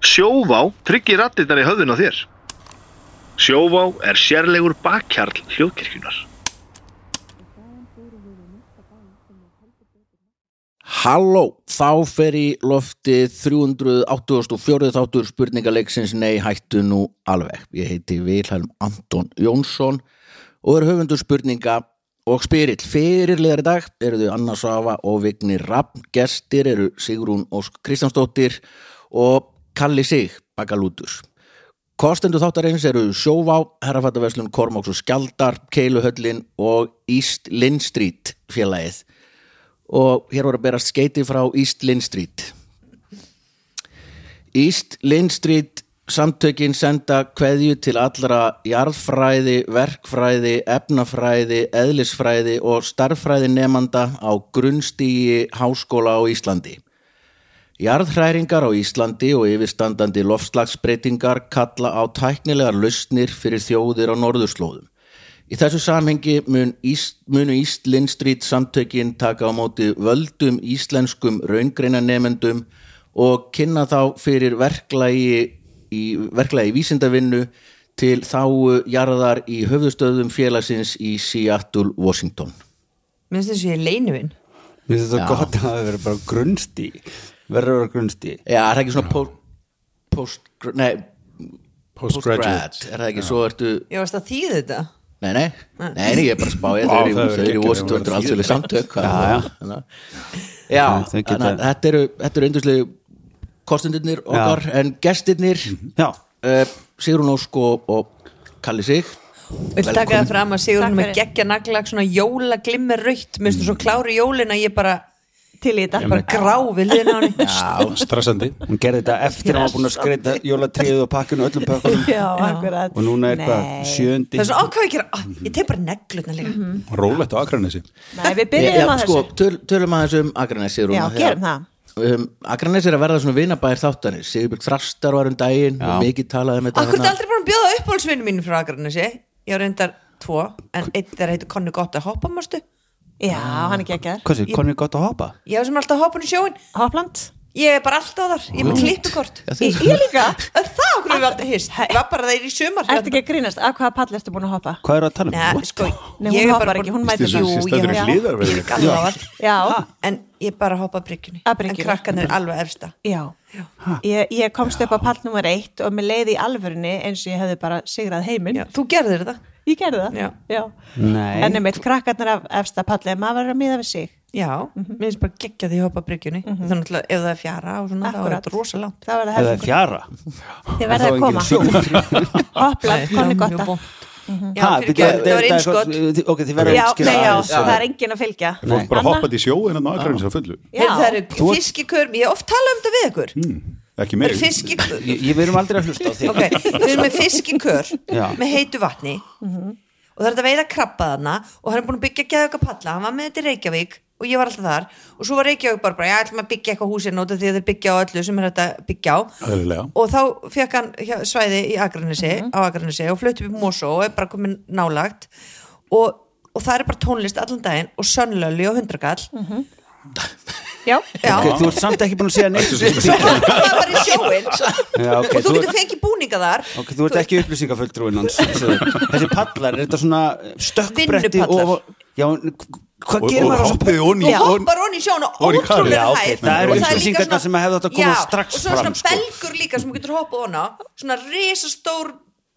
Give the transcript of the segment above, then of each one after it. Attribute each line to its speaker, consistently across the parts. Speaker 1: Sjóvá tryggir rattirnar í höfðun á þér. Sjóvá er sérlegur bakkjarl hljóðkirkjunar.
Speaker 2: Halló, þá fer í loftið 384. þáttur spurningaleiksins Nei, hættu nú alveg. Ég heiti Vilhelm Anton Jónsson og er höfundur spurninga og spyrill. Fyrirliðar í dag eru þau Anna Sava og Vigni Rapp. Gestir eru Sigrún Ósk Kristjánsdóttir og Kalli Sig, Bakalútur. Kostendu þáttarins eru Sjóvá, Herrafattaverslun, Kormáks og Skjaldar, Keiluhöllin og East Linn Street félagið og hér voru að berast skeiti frá East Lynn Street East Lynn Street samtökin senda kveðju til allra jarðfræði, verkfræði, efnafræði, eðlisfræði og starffræði nefnanda á grunnstígi háskóla á Íslandi. Jarðhræringar á Íslandi og yfirstandandi loftslagsbreytingar kalla á tæknilegar lausnir fyrir þjóðir á norðurslóðum. Í þessu samhengi mun Íst, munu Íslindstrít samtökin taka á móti völdum íslenskum raungreinanemendum og kynna þá fyrir verklagi, í, verklagi vísindavinnu til þá jarðar í höfðustöðum félagsins í Seattle, Washington.
Speaker 3: Minnst þess að ég er leinuinn
Speaker 4: Mér finnst þetta gott að það verður bara grunsti verður að vera grunsti
Speaker 2: Já, er það ekki svona po post, nei,
Speaker 5: Postgraduate.
Speaker 2: postgrad, er það ekki, svo ertu,
Speaker 3: Ég varst að þýða þetta
Speaker 2: nei, nei, nei, nei, ég er bara að spá, ég
Speaker 4: Vá,
Speaker 2: þau
Speaker 4: það
Speaker 2: eru-
Speaker 4: verður
Speaker 2: þau eru í
Speaker 4: geggjað, það
Speaker 2: Washington
Speaker 4: verður
Speaker 2: allsölu samtök. Já, já. Já,
Speaker 4: Já, þau geta-
Speaker 2: þannig að þetta eru, þetta eru eindurslega kostendurnir okkar, en gestirnir,
Speaker 4: Já,
Speaker 2: uh, Sigrun Ósk og, og Kalli Sig.
Speaker 3: Vil taka það fram að Sigurinn
Speaker 6: Takk
Speaker 3: með
Speaker 6: fyrir.
Speaker 3: geggja naglag svona jóla glimmer rautt minnst þú svo klári jólin að ég bara
Speaker 6: til í þetta
Speaker 3: bara grá við liðin á henni
Speaker 5: stressandi
Speaker 4: hún gerði þetta eftir að hún var búin að skreita jólatriðið og pakkinu öllum pakkunum
Speaker 6: já, akkurat
Speaker 4: og núna er hvað,
Speaker 6: Nei.
Speaker 4: sjöndi
Speaker 3: Það er svona ákvað ekki að, ég teg bara neglutna líka
Speaker 4: Mhm.
Speaker 5: rólegt á Akranesi
Speaker 6: Nei, við byrjum á þessu
Speaker 2: sko, töl, tölum aðeins um Akranes, Sigrun.
Speaker 6: Já,
Speaker 2: af því að-
Speaker 6: gerum það
Speaker 2: Um, Akranes er að verða svona vinabæðir þáttanir, Sigurbjörg Þrastar var um daginn og mikið talaði um þetta.
Speaker 3: Akkur er
Speaker 2: þarna.
Speaker 3: aldrei bara að bjóða uppáhaldsvinni mínu frá Akranesi Ég á reyndar tvo en einn þeirra heitir Konni gott að hoppa mástu
Speaker 6: Já, hann er geggar
Speaker 4: Hvað sé, hvernig er gott að hoppa?
Speaker 3: Ég hef sem er alltaf hoppan í sjóin
Speaker 6: Hopland
Speaker 3: Ég er bara alltaf þar, ég er með klippukort
Speaker 2: Já, þið-
Speaker 3: Ég ég líka En Það okkur við alltaf hist Ég var bara þeir í sumar hérna.
Speaker 6: Ertu ekki að grínast, af hvaða pall ertu búin að hoppa?
Speaker 4: Hvað er að tala um?
Speaker 3: Nei,
Speaker 4: What?
Speaker 3: sko,
Speaker 6: Nei,
Speaker 3: ég
Speaker 6: hún
Speaker 3: er
Speaker 6: hoppar
Speaker 3: bara
Speaker 6: ekki, hún
Speaker 3: búin-
Speaker 6: mætir
Speaker 5: Þessi
Speaker 6: Jú,
Speaker 5: stendur
Speaker 6: já,
Speaker 5: í
Speaker 6: já.
Speaker 5: hlýðar
Speaker 3: Ég er galla á allt
Speaker 6: Já,
Speaker 3: En ég er bara að hoppa að bryggjunni
Speaker 6: Að
Speaker 3: En
Speaker 6: bryggjunni. mhm.
Speaker 3: krakkan er alveg efsta
Speaker 6: Já, ég, ég komst upp á pall nummer eitt og mér leiði í alvörunni eins og ég hefði bara sigrað heiminn.
Speaker 3: Já, þú gerðir það
Speaker 6: Ég gerði það.
Speaker 3: Já.
Speaker 4: Nei.
Speaker 6: En einmitt krakkarnar af efsta palli, maður verður að miða við sig.
Speaker 3: Já, Mhm. mér finnst bara geggja því að hoppa bryggjunni
Speaker 6: Mhm.
Speaker 3: mm -hmm. Þannig að ef það er fjara og svona þá er
Speaker 6: Akkúrat.
Speaker 3: þetta rosa langt
Speaker 6: Það verður
Speaker 4: Eða
Speaker 6: heldur.
Speaker 4: fjara?
Speaker 6: Þið verður að koma. Hoppland, konni
Speaker 3: mjög
Speaker 6: gotta.
Speaker 3: vont.
Speaker 6: Mhm.
Speaker 3: Já, fyrir ekki, það var einskott
Speaker 4: Ok, þið verður
Speaker 6: Já,
Speaker 4: að skilja
Speaker 6: nei, já, það er enginn að fylgja.
Speaker 5: fólk bara
Speaker 6: Anna?
Speaker 5: hoppaði í sjóin á Akranesi á fullu
Speaker 6: Já,
Speaker 3: Heyrðu, Það eru fiskikörm, ég hef oft talað um þetta við ykkur
Speaker 5: ekki
Speaker 3: Það
Speaker 5: mig
Speaker 3: eru fiskikörm
Speaker 4: Ég verðum aldrei að hlusta á þig
Speaker 3: Ok, við erum með fiskikör
Speaker 4: Já.
Speaker 3: með heitu vatni og það er þetta veiða krabba þarna og hann er búin að byggja geðauka palla hann var með þetta í Reykjavík og ég var alltaf þar og svo var Reykjavík bara, bara ég ætlum að byggja eitthvað húsin út af því að þeir byggja á öllu sem er þetta byggja á
Speaker 5: Eðlilega.
Speaker 3: og þá fekk hann hjá- svæði í Akranesi, á Akranesi og flutti upp í Mosó og er bara komin nálagt og, og það er bara tónlist allan daginn og sönnlöli og hundrakall
Speaker 6: já,
Speaker 3: Já,
Speaker 4: Mhm. Ok, þú ert samt ekki búin að segja neitt
Speaker 3: það var bara í sjóin
Speaker 4: Já, ok,
Speaker 3: og þú
Speaker 4: þú
Speaker 3: getur
Speaker 4: ert-
Speaker 3: fengið búninga þar
Speaker 4: Ok, þú ert ekki upplýsingafulltrúin hans Þessi pallar, er þetta svona eh, stökkbretti
Speaker 3: Vinnupallar.
Speaker 4: og Já, en hvað
Speaker 5: og,
Speaker 4: gerir
Speaker 5: og
Speaker 4: maður á þessu
Speaker 5: hoppaði onni
Speaker 3: Þú hoppar onni í sjón og
Speaker 5: ofan í karið.
Speaker 3: ótrúlega
Speaker 4: Já, ok,
Speaker 3: hægt
Speaker 4: það eru
Speaker 3: Og líka
Speaker 4: upplýsingarnar
Speaker 3: svona-
Speaker 4: sem að hefðu átt að koma
Speaker 3: Já,
Speaker 4: strax
Speaker 3: og svo er
Speaker 4: fram,
Speaker 3: svona
Speaker 4: sko.
Speaker 3: belgur líka sem þú getur hoppað onna svona risastór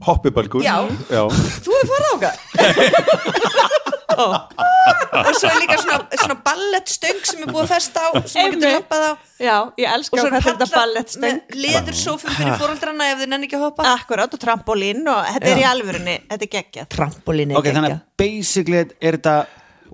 Speaker 5: hoppibalgur
Speaker 3: Já. þú hefur farið áka og svo er líka svona, svona ballettstöng sem er búið að festa á sem þú getur
Speaker 6: Einmitt.
Speaker 3: hoppað á
Speaker 6: já, ég
Speaker 3: og
Speaker 6: elska
Speaker 3: svo
Speaker 6: hvað
Speaker 3: er
Speaker 6: þetta
Speaker 3: pallar
Speaker 6: ballettstöng. Ah.
Speaker 3: leður sófum fyrir fóraldrana ef þið nenni ekki að hoppa
Speaker 6: Akkurát og trampolín og þetta er í alvörunni, þetta er geggjað.
Speaker 3: trampolín
Speaker 4: Ok, þannig að basically er þetta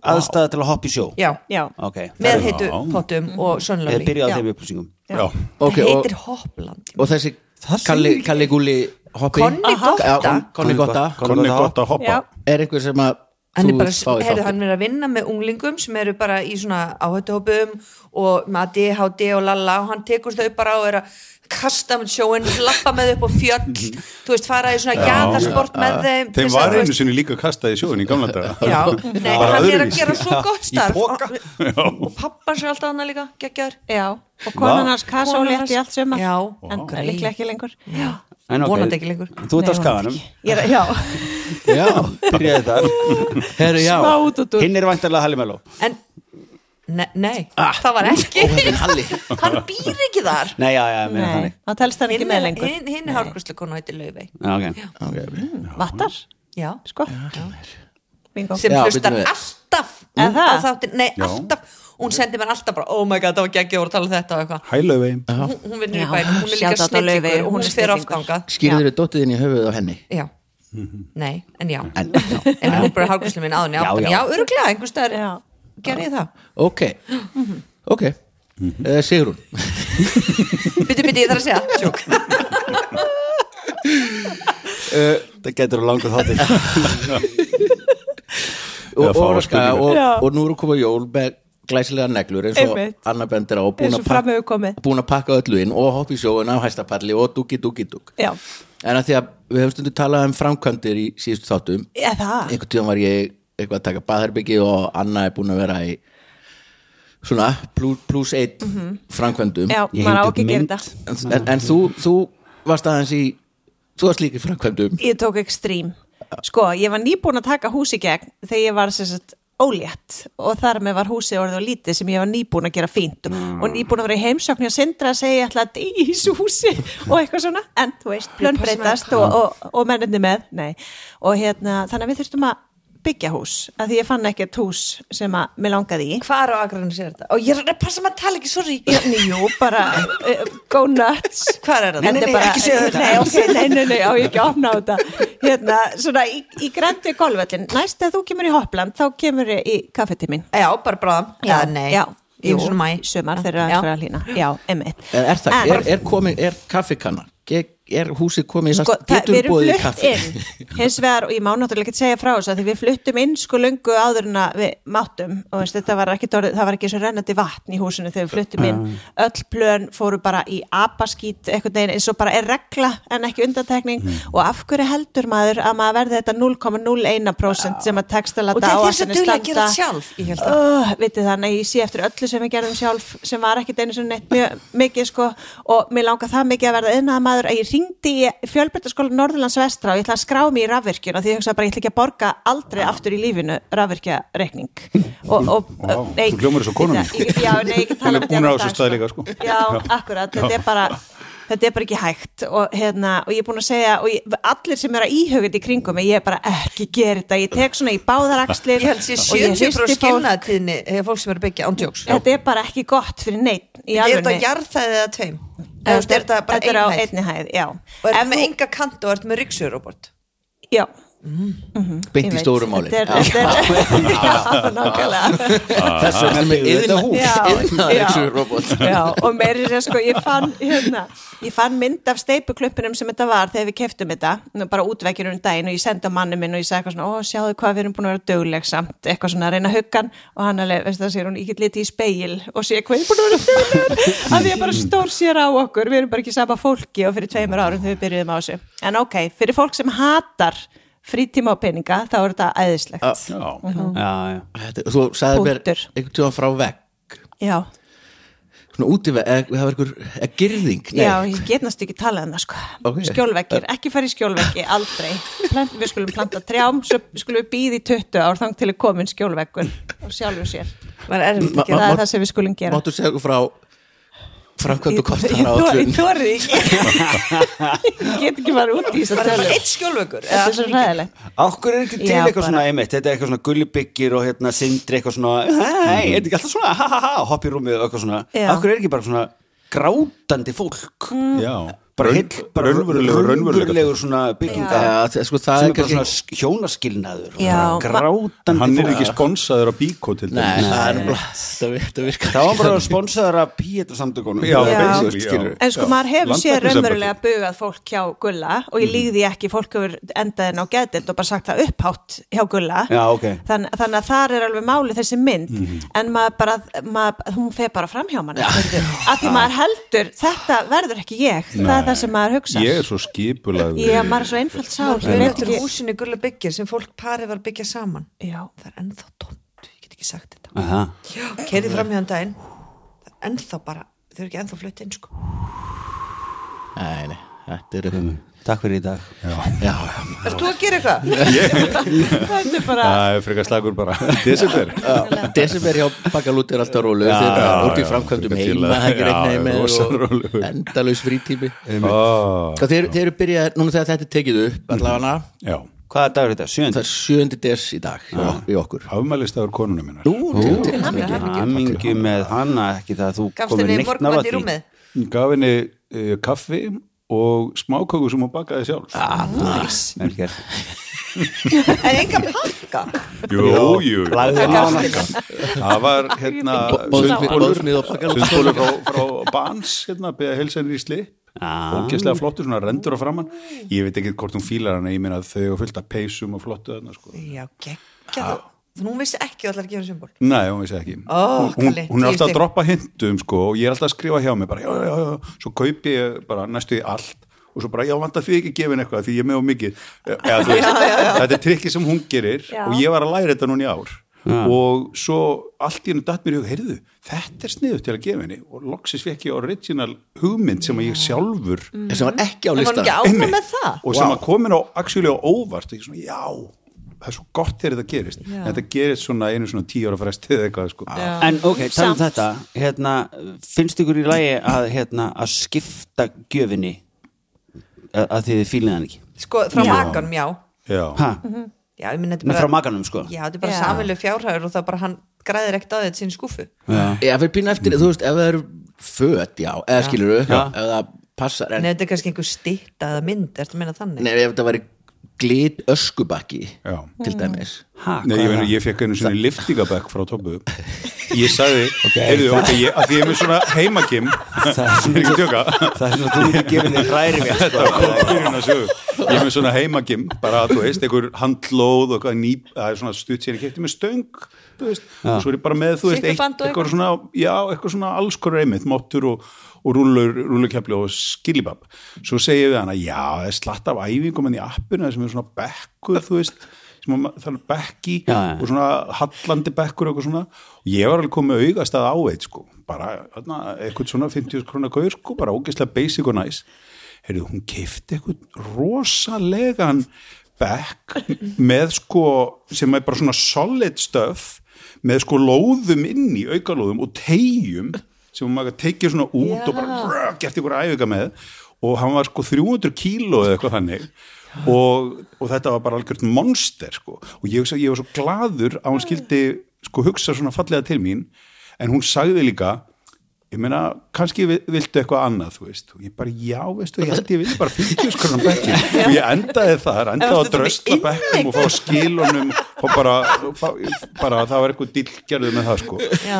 Speaker 4: aðstæða til að hoppa í sjó
Speaker 3: já,
Speaker 6: Já,
Speaker 4: Ok,
Speaker 3: með
Speaker 5: Já.
Speaker 3: heitu pottum og
Speaker 4: Eða
Speaker 3: sönnlöli
Speaker 4: byrja á
Speaker 6: Já.
Speaker 4: þeim upplýsingum
Speaker 5: Já.
Speaker 2: Ok,
Speaker 3: það
Speaker 2: og-
Speaker 3: heitir hoppland
Speaker 2: og þessi
Speaker 4: Það
Speaker 2: Kalli,
Speaker 4: segir-
Speaker 2: Kalli Gulli hoppi.
Speaker 3: Konni Gotta.
Speaker 2: Já, Konni Gotta.
Speaker 5: konni gott að hoppa
Speaker 6: já,
Speaker 2: Er einhver sem að
Speaker 3: hann er
Speaker 2: þú
Speaker 3: bara,
Speaker 2: vilt fá í
Speaker 3: heyrðu,
Speaker 2: þáttinn?
Speaker 3: hann er að vinna með unglingum sem eru bara í svona áhættuhópum og með ADHD og lalla og hann tekur þau bara og er að kasta með sjóin, lappa með upp á fjöll
Speaker 2: Mhm.
Speaker 3: þú veist, fara í svona jæðarsport með þeim til
Speaker 5: Þeim
Speaker 3: þess að,
Speaker 5: var
Speaker 3: þú
Speaker 5: einu
Speaker 3: veist-
Speaker 5: sinni líka kastað í sjóðin í gamla daga
Speaker 3: Já, nei, hann er að gera svo gott
Speaker 4: Í
Speaker 3: starf
Speaker 4: poka.
Speaker 3: og, og pappan sér alltaf annað líka, geggjaður
Speaker 6: Já, og konan
Speaker 4: Vá.
Speaker 6: hans kasa og
Speaker 3: Konan
Speaker 6: létt í
Speaker 3: hans-
Speaker 6: allt sumar
Speaker 3: Já.
Speaker 6: En
Speaker 3: Vá.
Speaker 6: líklega ekki lengur Já,
Speaker 4: En ok,
Speaker 3: Vonandi ekki lengur.
Speaker 4: Þú ert á
Speaker 6: Nei,
Speaker 4: skaganum
Speaker 6: Ég er, já,
Speaker 2: já,
Speaker 4: Byrjaði þar
Speaker 2: herru, já
Speaker 6: smá út út úr
Speaker 4: Hinn er vantarlega Halli Mello
Speaker 3: en, ne, nei, það var ekki
Speaker 2: óhefðin Ah. Halli
Speaker 3: hann býr ekki þar
Speaker 4: Nei, já, já, ég meina
Speaker 6: Nei,
Speaker 4: þannig
Speaker 6: það telst hann ekki
Speaker 3: hinn
Speaker 6: með
Speaker 3: er,
Speaker 6: lengur
Speaker 3: hin, hin er hárkurslu konu heitir Laufey
Speaker 4: Já, ok
Speaker 2: okay, ok.
Speaker 6: Vattar,
Speaker 3: já,
Speaker 6: sko Bingo
Speaker 3: sem
Speaker 2: Já,
Speaker 3: hlustar
Speaker 2: bíddu við.
Speaker 3: alltaf á
Speaker 6: Er það?
Speaker 3: þáttin, nei, alltaf hún sendi mér alltaf bara, oh my god, það var geggjaður að tala um þetta og eitthvað
Speaker 5: Hælauvi
Speaker 3: hún, hún vinnur í
Speaker 6: Já,
Speaker 3: bænum, hún er líka
Speaker 6: shout out á Laufey,
Speaker 3: snillingur og
Speaker 6: hún
Speaker 3: hún
Speaker 6: er
Speaker 3: fer
Speaker 6: snillingur.
Speaker 3: aftanga
Speaker 2: skýrður dóttið inn í höfuð á henni
Speaker 3: já, nei, en já
Speaker 2: en, já.
Speaker 3: en hún bara hárkurslu mín áðunni
Speaker 4: Já,
Speaker 3: áttan,
Speaker 4: já.
Speaker 3: já, öruglega, einhvers staðar
Speaker 6: Já.
Speaker 3: gerði ég það,
Speaker 2: ok, ok uh, Sigrún
Speaker 3: byttu, byttu, ég þarf að segja tjók,
Speaker 4: Það getur að langa þáttir
Speaker 2: og,
Speaker 5: Eða fá
Speaker 2: og,
Speaker 5: spurningar.
Speaker 2: og,
Speaker 6: Já.
Speaker 2: og nú eru komið jól með glæsilega neglur eins og
Speaker 6: Einmitt.
Speaker 2: Anna bendir á og búin
Speaker 6: Eins
Speaker 2: að
Speaker 6: og fram hefur
Speaker 2: pakka,
Speaker 6: komið.
Speaker 2: búin að pakka öllu inn og hoppa í sjóin á hæstapalli og dúki dúki dúk
Speaker 6: Já,
Speaker 2: en að því að við hefum stundu talað um framkvæmdir í síðustu þáttum
Speaker 6: eða það
Speaker 2: einhvern tíðan var ég eitthvað að taka baðherbyggi og Anna er búin að vera í svona plus, plus eitt framkvæmdum
Speaker 6: Já,
Speaker 4: Ég
Speaker 6: maður á
Speaker 4: hengdi upp
Speaker 6: ekki að gera
Speaker 4: mynd.
Speaker 6: þetta
Speaker 2: en, en, en þú, þú varst aðeins í þú varst líka í framkvæmdum
Speaker 6: Ég tók ekstrím Sko, ég var nýbúin að taka hús í gegn þegar ég var sem sagt ólétt og þar með var húsið orðið og lítið sem ég var nýbúin að gera fínt og nýbúin að vera í heimsókn og sindra að segja ég ætla að deyja í þessu húsi og eitthvað svona, en þú veist, plönn breytast og, og, og mennirni með, nei og hérna, þannig að við þurftum að byggja hús að því ég fann ekkert hús sem að mér langaði í
Speaker 3: hvar á agrarinn sér þetta og ég er að passa maður að tala ekki, sorry
Speaker 6: Nei, jú, bara uh, go nuts
Speaker 3: Hvar er það?
Speaker 6: Þetta
Speaker 3: Nei, nei,
Speaker 6: bara,
Speaker 3: ekki segja þetta.
Speaker 6: Nei, ok, nei, nei, nei, á ég ekki að opna á þetta Hérna, svona í, í grendi golföllin Næst að þú kemur í Hoppland þá kemur ég í kaffetíð mín
Speaker 3: já, bara bráðum, já, nei
Speaker 6: já
Speaker 3: í
Speaker 6: jú,
Speaker 3: svona mæ
Speaker 6: Sumar þegar
Speaker 3: Já.
Speaker 6: það er að hlýna Já, emmitt
Speaker 2: er, er, það,
Speaker 6: En-
Speaker 2: er, er, komin, er kaffikanna er, er húsið komið í
Speaker 6: sko,
Speaker 2: það
Speaker 6: það, við
Speaker 2: getur
Speaker 6: erum
Speaker 2: búið í
Speaker 6: flutt
Speaker 2: kaffi
Speaker 6: inn hins vegar, og ég má náttúrulega ekki segja frá þess að því við fluttum inn sko lungu áður en að við máttum og veist, þetta var ekki, það var ekki svo rennandi vatn í húsinu þegar við fluttum inn
Speaker 2: Ah.
Speaker 6: öll plön fóru bara í apaskít einhvern veginn eins og bara er regla en ekki undantekning
Speaker 2: Mm.
Speaker 6: og af hverju heldur maður að maður verði þetta
Speaker 2: Ah.
Speaker 6: 0,01% sem að
Speaker 3: og
Speaker 6: textalata
Speaker 3: það er svo
Speaker 6: áætlanir
Speaker 3: duglega að gera
Speaker 6: standa
Speaker 3: þetta sjálf ég held að
Speaker 6: Oh, vitið það, nei, ég sé eftir öllu sem við gerðum sjálf sem var ekkit einu sem neitt mjög mikið sko og mér langar það mikið að verða innað maður að ég ringdi í fjölbyrtaskóla Norðurlands vestra og ég ætla að skrá mig í rafvirkjun og því ég hugsaði bara ég ætla ekki að borga aldrei aftur í lífinu rafvirkjareikning og, og
Speaker 5: Vá,
Speaker 6: nei,
Speaker 5: þú hljómar eins og konan mín, sko.
Speaker 6: ég, já, nei, ég get
Speaker 5: Hún
Speaker 6: talað
Speaker 5: er-
Speaker 6: um
Speaker 5: hún er á
Speaker 6: þetta í
Speaker 5: þessum
Speaker 6: dag,
Speaker 5: stað líka, sko.
Speaker 6: já,
Speaker 5: Já.
Speaker 6: akkurat, þetta er bara þetta er bara ekki hægt og, hérna, og ég er búin að segja og ég, allir sem eru að íhugið í kringum mig, ég er bara ekki gera þetta, ég tek svona í báðarakslir
Speaker 3: ég held sér
Speaker 6: og ég
Speaker 3: 70 frá
Speaker 6: hristi fólk.
Speaker 3: skilnaðtíðinni hefur fólk sem er að byggja ándjóks
Speaker 6: þetta er bara ekki gott fyrir neitt í
Speaker 3: er þetta
Speaker 6: alvörunni.
Speaker 3: jarðfæðið eða tveim
Speaker 6: Þetta
Speaker 3: eða þú veist, er þetta bara
Speaker 6: er á
Speaker 3: einhæð
Speaker 6: einni hæð já.
Speaker 3: og er
Speaker 6: Ef
Speaker 3: með
Speaker 6: þú-
Speaker 3: enga kant og er með ríksurobort
Speaker 6: já, ég
Speaker 2: beint í
Speaker 6: veit.
Speaker 2: stóru máli
Speaker 6: þetta er, þetta er já, nákvæmlega
Speaker 5: Ah.
Speaker 4: Þess vegna byggðu þetta hús
Speaker 6: Já, já.
Speaker 2: Iðnaðarrobot.
Speaker 6: já, og meiri sér sko ég fann, hérna, ég fann mynd af steipuklumpinum sem þetta var þegar við keftum þetta nú bara útvekkjur um daginn og ég sendi á manni minn og ég sagði eitthvað svona, ó sjáðu hvað við erum búin að vera dögleg samt, eitthvað svona að reyna huggan og hann alveg, veist það, sér hún, ég get litið í speil og sé hvað við erum búin að vera dögleg að því að bara stór sér á okkur, við erum bara ekki sama fólki og fyrir tveimur árum þegar við byrjuðum á þessu en ok, fyrir fólk sem hatar frítíma og peninga, þá er þetta æðislegt
Speaker 5: Já,
Speaker 4: Já, já
Speaker 2: Þetta- þú sagði mér
Speaker 6: Punktur.
Speaker 2: einhvern tíðan frá vegg
Speaker 6: já,
Speaker 2: svona út í vegg, eða það var einhver eða girðing, nei,
Speaker 6: Já, ég get næst ekki talað um það sko
Speaker 2: Ok.
Speaker 6: Skjólveggir, ekki fara í skjólveggi, aldrei Plant, Við skulum planta trjám Svo skulum við býði í 20 ár þang til að koma inn skjólveggur og sjálfur sér
Speaker 3: maður er erfitt
Speaker 2: Ma-
Speaker 3: að
Speaker 6: Það
Speaker 2: ma-
Speaker 3: gera
Speaker 6: er það sem við skulum gera
Speaker 2: máttu segja okkur frá framkvæmdu
Speaker 6: Ég
Speaker 2: kostar á
Speaker 6: þor-
Speaker 2: öllun
Speaker 6: Ég þorði ekki Ég get ekki bara út í þess að
Speaker 3: það er
Speaker 6: tölur
Speaker 3: bara eitt skjólvökur
Speaker 6: Þetta er svo ræðilegt
Speaker 4: Akkur er ekki til
Speaker 6: Já,
Speaker 4: eitthvað
Speaker 6: bara.
Speaker 4: svona einmitt Þetta er eitthvað svona gullibyggjir og hérna sindri eitthvað svona Hei, er þetta ekki alltaf svona ha ha ha og hoppa í rúmið og eitthvað svona
Speaker 6: Já. Mm.
Speaker 4: Akkur er ekki bara svona grátandi fólk
Speaker 5: já
Speaker 4: bara
Speaker 5: Raun-
Speaker 4: heill, bara
Speaker 5: raunverulegur- raunverulegur
Speaker 4: raunverulegur svona bygginga
Speaker 2: Já, það- sko, það
Speaker 4: sem
Speaker 2: er
Speaker 4: er bara
Speaker 2: kannski-
Speaker 4: svona sk- hjónaskilnaður og
Speaker 6: Já.
Speaker 4: svona grátandi
Speaker 5: Hann er
Speaker 4: fólk.
Speaker 5: ekki sponsaður af Bíkó til
Speaker 2: Nei,
Speaker 5: dæmis.
Speaker 2: það er bara, það vir- það virkar
Speaker 4: það var
Speaker 2: ekki
Speaker 4: bara
Speaker 2: þannig.
Speaker 4: sponsaður af píetarsamtökunum
Speaker 5: Já,
Speaker 6: Já.
Speaker 5: basically, já.
Speaker 4: skilur
Speaker 6: En sko maður hefur séð
Speaker 5: Landlæknisembættið.
Speaker 6: raunverulega bugað fólk hjá Gulla og ég líði ekki fólk hefur endaðin á geðdild og bara sagt það upphátt hjá Gulla
Speaker 4: Já, ok.
Speaker 6: Þann, þannig að þar er alveg máli þessi mynd en maður bara, maður, hún fer bara fram hjá manni skilurðu. að því maður heldur þetta verður ekki ég, það er það sem maður hugsa
Speaker 5: Ég er svo skipulaður.
Speaker 6: Já, maður er svo einfalt
Speaker 3: Það
Speaker 6: sá ég
Speaker 3: er
Speaker 6: veit
Speaker 3: eftir
Speaker 6: ekki-
Speaker 3: húsinu gulla byggja sem fólk parið var að byggja saman
Speaker 6: Já,
Speaker 3: Það er ennþá tómt, ég get ekki sagt þetta
Speaker 4: Aha.
Speaker 3: Keirði fram hjá hann daginn Það er ennþá bara, þau eru ekki ennþá flutt inn sko
Speaker 2: Nei, nei, þetta er
Speaker 4: Takk fyrir í dag
Speaker 2: Já,
Speaker 3: Er þú að gera eitthvað?
Speaker 6: þetta er bara
Speaker 5: Það er frekar slagur bara. Desember.
Speaker 2: já Desember hjá Bakalút er alltaf rólu
Speaker 5: Já,
Speaker 2: Þeir
Speaker 5: já,
Speaker 2: eru út í
Speaker 5: já,
Speaker 2: framkvæmdum
Speaker 5: þurfa til
Speaker 2: heima
Speaker 5: að-
Speaker 2: Það er ekki
Speaker 5: já,
Speaker 2: reiknaði
Speaker 5: rosa
Speaker 2: með
Speaker 5: rólegur.
Speaker 2: og endalaus frítími
Speaker 5: Ó,
Speaker 2: Hvað þeir, þeir eru byrjað, núna þegar þetta er tekið upp allavega,
Speaker 5: Já.
Speaker 4: Hvaða dagur er þetta?
Speaker 2: það
Speaker 4: Sjönd?
Speaker 2: er sjöndi des í dag hjá, í okkur
Speaker 5: Afmælistagur konunum minnar.
Speaker 4: Hammingi með hana ekki það að þú
Speaker 3: Gafst
Speaker 4: komir
Speaker 3: henni
Speaker 4: neitt
Speaker 3: morgunmat
Speaker 4: nálægt
Speaker 3: í rúmið?
Speaker 5: Gaf henni uh, kaffi og smáköku sem hún bakaði sjálf. Ah,
Speaker 4: Melker.
Speaker 3: En enga pakka
Speaker 5: jú, jú.
Speaker 4: lagði henni á hana.
Speaker 5: Það var hérna
Speaker 2: Boðsmið-
Speaker 5: sundbólur-
Speaker 2: boðsmið og bakalút.
Speaker 5: sundbólur frá, frá Bans hérna, beða helsenir í slip
Speaker 4: Ah.
Speaker 5: ógæslega flottur, svona rendur á framann ég veit ekki hvort hún fílar hana, ég meina að þau og fullt af peysum og flottu þarna sko
Speaker 3: Já, geggja það Þannig hún vissi ekki að allar að gefa henni symbol
Speaker 5: Nei, hún vissi ekki
Speaker 3: Ó,
Speaker 5: hún,
Speaker 3: Kalli,
Speaker 5: hún
Speaker 3: tíu
Speaker 5: er alltaf að
Speaker 3: stig.
Speaker 5: droppa hintum sko, og ég er alltaf að skrifa hjá mig bara, já, já, já, já. svo kaupi ég bara næstu í allt og svo bara, já, vant að því ekki gefin eitthvað því ég er með og mikið E, Eða, þú veist, þetta er trikki sem hún gerir
Speaker 6: Já.
Speaker 5: og ég var að læra þetta núna í ár og svo allt í hennu datt mér í hug, heyrðu þetta er sniðu til að gefa henni og loksis fekk ég original hugmynd sem að ég sjálfur
Speaker 2: sem var ekki á
Speaker 3: Það var
Speaker 2: lista
Speaker 3: ekki
Speaker 5: Einmitt.
Speaker 3: ánað með það
Speaker 5: og sem að komin á actually á óvart og ég svona, já, það er svo gott þegar þetta gerist en þetta gerist svona einu svona tíu ára fresti eða eitthvað sko
Speaker 4: En ok, tala um þetta hérna, Finnst ykkur í lagi að, hérna, að skipta gjöfinni að, að þið fílið hann ekki
Speaker 3: Sko, frá makanum, já
Speaker 5: já,
Speaker 4: ha,
Speaker 3: Já, ég minna þetta er
Speaker 4: Nei,
Speaker 3: bara
Speaker 4: frá makanum sko
Speaker 3: Já, þetta er bara
Speaker 6: Já.
Speaker 3: samilu fjárhæður og það bara hann græðir ekkert á þetta sinni skúfu
Speaker 2: Já, fyrir pínu eftir, þú veist, ef það eru föt, já, eða skilur ef það passar, en
Speaker 3: Nei, þetta er kannski einhver stitta eða mynd, ertu að minna þannig?
Speaker 2: nei, ef það væri glit öskubakki
Speaker 5: já
Speaker 2: til dæmis
Speaker 4: ha,
Speaker 5: Nei,
Speaker 4: hvað
Speaker 5: ég,
Speaker 4: er
Speaker 5: meina,
Speaker 4: það?
Speaker 5: ég fekk einu svona liftingabæk frá Tobbu Ég sagði, heyrðu, ok, ég, að því ég er með svona heimakim Það
Speaker 4: er
Speaker 5: er ekki að tjóka
Speaker 4: Það er svona þú myndir gefinni hræri við
Speaker 5: Þetta kom byrjun að sögu hérna, Ég er með svona heimakim, bara þú veist, einhver handlóð og eitthvað nýp Það er svona stutt sér, ég kefti með stöng þú veist, og svo er ég bara með, þú veist, eitt,
Speaker 3: Sikkuband og
Speaker 5: eitthvað svona Já, eitthvað svona alls konar einmitt, mottur og, og rúllur, rúllukepli og skilibab Svo segi ég við hana, já, það er slatt af æfingum en í appinu sem er svona bekkur, þú veist sem að maður- það er bekki
Speaker 4: Já, já.
Speaker 5: og svona hallandi bekkur og eitthvað svona og ég var alveg komið augast að áveit sko, bara þarna, eitthvað svona 50 krona gaur sko, bara ógeðslega basic og næs heyrðu, hún kifti eitthvað rosalegan bekk með sko sem er bara svona solid stuff með sko lóðum inn í aukalóðum og tegjum sem maður tekið svona út og bara brr, gert ykkur æfinga með og hann var sko 300 kíló eða eitthvað þannig og, og þetta var bara algjört monster sko og ég, hugsa- ég var svo gladur að hún skildi sko hugsa svona fallega til mín en hún sagði líka ég meina, kannski vi- viltu eitthvað annað þú veist, og ég bara, já, veistu ég held ég vildi bara 50 skrónum bekki og ég endaði þar, endaði
Speaker 3: varstu
Speaker 5: að drösla
Speaker 3: með
Speaker 5: bekkum og fá skilunum og bara, fá, bara það var eitthvað dillgerðu með það sko
Speaker 3: Já.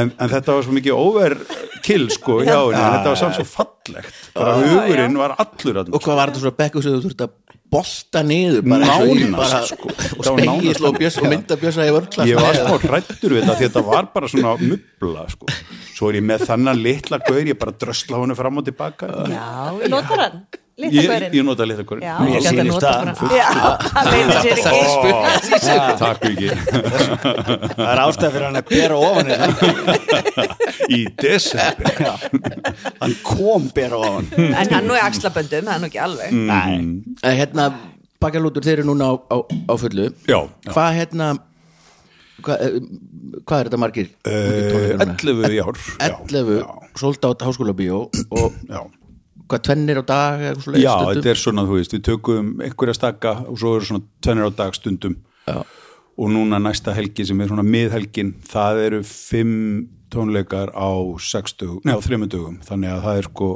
Speaker 5: en, en þetta var svo mikið overkill sko hjá henni, en þetta var samt svo fallegt bara hugurinn var allur að
Speaker 2: og hvað var þetta svona bekkur sem þú þurft að bolta niður bara, eins og í-
Speaker 5: Nánast,
Speaker 2: bara,
Speaker 5: sko.
Speaker 2: og
Speaker 5: Það var nánast.
Speaker 2: spegil og, bjöss, og mynda bjössa í vörkla
Speaker 5: ég var smá hrættur við þetta því þetta var bara svona mubla sko. svo er ég með þannan litla gaur ég bara drösla honum fram og tilbaka
Speaker 6: Notar hann? Lítið
Speaker 5: ég,
Speaker 6: hverinn?
Speaker 5: ég nota litla gaur
Speaker 6: Já.
Speaker 4: Mér
Speaker 3: Ég gæti að
Speaker 4: sýnist
Speaker 3: nota
Speaker 4: það.
Speaker 3: bara-
Speaker 6: Já, hann veitir sér ekki
Speaker 5: takk ekki
Speaker 4: Það er ástæð fyrir hann að bera ofan hérna.
Speaker 5: í desember
Speaker 4: Hann kom bera ofan
Speaker 3: En hann nú er axlaböndum, það er nú ekki alveg
Speaker 4: Nei
Speaker 2: En hérna, bakkalútur, þeir eru núna á, á, á fullu
Speaker 5: Já, já.
Speaker 2: hvað hérna hvað, eh, hvað er þetta margir?
Speaker 5: Eh, 11 í ár já,
Speaker 2: 11
Speaker 5: já,
Speaker 2: sold át háskóla bíó og
Speaker 5: já.
Speaker 2: hvað tvennir á dag eða eitthvað svoleiðis
Speaker 5: já
Speaker 2: stundum?
Speaker 5: þetta er svona þú veist við tökum einhverja stakka og svo eru svona tvennir á dag stundum já. og núna næsta helgi sem er svona miðhelgin það eru fimm tónleikar á 60, nei á 30 dögum þannig að það er sko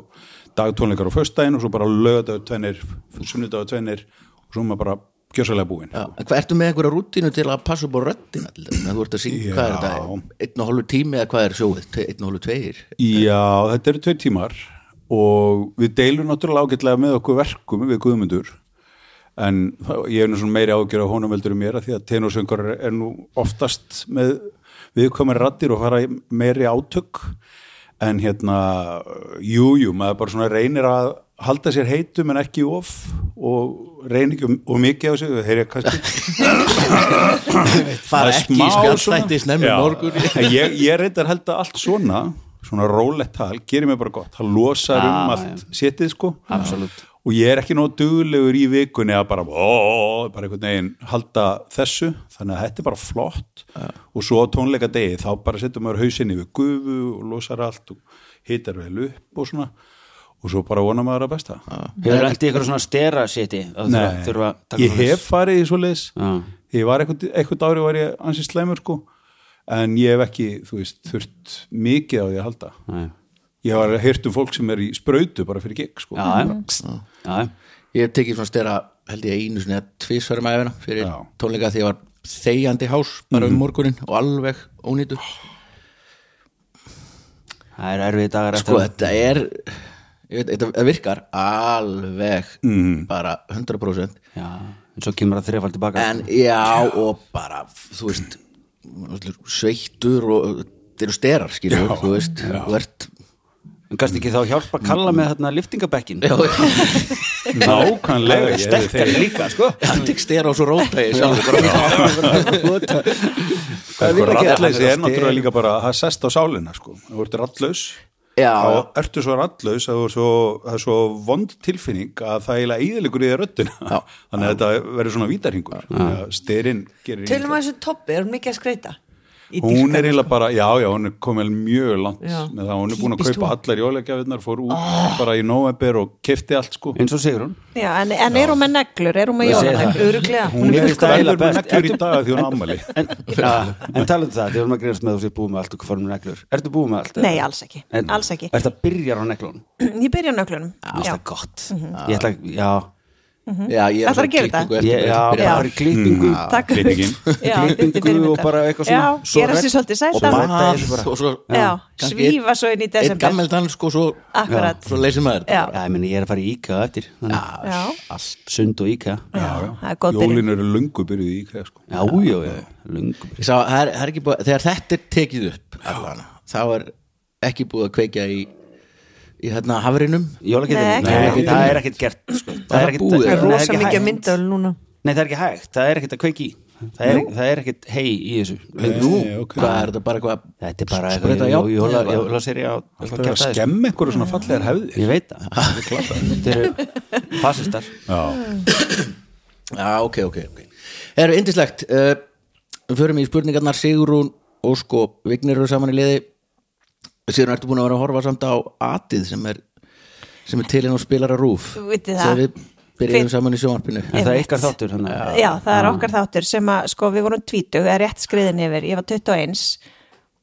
Speaker 5: dagtónleikar á föstudaginn og svo bara lögadagur tvennir, sunnudagur tvennir og svo er maður bara gjössalega búinn
Speaker 2: Já, en hvað ertu með einhverja rútínu til að passa upp á röddina til þeim? Þú ert að syngja, hvað er
Speaker 5: Já.
Speaker 2: þetta? Einn og hálfu tími eða hvað er sjóið? Tve- Einn og hálfu tveir?
Speaker 5: Já, þetta eru tvei tímar og við deilum náttúrulega ágætlega með okkur verkum við guðmundur en þá- ég hef nú svona meiri ágjör á honum heldur en mér að því að tenorsöngar er nú oftast með viðkomari rattir og fara í meiri átök en hérna jújú, jú, maður bara svona reynir að halda sér heitum en ekki of og reynir ekki um- og mikið á sig, það heyrja kannski
Speaker 2: Fara
Speaker 5: Það er
Speaker 2: ekki í
Speaker 5: smá
Speaker 2: spjallþætti
Speaker 5: svona-
Speaker 2: snemmi
Speaker 5: Já.
Speaker 2: morgun
Speaker 5: En ég, ég reyndar held að allt svona svona rólegt tal, gerir mér bara gott það losar um allt setið sko
Speaker 4: Absolutt.
Speaker 5: og ég er ekki nóg duglegur í vikunni að bara, ó, bara einhvern veginn halda þessu, þannig að þetta er bara flott og svo á tónleika degi þá bara setjum maður hausinn yfir gufu og losar allt og hitar vel upp og svona, og svo bara vonar maður að besta
Speaker 4: Hefur lent í eitthvað svona stera séti
Speaker 5: Nei, ég hef farið í svoleiðis
Speaker 4: Já.
Speaker 5: ég var eitthvað, eitthvað ári var ég ansið slæmur sko en ég hef ekki, þú veist, þurft mikið á því að halda
Speaker 4: Nei.
Speaker 5: ég var heyrt um fólk sem er í sprautu bara fyrir gig sko
Speaker 4: Já, já. já.
Speaker 2: Ég hef tekið svona stera held ég einu svona tvisvarum æfina fyrir
Speaker 5: Já.
Speaker 2: tónleika því ég var þegjandi hás bara um morgunin og alveg ónýtur
Speaker 4: Það er erfið dagar
Speaker 2: Sko þetta er ég veit, þetta þetta virkar alveg bara 100%
Speaker 4: Já, en svo kemur það þrefald tilbaka
Speaker 2: en Mhm. já og bara þú veist sveittur og þetta eru sterar skilur já, þú veist þú ert
Speaker 4: En kannski ekki þá hjálpa að kalla með þarna liftingabekkin
Speaker 2: já,
Speaker 5: nákvæmlega, ég hefði
Speaker 4: Stekkar líka, sko
Speaker 2: hann tek stera og svo róta ég sjálf
Speaker 4: Hvað
Speaker 5: Sko,
Speaker 4: vil ekki
Speaker 5: rattleysi er náttúrulega líka bara það sest á sálina sko, þú ert rattlaus
Speaker 2: Já.
Speaker 5: þá ertu svo rattlaus að þú er svo, það er svo vond tilfinning að það eiginlega íðilegur í þér röddina þannig að þetta verður svona vítarhingur þannig að styrin gerir
Speaker 3: Tölum að þessu toppi, er hún mikið að skreita? Ég
Speaker 5: hún
Speaker 3: dýrka
Speaker 5: er eiginlega bara, já, já, hún er komin mjög langt
Speaker 3: sko. Já.
Speaker 5: með það, hún er búin að
Speaker 3: Típist
Speaker 5: kaupa
Speaker 3: hún.
Speaker 5: allar jólegjafinnar, fór út bara í november og kefti allt sko
Speaker 4: Eins og Sigrun
Speaker 6: Já, en, en er hún með neglur, er hún með
Speaker 4: Ég segi
Speaker 6: jólaneglur?
Speaker 3: það. Örugglega.
Speaker 5: hún
Speaker 4: Mér
Speaker 5: er
Speaker 4: finnst það
Speaker 5: verður
Speaker 4: eiginlega
Speaker 5: með
Speaker 4: best.
Speaker 5: neglur í
Speaker 4: Ertu-
Speaker 5: dag að því hún ammali
Speaker 4: En, ja, en talaðu það, þið vorum að greinast með þú sér búið með allt og hvað fórum með neglur Ertu búið með allt? eða?
Speaker 6: Nei, alls ekki,
Speaker 4: En-
Speaker 6: alls ekki.
Speaker 4: Ertu að byrja á neglunum?
Speaker 6: Ég byrja á nöglunum.
Speaker 4: Mér finnst
Speaker 6: Já. Mhm.
Speaker 4: það gott Ég ætla, að- já
Speaker 2: já ég er
Speaker 6: Ætlarðu að gera þetta?
Speaker 4: Ég, já, bara
Speaker 6: Já.
Speaker 4: það er klippingu
Speaker 6: Takk.
Speaker 5: klippingin.
Speaker 6: Já,
Speaker 4: Klippingu
Speaker 6: bindi fyrir
Speaker 4: og
Speaker 6: þetta.
Speaker 4: bara eitthvað svona.
Speaker 6: Já,
Speaker 4: Svo
Speaker 6: gera sér
Speaker 4: redd-
Speaker 6: svolítið
Speaker 4: og
Speaker 6: sæta.
Speaker 4: bara-
Speaker 2: Bað og svo
Speaker 6: Já,
Speaker 2: kannski
Speaker 6: svífa
Speaker 2: einn-
Speaker 6: svo inn í
Speaker 2: einn
Speaker 6: desember. Ah,
Speaker 2: gammal dans sko svo
Speaker 6: Akkurat.
Speaker 2: svo leysir maður þetta
Speaker 6: Já.
Speaker 4: Já, ég meni, ég er að fara í IKEA á eftir Þannig
Speaker 6: Já,
Speaker 4: allt sund og IKEA Já,
Speaker 6: það er góð byrjun.
Speaker 5: jólin eru lungu byrjuð í IKEA sko
Speaker 4: já, já, já. Lungu.
Speaker 2: Ég sá, það er, það er ekki búið, þegar þetta er tekið upp allan, þá er ekki búið að kveikja í, í hérna hafrinum
Speaker 4: Jólakettinu?
Speaker 6: Nei, ekki
Speaker 4: Nei,
Speaker 6: jólakettinum.
Speaker 4: það er ekkert gert sko.
Speaker 2: Bara
Speaker 4: ekkert- það
Speaker 2: búið.
Speaker 3: Það er rosa
Speaker 4: ekki
Speaker 3: mikið
Speaker 4: hægt.
Speaker 3: myndal núna
Speaker 4: Nei, það er ekki hægt, það er ekkert að kveiki Það er, það er ekkert hei í þessu Nú,
Speaker 5: Eh, ok.
Speaker 2: hvað er þetta bara eitthvað
Speaker 4: Þetta er bara
Speaker 2: Sprauta
Speaker 4: eitthvað
Speaker 2: járn,
Speaker 4: jóla-
Speaker 2: eða?
Speaker 4: jólaseri á
Speaker 5: það er að skemmi einhverju svona fallegar hefðir
Speaker 4: Ég veit það Þetta eru fasistar
Speaker 5: já,
Speaker 2: Já, ok, ok, ok Erum indislegt uh, Við förum í spurningarnar Sigrún og sko Vignir eru saman í liði Sigrún, ertu búin að vera að horfa samt á Atið sem er, sem er til en og spilar að rúf
Speaker 6: Þú vitið það.
Speaker 2: Þegar við byrjuðum
Speaker 6: Finn-
Speaker 2: saman í sjónvarpinu
Speaker 4: En það er
Speaker 6: Einmitt.
Speaker 4: ykkar þáttur þannig að-
Speaker 6: Já, það er okkar þáttur sem að, sko, við vorum tvítug, það er rétt skriðin yfir, ég var 21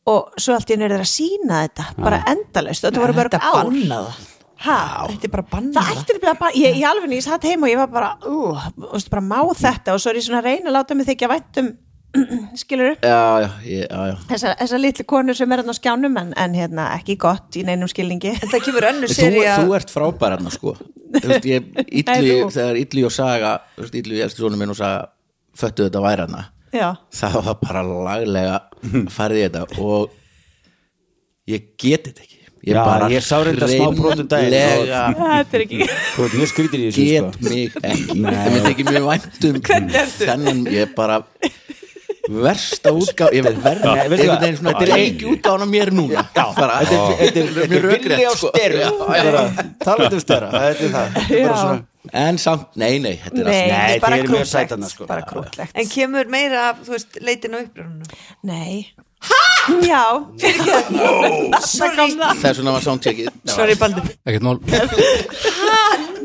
Speaker 6: og svo allt í henni er það að sína þetta, bara endalaust, þetta voru mörg
Speaker 3: Þetta
Speaker 6: ár.
Speaker 3: bannaða
Speaker 6: Ha?
Speaker 3: Þetta er bara
Speaker 6: Það
Speaker 3: bannaða
Speaker 6: ætti nefnilega bara, ég, í alveg nýs hatt heima og ég var bara, ú, veistu, bara má þetta og svo er ég svona að reyna að láta mig þykja vænt um, skilur upp,
Speaker 2: Já, já, ég- já, já
Speaker 6: þessar þessa litlu konur sem er hann á skjánum en, en hérna ekki gott í neinum skilningi.
Speaker 3: En það kemur önnur
Speaker 2: Þú,
Speaker 3: seri
Speaker 2: þú
Speaker 3: að
Speaker 2: ert frábær hérna sko Þú veist, ég, illi,
Speaker 6: Nei, þú.
Speaker 2: þegar Illi og Saga þú veist, Illi, elstu sonum minn og Saga föttu þetta væri hérna
Speaker 6: Já,
Speaker 2: það var bara laglega farið í þetta og ég geti þetta ekki ég
Speaker 4: Já,
Speaker 2: bara
Speaker 4: ég sá reyndar smá brot um daginn.
Speaker 2: hreinlega
Speaker 6: þetta er ekki,
Speaker 4: Þú ert mjög skrítir í þessu
Speaker 2: get
Speaker 4: sko.
Speaker 2: mig ekki það mér tekið mjög vænt um þennan ég bara versta útgáð ég veit verða
Speaker 4: Nei, veistu
Speaker 2: einhvern
Speaker 4: hvað?
Speaker 2: veginn svona þetta er ekki útgáðan á mér núna bara,
Speaker 4: Þetta er- þetta er-
Speaker 2: mjög
Speaker 4: þetta er villi
Speaker 2: rökrétt,
Speaker 4: á
Speaker 2: sko.
Speaker 4: steru Talandi um stera, þetta er það Þetta er bara
Speaker 6: Já.
Speaker 4: svona-
Speaker 2: en samt, nei, nei, þetta er
Speaker 6: nei,
Speaker 2: allt
Speaker 4: Nei,
Speaker 6: bara
Speaker 4: þið eru mjög
Speaker 6: krútlegt,
Speaker 4: sætarnar, sko.
Speaker 6: bara
Speaker 4: Já, já.
Speaker 6: krútlegt.
Speaker 3: En kemur meira af, þú veist, leitin og upprörunum
Speaker 6: Nei. Hæ? Já, fyrir ekki það. Sorry.
Speaker 2: það er svona var soundcheckið
Speaker 3: Sorry, Baldur
Speaker 7: Ekkert mál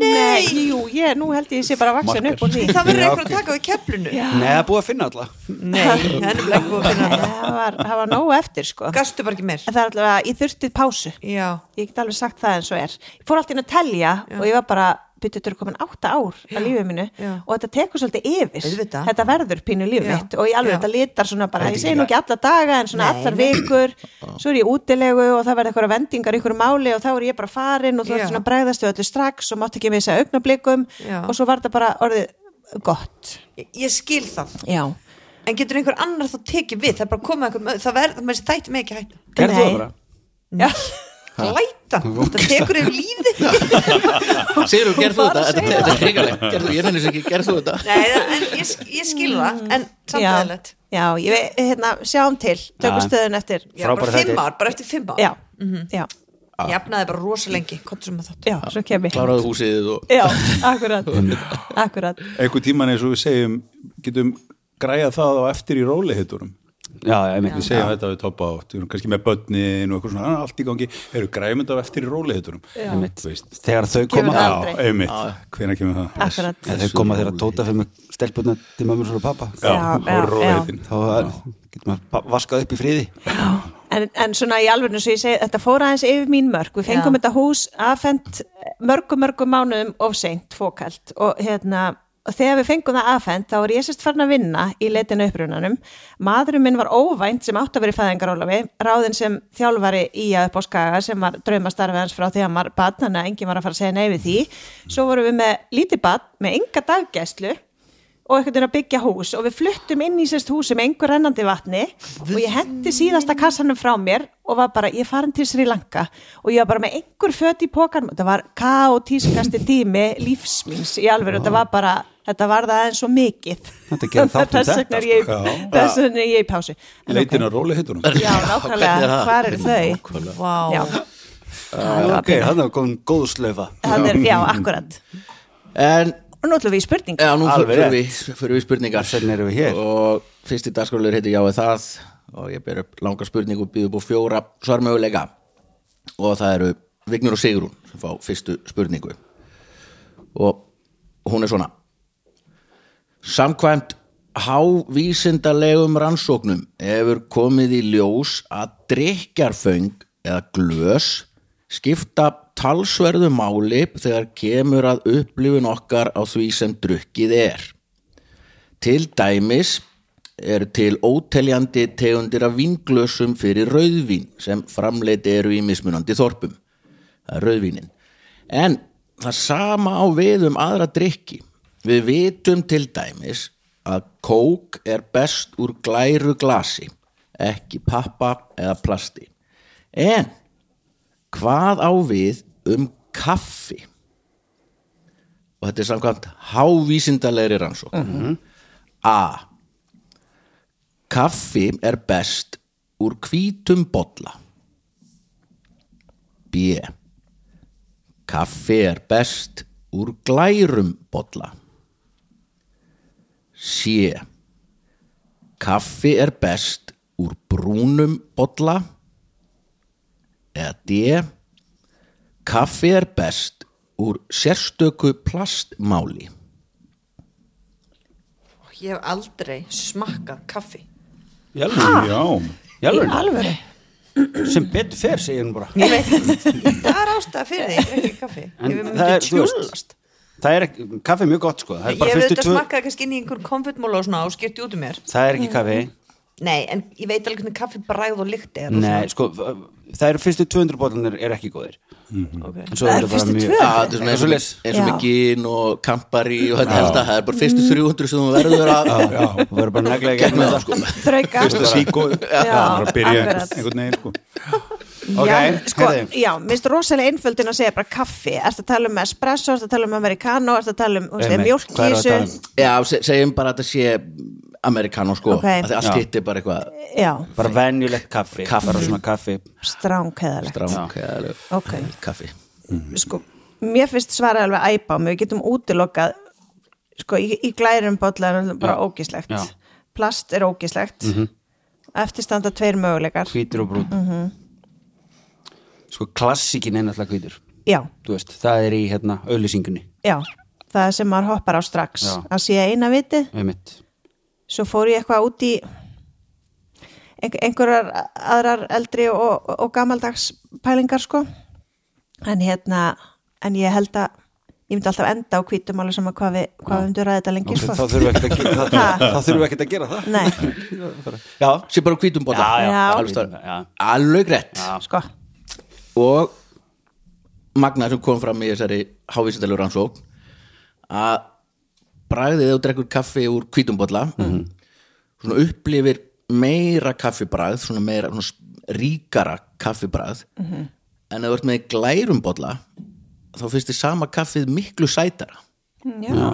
Speaker 6: Nei, Nei, jú, ég, nú held ég sé bara vaksin upp úr því
Speaker 3: Það verður
Speaker 5: Já,
Speaker 3: einhver að
Speaker 5: ok.
Speaker 3: taka við keflinu
Speaker 4: Nei, það er búið að finna alltaf
Speaker 3: Nei, það er nefnilega ekki búið að finna það.
Speaker 6: Það var, það var nógu eftir sko En
Speaker 3: Gastu bara ekki meir
Speaker 6: það er allavega, ég þurfti pásu
Speaker 3: Já,
Speaker 6: Ég get alveg sagt það eins og er Ég fór alltaf inn að telja og ég var bara Byttu, þetta eru komin átta ár að lífið mínu
Speaker 3: Já.
Speaker 6: og þetta tekur svolítið yfir
Speaker 3: Auðvitað.
Speaker 6: þetta verður pínu lífið
Speaker 3: Já.
Speaker 6: mitt og ég alveg
Speaker 3: Já.
Speaker 6: þetta litar svona bara, ég segi nú ekki alla daga en svona allar vikur, svo er ég útilegu og það verður eitthvað vendingar í einhverju máli og þá er ég bara farin og
Speaker 3: Já.
Speaker 6: þú ert svona að bregðast við öllu strax og mátt ekki missa augnablikum
Speaker 3: Já.
Speaker 6: og svo var þetta bara orðið gott
Speaker 3: ég, ég skil það
Speaker 6: Já,
Speaker 3: En getur einhver annar þá tekið við Það er bara að koma einhver, það verður, maður þætti mig ekki hætta
Speaker 4: Gerðu
Speaker 6: Nei.
Speaker 4: það bara
Speaker 6: Já.
Speaker 3: Læta, það tekur yfir lífið
Speaker 2: Sigrun, gerð þú þetta? Þetta þetta er hrigalegt, gerð þú, ég nenni þessu ekki, gerð þú þetta?
Speaker 3: Nei, en ég, ég skil það En samt
Speaker 6: já,
Speaker 3: aðeinslegt
Speaker 6: já ég veit, hérna, sjáum til tökum
Speaker 4: Já.
Speaker 6: stöðun eftir
Speaker 3: Já, bara
Speaker 4: Frábærar
Speaker 3: fimm
Speaker 4: þættir.
Speaker 3: ár, bara eftir fimm ár
Speaker 6: Já, Mhm. já,
Speaker 3: Ég efnaði bara rosa lengi, komdu sem að þátt
Speaker 6: já, svo kem ég
Speaker 2: Kláraðu húsið og
Speaker 6: Já, akkurat, akkurat
Speaker 5: einhver tíman eins og við segjum getum græjað það á eftir í róli
Speaker 4: Já, já, ég
Speaker 5: við segjum þetta við toppa átt, við erum kannski með bönnin og eitthvað svona, "Ah, allt í gangi, eru græjum þetta á eftir í róli
Speaker 4: einmitt
Speaker 5: Þú veist.
Speaker 4: Þegar þau
Speaker 6: Kemur
Speaker 4: koma
Speaker 6: það
Speaker 5: Já,
Speaker 6: aldrei.
Speaker 5: einmitt, hvenær kemur það?
Speaker 6: Akkurat
Speaker 4: Þegar þau koma þegar að tóta fyrir mig stelpunna til mömmur og pappa
Speaker 5: Já,
Speaker 6: Já,
Speaker 5: og
Speaker 6: já,
Speaker 5: róleitin.
Speaker 4: Þá er- getur maður pa- vaskað upp í friði
Speaker 6: en, en svona í alveg eins og ég segi Þetta fór aðeins yfir mín mörg Við fengum
Speaker 3: Já.
Speaker 6: þetta hús aðfend mörgum mörgum mánuðum of seint fókalt og hérna Og þegar við fengum það aðfend, þá var ég sérst farin að vinna í leitinu upprunanum. Maðurinn minn var óvænt sem átt að vera í fæðingarólafi, ráðinn sem þjálfari í að upp á skaga sem var draumastarfi hans frá því að maður bann, þannig að enginn var að fara að segja nei við því. Svo vorum við með lítið bann, með enga daggæslu og einhvern veginn að byggja hús og við fluttum inn í sérst húsi með einhver rennandi vatni og ég hendi síðasta kassanum frá mér og var bara, ég er farin til Sri Lanka og ég var bara með einhver föt í pokanum þetta var kaotískasti tími lífsmins í alveg, þetta var bara þetta var það aðeins svo mikið
Speaker 4: Þetta gerir þátt um
Speaker 6: þess vegna er ég,
Speaker 5: þetta, sko. Já.
Speaker 6: þess vegna er ég í pásu En
Speaker 5: Leitin
Speaker 6: ok.
Speaker 5: að róli heitunum
Speaker 6: já, nákvæmlega, hvað eru þau
Speaker 3: Vá,
Speaker 6: já,
Speaker 4: Ok, þannig að komum góð slöfa
Speaker 6: það er, já, akkurat
Speaker 2: En,
Speaker 6: og nú ætlum við í spurning
Speaker 2: já, nú
Speaker 4: Alveg
Speaker 2: fyrir
Speaker 4: rétt.
Speaker 2: við, fyrir við spurningar
Speaker 4: Hvernig erum við hér?
Speaker 2: Og fyrsti dagskorlegur heitir Já eða það og ég ber upp langa spurningu og býð upp á fjóra svarmöguleika og það eru Vignur og Sigrún sem fá fyrstu spurningu og hún er svona Samkvæmt hávísindalegum rannsóknum hefur komið í ljós að drikjarföng eða glös skipta talsverðu máli þegar kemur að upplifun okkar á því sem drukkið er. Til dæmis eru til óteljandi tegundir af vinglösum fyrir rauðvín sem framleiti eru í mismunandi þorpum. Það er rauðvínin. En það sama á við um aðra drikki. Við vitum til dæmis að kók er best úr glæru glasi, ekki pappa eða plasti. En hvað á við um kaffi? Og þetta er samkvæmt hávísindalegri rannsókn. A. Kaffi er best úr hvítum bolla. B. Kaffi er best úr glærum bolla. C. Kaffi er best úr brúnum bolla. Eða D. Kaffi er best úr sérstöku plastmáli.
Speaker 3: ég hef aldrei smakkað kaffi
Speaker 5: Já,
Speaker 6: í
Speaker 4: Jálfur,
Speaker 6: alvöru
Speaker 4: sem betur fer segir hún bara
Speaker 3: Ég veit, það er ástæða fyrir því, ég drekk ekki kaffi
Speaker 4: En
Speaker 3: Ég myndi
Speaker 4: það er, þú veist-
Speaker 3: tjúllast
Speaker 4: Það er ekki, kaffi er mjög gott sko Það er
Speaker 3: Ég
Speaker 4: bara
Speaker 3: hef
Speaker 4: fyrstu
Speaker 3: auðvitað
Speaker 4: tvö
Speaker 3: smakkað kannski inn í einhver konfettmóla og svona og skipti út um mér
Speaker 4: Það er ekki kaffi
Speaker 3: Nei, en ég veit alveg hvernig kaffi bræð og lykt er og
Speaker 4: Nei, sko, það eru fyrstu 200 bólanir er ekki góðir
Speaker 3: svona, ok.
Speaker 4: En svo eru bara
Speaker 6: fyrstu
Speaker 4: mjög
Speaker 6: tvö?
Speaker 2: Já, þetta er svona eins og, með,
Speaker 4: Svoleiðis.
Speaker 2: eins og
Speaker 6: Já.
Speaker 2: með gin og kampari og þetta helst að það er bara fyrstu 300 sem þú verður að
Speaker 4: Já, það verður bara neglega gegn með það sko
Speaker 6: þrauka
Speaker 5: fyrsta síkó
Speaker 6: Já,
Speaker 5: bara að byrja
Speaker 6: akkurat.
Speaker 5: einhvern veginn sko.
Speaker 4: Ok,
Speaker 6: já, sko,
Speaker 4: herðu.
Speaker 6: já, mér finnst rosalega einföldin að segja bara kaffi, ertu að tala um espresso ertu að tala um americano, ertu að tala um þú veist,
Speaker 4: Einmitt,
Speaker 6: mjólk
Speaker 4: hvað
Speaker 6: í
Speaker 4: erum við að tala um?
Speaker 6: þessu
Speaker 2: Já, se- segjum bara að þetta sé amerikano sko
Speaker 6: Ok.
Speaker 2: okay. að allt
Speaker 4: Já.
Speaker 2: hitt er bara eitthvað
Speaker 6: já,
Speaker 4: Bara venjulegt kaffi,
Speaker 2: Kaffi.
Speaker 4: bara svona kaffi
Speaker 6: stránkæðalegt
Speaker 2: dránk eða alveg-
Speaker 6: Ok.
Speaker 2: kaffi
Speaker 6: sko, mér finnst svarið alveg æbám, við getum útilokað sko, í, í glærum bollar er bara
Speaker 4: Já.
Speaker 6: ógislegt
Speaker 4: Já. Mhm.
Speaker 6: plast er ógislegt eftirstanda tveir möguleikar
Speaker 4: Hvítur og brún Sko, klassikin er náttúrulega hvítur
Speaker 6: já,
Speaker 4: Þú veist, það er í hérna, auðlýsingunni
Speaker 6: já, það sem maður hoppar á strax
Speaker 4: Já.
Speaker 6: það sé eina viti
Speaker 4: einmitt
Speaker 6: svo fór ég eitthvað út í ein- einhverjar aðrar eldri og, og, og gamaldags pælingar sko en hérna, en ég held að ég myndi alltaf enda á hvítum alveg sama hvað við, hvað við myndum ræða þetta lengi
Speaker 4: Ok,
Speaker 6: sko
Speaker 4: þá þurfum við ekkert að gera það
Speaker 6: Ha?
Speaker 4: þá þurfum við ekkert að gera það
Speaker 6: Nei,
Speaker 4: já,
Speaker 2: sé bara á hvítum bóta
Speaker 4: Já,
Speaker 6: já.
Speaker 2: alveg, stöðar.
Speaker 4: Já.
Speaker 2: alveg rétt
Speaker 6: sko,
Speaker 2: og magnað sem kom fram í þessari hávísindalega rannsókn að bragðið þegar þú drekkur kaffi úr hvítumbolla
Speaker 5: Mhm.
Speaker 2: svona upplifir meira kaffibragð svona meira svona s- ríkara kaffibragð en ef þú ert með glærumbolla þá finnst þið sama kaffið miklu sætara
Speaker 6: já, já.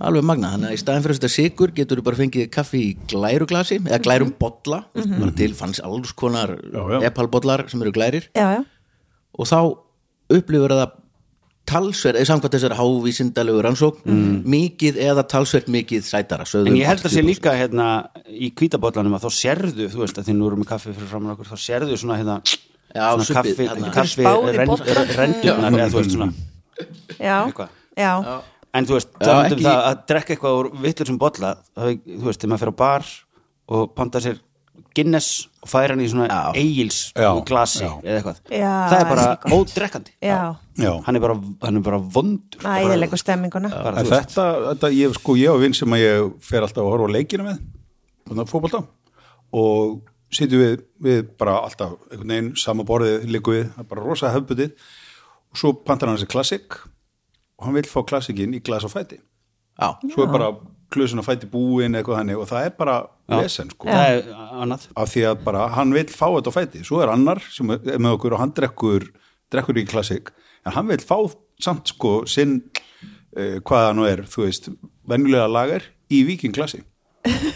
Speaker 2: alveg magnað, þannig að í staðin fyrir að setja sigur getur þú bara fengið kaffi í glæruglasi eða glærum bolla, bara til fanns alls konar
Speaker 5: Já, já.
Speaker 2: epalbollar sem eru glærir
Speaker 6: Já,
Speaker 2: og þá upplifur það talsverð, eða samkvæmt þessari hávísindalegu rannsókn, mikið eða talsverð mikið sætara sögðu
Speaker 4: en ég held að sé
Speaker 2: 80%.
Speaker 4: líka hérna í kvítabóllanum að þá sérðu þú veist að því nú erum við kaffi fyrir framann okkur þá sérðu svona hérna
Speaker 2: Já, hérna.
Speaker 4: svona
Speaker 2: subbið,
Speaker 4: kaffi,
Speaker 2: þarna.
Speaker 4: kaffi
Speaker 3: Spáð í
Speaker 4: rend,
Speaker 3: bollann.
Speaker 4: rendurnar eða þú veist svona
Speaker 6: já,
Speaker 4: Eitthvað.
Speaker 6: já,
Speaker 4: en þú veist,
Speaker 2: Já,
Speaker 4: það myndum
Speaker 2: ekki-
Speaker 4: það að drekka eitthvað úr vittur sem bolla það, er- þú veist, þegar maður fer á bar og panta sér Guinness og færa hann í svona
Speaker 2: Já.
Speaker 4: eigils
Speaker 5: Já,
Speaker 4: glasi
Speaker 5: já.
Speaker 4: eða eitthvað
Speaker 6: Já,
Speaker 4: það er bara
Speaker 6: það er
Speaker 4: ódrekkandi
Speaker 6: já.
Speaker 5: Já.
Speaker 4: hann er bara, hann er bara vondur
Speaker 6: Æðilegu stemminguna
Speaker 4: bara,
Speaker 5: En
Speaker 4: þú veist,
Speaker 5: þetta, þetta ég, sko, ég og vinn sem að ég fer alltaf að horfa á leikina með þannig að fótbolta og sitjum við, við bara alltaf einhvern veginn sama borðið líku við það er bara rosa hefbutið og svo pantar hann þessi klassik og hann vil fá klassikinn í glas og fæti
Speaker 2: Já,
Speaker 5: svo er bara klusun og fæti búin eitthvað hannig og það er bara lesen sko
Speaker 4: það er annað
Speaker 5: af því að bara hann vil fá þetta á fæti svo er annar sem er með okkur og hann drekkur drekkur í klassik en hann vil fá samt sko sinn uh, hvað hann er, þú veist venjulega lagar í vikingklassi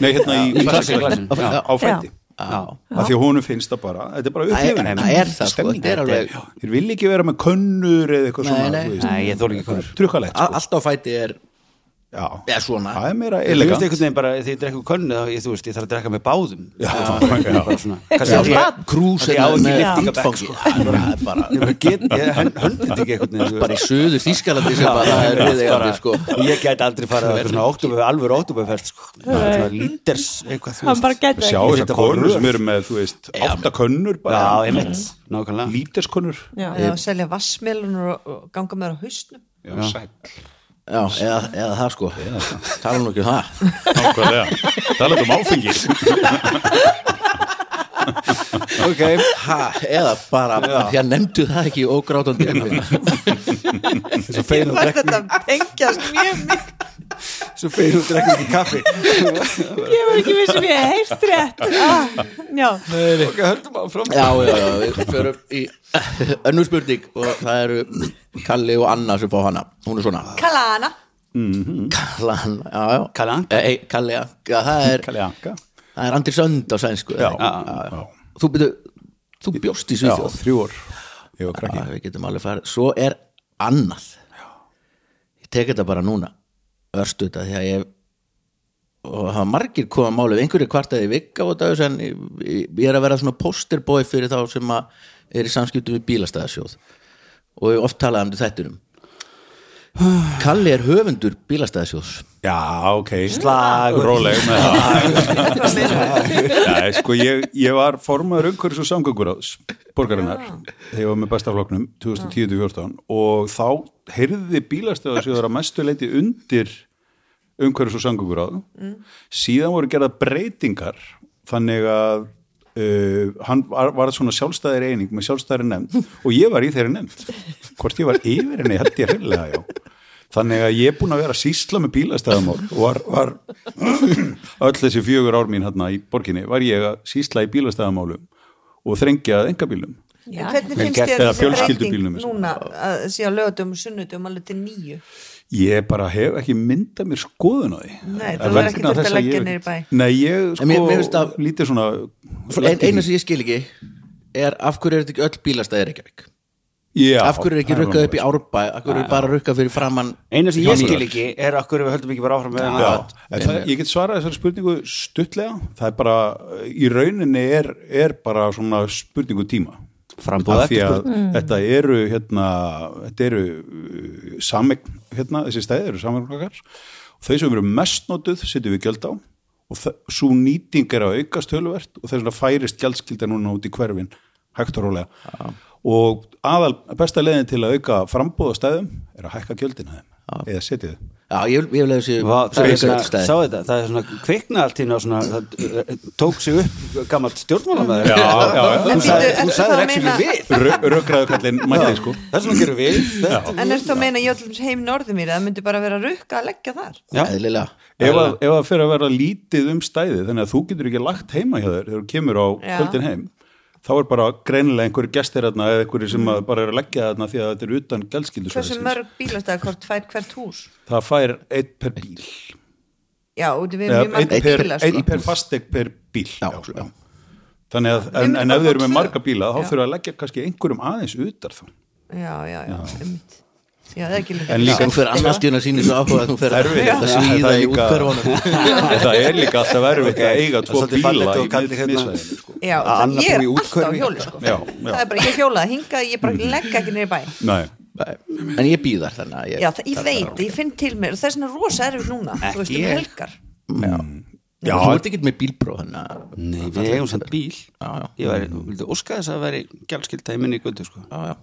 Speaker 5: nei hérna í, í
Speaker 4: Classic
Speaker 5: klassiklassin
Speaker 4: Classic, já.
Speaker 5: á fæti
Speaker 4: Já.
Speaker 5: af því að honum finnst það bara, þetta er bara
Speaker 2: Það er-
Speaker 5: upplifun
Speaker 2: það er það, sko, þetta er alveg-
Speaker 5: þeir vil ekki vera með könnur eða eitthvað
Speaker 2: Nei,
Speaker 5: svona,
Speaker 2: nei.
Speaker 5: þú veist,
Speaker 4: Nei, ég þóla ekki konur
Speaker 5: trukkalegt
Speaker 2: a-
Speaker 5: sko.
Speaker 2: allt á fæti er
Speaker 5: já,
Speaker 2: er svona.
Speaker 5: það er meira
Speaker 4: Þú veist
Speaker 5: elegant
Speaker 4: einhvern veginn bara, þegar ég drekku könnu þá, ég, þú veist, ég þarf að drekka með báðum
Speaker 5: Já, já.
Speaker 4: Bara svona, kannski
Speaker 2: Já,
Speaker 4: af því að-
Speaker 2: krús
Speaker 4: af því að á ekki
Speaker 2: hérna með
Speaker 4: lyftingabekk,
Speaker 2: handfangi
Speaker 4: sko.
Speaker 2: Það er bara,
Speaker 4: Ég bara get, ég hönd- höndið þetta ekki einhvern veginn þú
Speaker 2: bara í
Speaker 4: veist.
Speaker 2: söður þýskalandi sem bara er
Speaker 4: Bara-
Speaker 2: viðegandi sko.
Speaker 4: Ég get aldrei farið að eitthvað svona óttúbu, alvöru óttúbuferð sko. Líters, eitthvað, þú
Speaker 6: Hann bara
Speaker 4: veist
Speaker 6: gæti
Speaker 5: sjá
Speaker 6: ekki
Speaker 5: þessar
Speaker 4: Þetta var
Speaker 5: konur
Speaker 4: rör.
Speaker 5: sem eru með, þú veist, átta könnur bara,
Speaker 4: Já, ég veit, nákvæmlega
Speaker 5: líterskonur
Speaker 6: Já,
Speaker 3: eða að selja vassmélunur og, og ganga með þær á hausnum
Speaker 5: Já, sæll
Speaker 2: Já, eða, eða það sko tala nú ekki um það
Speaker 5: Nákvæmlega, talaðu um áfengi
Speaker 4: Ok,
Speaker 2: ha, eða bara, því að nefndu það ekki ógrátandi
Speaker 4: svo feinu
Speaker 3: Mér fannst þetta tengjast mjög mikið
Speaker 4: Svo feinu og drekku ekki kaffi
Speaker 6: Ég var ekki vissum ég heist rétt ah, Já,
Speaker 4: Ok, höldum áfram
Speaker 2: Já, já, já, við förum í önnur spurning og það eru Kalli og Anna sem fá hana hún er svona
Speaker 3: Kalana
Speaker 2: Kallan, já, já
Speaker 4: Kallanka.
Speaker 2: e, e, Kalli, já, já, það er,
Speaker 5: Kalli Anka
Speaker 2: það er Andri Sönd á sænsku
Speaker 5: Já,
Speaker 2: eða ekki?
Speaker 5: já, já.
Speaker 2: Þú, byrju, þú bjóst í
Speaker 5: já
Speaker 2: Svíþjóð
Speaker 5: þrjú ár Ég var krakki
Speaker 2: Já, við getum alveg farið Svo er annað Ég tek þetta bara núna Örstu þetta því að ég og það var margir koma að málið einhverju kvartaði vika og dagur en ég, ég er að vera svona posterbói fyrir þá sem að er í samskiptum við bílastæðasjóð og ég hef oft talaði um þetta í þættinum Kalli er höfundur bílastæðasjóðs
Speaker 5: Já, ok
Speaker 4: Slagur.
Speaker 5: Róleg með það Já, sko, ég, ég var formaður umhverjus og samgönguráðs borgarinnar, þegar ég var með bestafloknum 2010-2014 og þá heyrði bílastöðarsjóður að mestu leiti undir umhverjus og samgönguráð síðan voru gerða breytingar þannig að Uh, hann var, var svona sjálfstæðir eining með sjálfstæðir nefnd og ég var í þeirri nefnd hvort ég var yfir henni held ég hreinlega já Þannig að ég er búin að vera að sýsla með bílastæðamál og var, var öll þessi fjögur ár mín hérna í borginni var ég að sýsla í bílastæðamálum og þrengja að engabílum.
Speaker 3: En Hvernig
Speaker 5: Vel
Speaker 3: finnst
Speaker 5: gert.
Speaker 3: þér
Speaker 5: Eða
Speaker 3: þessi
Speaker 5: fjölskyldubílnum, sko.
Speaker 3: breyting
Speaker 5: sem-
Speaker 3: núna að sé að lögatum og sunnutum alveg til nýju
Speaker 5: Ég bara hef ekki myndað mér skoðun á því.
Speaker 3: Nei, þú
Speaker 5: Vegna
Speaker 3: hefur ekki þurft að
Speaker 5: þess
Speaker 3: leggja
Speaker 5: ég-
Speaker 3: niður í bæ.
Speaker 5: Nei, ég sko
Speaker 2: En mér- mér finnst að-
Speaker 5: lítið svona
Speaker 2: ein, Einu sem ég skil ekki er af hverju er þetta ekki öll bílastæði Reykjavík
Speaker 5: Já,
Speaker 2: af hverju er ekki
Speaker 5: það
Speaker 2: rukkað upp í árbæ
Speaker 5: alveg-
Speaker 2: af hverju er bara rukkað fyrir framann
Speaker 4: Einu sem ég
Speaker 2: Hjálmar.
Speaker 4: skil ekki er okkur við höldum ekki bara áfram með
Speaker 5: Já,
Speaker 4: hana.
Speaker 5: en það, ég get svarað þessari spurningu stuttlega, það er bara, í rauninni er, er bara svona spurningu tíma
Speaker 4: frambúða
Speaker 5: af því að þetta eru hérna, þetta eru uh, sameign, hérna, þessi stæði eru sameignkakar og þau sem eru mest notuð setjum við gjöld á og þa- svo nýting er að aukast töluvert og þess vegna færist gjaldskilda núna út í hverfin hægt og rólega og aðal, besta leiðin til að auka frambúða stæðum er að hækka gjöldina þeim eða setja þau
Speaker 2: Já, ég, ég vil að þessi
Speaker 4: Vá, það, er
Speaker 2: þessi
Speaker 4: svona,
Speaker 2: stæði.
Speaker 4: sá þetta, það er svona kvikna allt hérna og svona, það eh, tók sig upp gammalt stjórnmálamæður
Speaker 5: Já, já, já.
Speaker 4: þú
Speaker 5: En bíddu,
Speaker 4: sagði,
Speaker 3: ertu
Speaker 4: þú
Speaker 3: þá að
Speaker 4: sagði ekki
Speaker 3: meina-
Speaker 4: við við
Speaker 5: Rökraðu kallinn mætti sko
Speaker 4: það er svona gerum við þetta,
Speaker 3: En ertu að meina ég ætlum heim norðumýri það myndi bara vera rukka að leggja þar
Speaker 4: já,
Speaker 2: Eðlilega
Speaker 5: Ef að, ef að fyrir að vera lítið um stæði þannig að þú getur ekki lagt heima hjá þér þegar þú kemur á
Speaker 3: Já.
Speaker 5: kvöldin heim þá er bara greinilega einhverju gestir þarna eða einhverju sem að bara er að leggja þarna því að þetta er utan
Speaker 3: Hversu
Speaker 5: gælskildusvæðisins
Speaker 3: mörg bílastæðakort fær hvert hús?
Speaker 5: það fær einn per bíl
Speaker 3: Já, út við
Speaker 5: eða
Speaker 3: erum mjög
Speaker 5: einn
Speaker 3: margir
Speaker 5: per,
Speaker 3: bílar
Speaker 5: ein
Speaker 3: sko.
Speaker 5: per fastegn per bíl
Speaker 2: Já, já.
Speaker 5: þannig að
Speaker 3: Við
Speaker 5: en,
Speaker 3: myndum
Speaker 5: en
Speaker 3: bara
Speaker 5: ef þið eru
Speaker 3: fá
Speaker 5: með
Speaker 3: tvö.
Speaker 5: marga bíla þá
Speaker 3: Já.
Speaker 5: þurfa að leggja kannski einhverjum aðeins utar þá
Speaker 3: Já, já, já, einmitt Já, það er ekki líka
Speaker 5: En líka-
Speaker 2: Þú fyrir annars dýna síni svo áhuga að þú fyrir
Speaker 5: Erfitt.
Speaker 2: að
Speaker 5: Já. Það
Speaker 2: svíða
Speaker 5: er
Speaker 2: í
Speaker 5: líka-
Speaker 2: útkverfunum
Speaker 5: En það er líka alltaf verið að eiga
Speaker 4: Það er
Speaker 5: tvo
Speaker 4: svolítið fallegt
Speaker 5: bíla
Speaker 4: og
Speaker 5: í
Speaker 4: kallið hérna.
Speaker 5: miðsvæðinu sko.
Speaker 3: Já,
Speaker 4: Að
Speaker 3: það,
Speaker 4: Anna
Speaker 3: ég
Speaker 4: búi
Speaker 3: er
Speaker 4: í
Speaker 3: alltaf á
Speaker 4: úthverfi.
Speaker 3: hjóli sko.
Speaker 5: Já, já.
Speaker 3: Það er bara, ég hjólað hingað, ég bara legg ekki nýri bæ
Speaker 5: Nei,
Speaker 2: En ég býðar þannig að ég
Speaker 3: Já, það, ég veit, ég finn til mér og það er svona rosa erfið núna, þú veist, um
Speaker 2: ég.
Speaker 3: helgar
Speaker 5: Já.
Speaker 2: Þú ert ekkert með bílbróð þannig að
Speaker 4: nei, við eigum samt bíl
Speaker 2: Já, já.
Speaker 4: ég væri, vildi óska þess að veri gjaldskilda í minni götu, sko
Speaker 2: Já, já.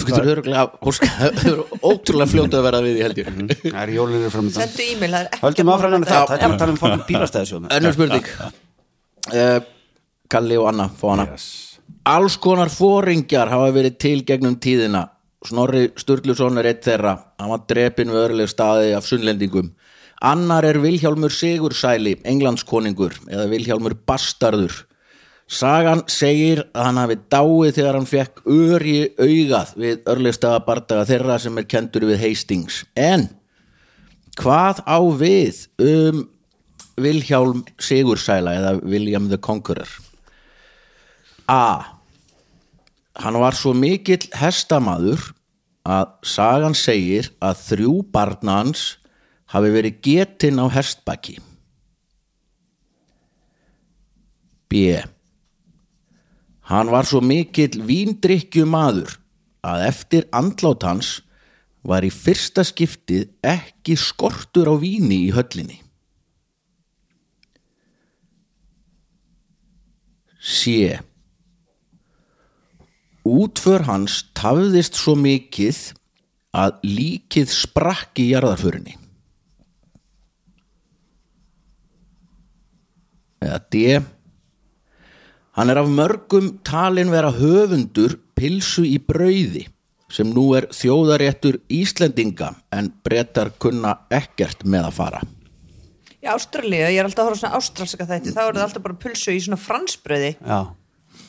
Speaker 2: Þú getur öruglega ótrúlega fljóta að vera við í held ég
Speaker 4: það er jólinir framöndan
Speaker 3: Sendu e-mail, það er ekki
Speaker 4: höldum áfram hérna en það,
Speaker 2: Já.
Speaker 4: það er að tala um fólk bílastæðisjóð
Speaker 2: Önnur spurning uh, Kalli og Anna, fá hana
Speaker 5: yes.
Speaker 2: Alls konar fóringjar hafa verið til gegnum tíðina Snorri Sturluson er eitt þeirra Hann var drepin við örleg staði af sunnlendingum Annar er Vilhjálmur Sigursæli, englandskoningur eða Vilhjálmur Bastarður Sagan segir að hann hafi dáið þegar hann fekk öri augað við örlegstaða bardaga þeirra sem er kendur við Hastings. En hvað á við um Vilhjálm Sigursæla eða William the Conqueror A hann var svo mikill hestamaður að sagan segir að þrjú barna hans hafi verið getinn á hestbaki B hann var svo mikill víndrykkjumaður að eftir andlát hans var í fyrsta skiptið ekki skortur á víni í höllinni sé útför hans tafðist svo mikið að líkið sprakk í jarðarförinni eða D hann er af mörgum talin vera höfundur pilsu í brauði sem nú er þjóðaréttur Íslendinga en brettar kunna ekkert með að fara
Speaker 3: Í Ástralíu, ég er alltaf að horfa á svona ástralska þætti þá eru það alltaf bara pulsu í svona fransbröði
Speaker 4: já,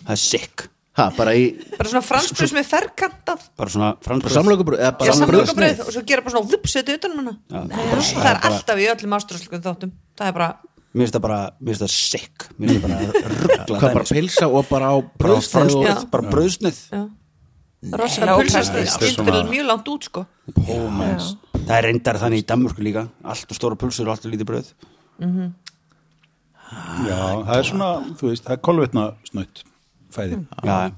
Speaker 4: það er sick
Speaker 2: ha, bara í
Speaker 3: bara svona fransbröð sem er ferkantað
Speaker 4: bara svona frambröð
Speaker 2: samlokubröð eða
Speaker 3: Já,
Speaker 2: bara brauðsneið.
Speaker 3: samlokabrauð og svo gera bara svona þupsetu utan um hana Bara- Það er alltaf í öllum ástralskum þáttum Það er bara,
Speaker 4: mér finnst það bara, mér finnst það sick mér finnst það bara ruggla
Speaker 2: hvað bara pilsa og bara á
Speaker 4: bara
Speaker 2: bröðsneið og
Speaker 4: fransbröð, bara bröðsnið
Speaker 3: rosalega
Speaker 5: það
Speaker 3: pulsa
Speaker 5: er
Speaker 3: skildur
Speaker 5: svona-
Speaker 3: mjög langt út sko
Speaker 4: það er reyndar þannig í Danmörku líka allt og stóra pulsur og allt og lítið bröð
Speaker 3: Ah,
Speaker 5: Já, það er svona, þú veist, það er kolvetna snött fæði.
Speaker 4: já,
Speaker 5: Það er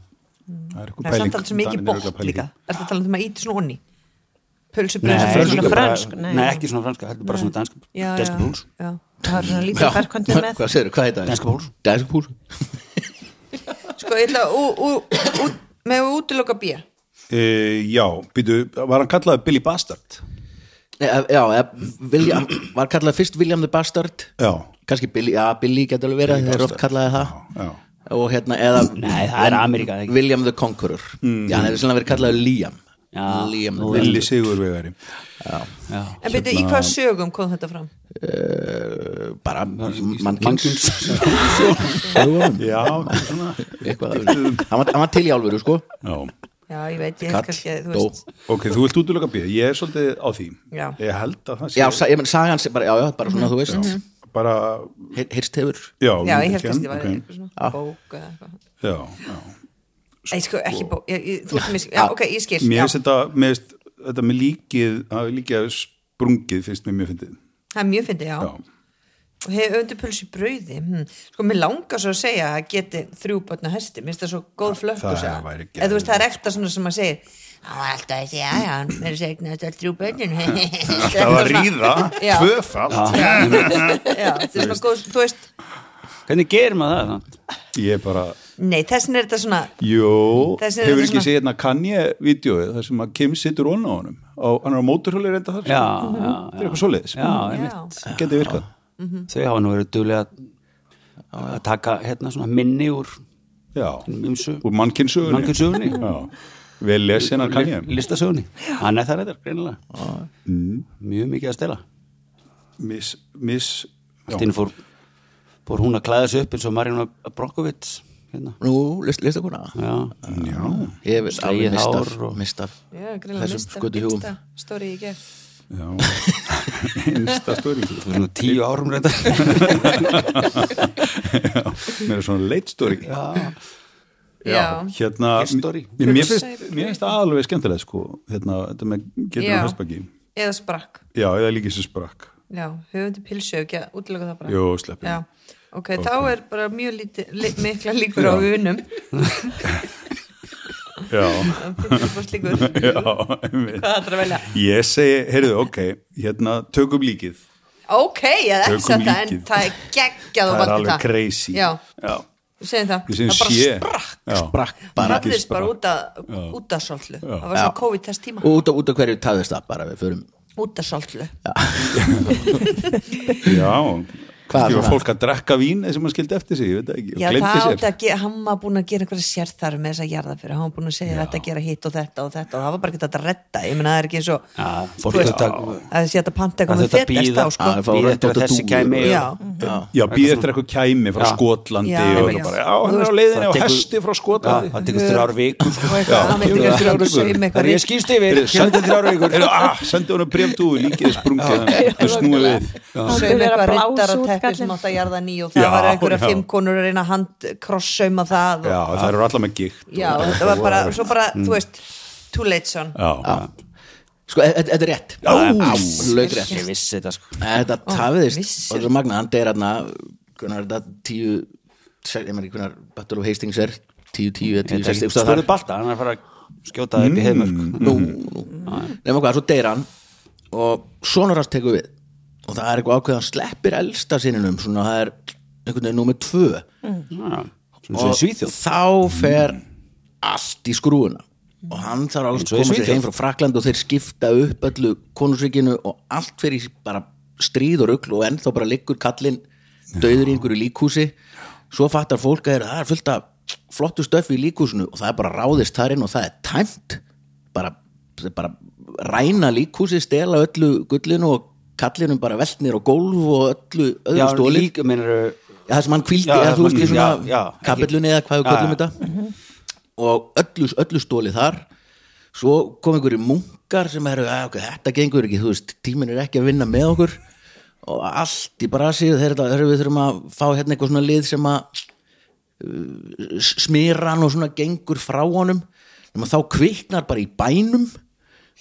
Speaker 3: Hmm. Það
Speaker 5: eitthvað
Speaker 3: er
Speaker 5: pæling.
Speaker 3: samt alveg svo mikið
Speaker 5: Danir eru
Speaker 3: bótt
Speaker 5: pæling í.
Speaker 3: líka Er það talað um að íti svona onni Pulsubröð
Speaker 4: Nei,
Speaker 6: frönsk-
Speaker 4: líka
Speaker 6: svona
Speaker 4: bara-
Speaker 6: frönsk, nei.
Speaker 4: nei, ekki svona franska, heldur bara svona dansk
Speaker 3: Já,
Speaker 4: dansk
Speaker 3: já,
Speaker 4: púls
Speaker 3: já
Speaker 6: það var svona
Speaker 2: Já,
Speaker 6: lítið færkvöndið með
Speaker 2: Hvað segir, hvað heit það?
Speaker 4: Danska púls.
Speaker 2: Danska púls
Speaker 3: Sko, ég ætla að ú- ú- ú- með að útiloka B
Speaker 5: E, já, býtu, var hann kallaði Billy Bastard?
Speaker 2: Nei, eh, Já, eh, William, var kallað fyrst William the Bastard
Speaker 5: Já.
Speaker 2: Kanski Billy, já, Billy getur alveg verið Þeir eru oft kallaði það
Speaker 5: Já.
Speaker 2: Og hérna, eða
Speaker 4: Nei, það er
Speaker 2: en
Speaker 4: Ameríka, það ekki.
Speaker 2: William the Conqueror
Speaker 5: Mm.
Speaker 2: Já, hann hefur svona verið kallaði Liam
Speaker 4: Já,
Speaker 2: Liam
Speaker 4: nú-
Speaker 5: Billy Sigurvegari.
Speaker 4: já.
Speaker 3: En byrju, í hvað sögum kom þetta fram?
Speaker 2: uh, Bara
Speaker 4: Mannkins.
Speaker 2: mannkyns Sögunum,
Speaker 5: Já, svona.
Speaker 2: Eitthvað af þessu. Hann var- hann var til í álfuru, sko
Speaker 5: Já.
Speaker 3: Já, ég veit, ég
Speaker 2: Kall,
Speaker 3: kannski að þú
Speaker 2: dó.
Speaker 3: veist
Speaker 5: Ok, þú vilt útlöka býða. Ég er svolítið á því.
Speaker 3: Já.
Speaker 5: Ég held að það
Speaker 2: Já, sa- ég menn, sagan sem bara, já, já, bara svona, þú veist
Speaker 5: bara,
Speaker 2: Heyr- Heyrst hefur
Speaker 5: já.
Speaker 3: Já, ég held
Speaker 5: ekki
Speaker 3: að
Speaker 5: hann,
Speaker 3: þetta var
Speaker 5: ok.
Speaker 3: eitthvað svona bók eða eitthvað
Speaker 5: Já, já.
Speaker 3: Nei, sko, ekki bók, ég, ég, þú ert mér Já, ok, ég skil
Speaker 5: Mér
Speaker 3: já.
Speaker 5: finnst þetta, mér finnst þetta með líkið, að líkið sprungið finnst mér mjög fyndið.
Speaker 3: Það er mjög fyndið, já.
Speaker 5: Já.
Speaker 3: og hefur undirpuls í brauði hm. sko, mér langar svo að segja að geti þrjú börn á hesti, mér finnst það svo góð flökk
Speaker 5: það
Speaker 3: og segja,
Speaker 5: væri
Speaker 3: eða þú veist það er ekta svona sem maður segir hann var alltaf að segja, já, hann er segna þetta er þrjú börnin
Speaker 5: Það var ríða,
Speaker 3: Já.
Speaker 5: tvöfalt
Speaker 3: já, þetta er svona góð, þú veist
Speaker 4: Hvernig gerir maður það? samt?
Speaker 5: Ég er bara
Speaker 3: nei, þessin er þetta svona
Speaker 5: Jú,
Speaker 3: Þessi er þetta
Speaker 5: hefur ekki
Speaker 3: svona-
Speaker 5: séð hérna Kanye-vídeóið þar sem að Kim situr ón á honum og hann er á móturhjóli reynda þar
Speaker 4: Já,
Speaker 5: sko.
Speaker 4: já,
Speaker 5: það er eitthvað svoleiðis,
Speaker 4: já, einmitt.
Speaker 3: já,
Speaker 5: geti virkað
Speaker 3: Mhm.
Speaker 4: Þau hafa nú verið duðlega að taka hérna svona minni úr
Speaker 5: Já,
Speaker 4: umsu,
Speaker 5: úr mannkynnsögunni
Speaker 4: mannkynnsögunni.
Speaker 5: Já, vel lesin að Kanye
Speaker 4: listasögunni. Hann er það reyndar, greinilega. Mm. Mjög mikið að stela.
Speaker 5: Miss, miss já.
Speaker 4: Þinn fór, fór hún að klæða sig upp eins og Marjana Brokkovits. Hérna.
Speaker 2: Nú, list, list okkur
Speaker 4: Já,
Speaker 5: já,
Speaker 2: Ég vil
Speaker 4: Slegið
Speaker 2: alveg mistaf,
Speaker 4: hár og-
Speaker 2: mistaf
Speaker 3: já, greinlega
Speaker 2: þessum
Speaker 3: mista,
Speaker 2: skutu hugum
Speaker 3: mista stóri í gerð
Speaker 5: já Insta story
Speaker 4: þú er svona tíu árum reyndar.
Speaker 5: Já, Mér er svona late story
Speaker 4: já,
Speaker 3: Já.
Speaker 5: Hérna,
Speaker 4: Late story.
Speaker 5: mér, mér finnst, mér finnst það alveg skemmtilegt sko, hérna, þetta með getur
Speaker 3: Já.
Speaker 5: um hestbaki
Speaker 3: eða sprakk,
Speaker 5: Já, eða líkið sem sprakk
Speaker 3: já, höfundi pilsu ekki að útloka það bara
Speaker 5: Jú, sleppum
Speaker 3: já, ok, þá er bara mjög líti, li, mikla líkur á
Speaker 5: Já.
Speaker 3: unum
Speaker 5: Já,
Speaker 3: líkur,
Speaker 5: Já,
Speaker 3: hvað
Speaker 5: einmitt.
Speaker 3: ætlar að velja
Speaker 5: Ég segi, heyrðu, ok, hérna, tökum líkið.
Speaker 3: ok, ég er ekki
Speaker 5: Tökum
Speaker 3: satt að en
Speaker 5: líkið.
Speaker 3: það er geggjað og
Speaker 5: Það er
Speaker 3: valdi
Speaker 5: alveg crazy.
Speaker 3: já,
Speaker 5: Já.
Speaker 3: við segjum það,
Speaker 5: Við segjum
Speaker 3: það bara
Speaker 5: sé.
Speaker 3: sprakk
Speaker 5: Já.
Speaker 2: Brakk bara
Speaker 5: Líkið
Speaker 3: ræðist bara
Speaker 5: sprakk.
Speaker 3: út að út að svoltlu, það var
Speaker 2: Já.
Speaker 3: svona COVID-test tíma
Speaker 2: Og út af, út af hverju tafðist það bara við förum
Speaker 3: út að svoltlu,
Speaker 5: Já, kannski var
Speaker 2: svona?
Speaker 5: fólk að drekka vín sem maður skildi eftir sig, ég veit það ekki,
Speaker 3: já
Speaker 5: og glemdi
Speaker 3: það átti
Speaker 5: sér.
Speaker 3: að gera hann var búin að gera einhverja sérþarf með þessa jarðafyrir, hann var búin að segja þetta að gera hitt og þetta og þetta og það var bara ekki þetta að redda ég meina það er ekki eins og
Speaker 4: Já,
Speaker 3: þú
Speaker 4: fólk
Speaker 3: veist,
Speaker 4: þetta-
Speaker 3: að sé þetta panta
Speaker 4: að
Speaker 3: eitthvað með
Speaker 4: þetta
Speaker 3: fetest á
Speaker 4: býða,
Speaker 3: sko.
Speaker 2: að fá
Speaker 4: býða eftir
Speaker 2: röddóttar
Speaker 4: að þessi
Speaker 2: dúfur.
Speaker 4: kæmi.
Speaker 3: já,
Speaker 5: Já, býð eftir eitthvað kæmi frá
Speaker 4: Já.
Speaker 5: Skotlandi
Speaker 3: Já,
Speaker 5: og
Speaker 3: já.
Speaker 5: eitthvað bara, já, hann er á
Speaker 4: Það
Speaker 5: leiðinni á
Speaker 4: tekur-
Speaker 5: hesti
Speaker 4: Já,
Speaker 5: frá Skotlandi.
Speaker 4: það tekur þrjár vikur. sko.
Speaker 3: og eitthvað, hann veit ekki að
Speaker 5: þrjár
Speaker 3: það
Speaker 5: vikur.
Speaker 3: er
Speaker 4: Það er ég skýrst yfir, kemur þetta þrjár vikur.
Speaker 5: Heyrðu, ah, sendi honum brefdúi, líkið er sprungið, það snúið við.
Speaker 3: sögum
Speaker 6: Þeir eru að
Speaker 3: eitthvað
Speaker 6: blása
Speaker 3: riddar og
Speaker 6: út
Speaker 3: teppi
Speaker 6: gallinn.
Speaker 3: sem átt að jarða ný og það
Speaker 5: Já,
Speaker 3: var einhverja
Speaker 5: já.
Speaker 3: fimm konur að reyna að handkrossauma það
Speaker 5: Já,
Speaker 3: og,
Speaker 5: það eru allar með gikt.
Speaker 3: já, og þetta var bara, svo bara, þú veist too late son
Speaker 5: Já,
Speaker 2: Sko, e- þetta er rétt
Speaker 5: Á,
Speaker 2: Laug rétt
Speaker 4: Ég vissi þetta sko.
Speaker 2: Þetta tafðist
Speaker 3: vissi.
Speaker 2: Og þetta magna, hann deyr hérna Hvernig er þetta tíu Ég meðan ekki hvernig Battle of Hastings er Tíu, tíu, eða tíu, sexti
Speaker 4: Spurðu
Speaker 2: Það er
Speaker 4: Balta, hann er Mm. að fara að skjóta það upp í heimörk.
Speaker 2: nú Nefnum hvað, svo deyr hann Og sonur hans tekur við Og það er eitthvað ákveð Hann sleppir elsta sininum Svona það er Einhvern veginn númer tvö
Speaker 4: Svo í Svíþjóð. Mm.
Speaker 2: þá fer allt í skrúuna og hann þarf alveg
Speaker 4: og
Speaker 2: að
Speaker 4: í
Speaker 2: koma sér
Speaker 4: Svíþjóð.
Speaker 2: heim frá Frakland og þeir skipta upp öllu konusríkinu og allt fer í bara stríð og rugl og ennþá bara liggur kallinn döður í einhverju líkhúsi svo fattar fólk að þeir- það er fullt af flottu stöfi í líkhúsinu og það er bara ráðist þar inn og það er tæmt bara, þeir bara ræna líkhúsi stela öllu gullinu og kallinum bara veltnir og gólf og öllu
Speaker 4: Já,
Speaker 2: öðru stóli
Speaker 4: líka meinar
Speaker 2: Já, það sem hann kvíldi,
Speaker 4: Já,
Speaker 2: eða
Speaker 4: það
Speaker 2: þú veist,
Speaker 4: sem
Speaker 2: í
Speaker 4: hann- já,
Speaker 2: svona
Speaker 4: já,
Speaker 2: kapillunni eða hvað við
Speaker 4: Já,
Speaker 2: kallum
Speaker 4: já.
Speaker 2: þetta og öllu, öllu stóli þar svo kom einhverju munkar sem eru, að, ok, þetta gengur ekki þú veist, tíminn er ekki að vinna með okkur og allt í brasi þeir, þeir, við þurfum að fá hérna eitthvað svona lið sem að smýran og svona gengur frá honum nema þá kviknar bara í bænum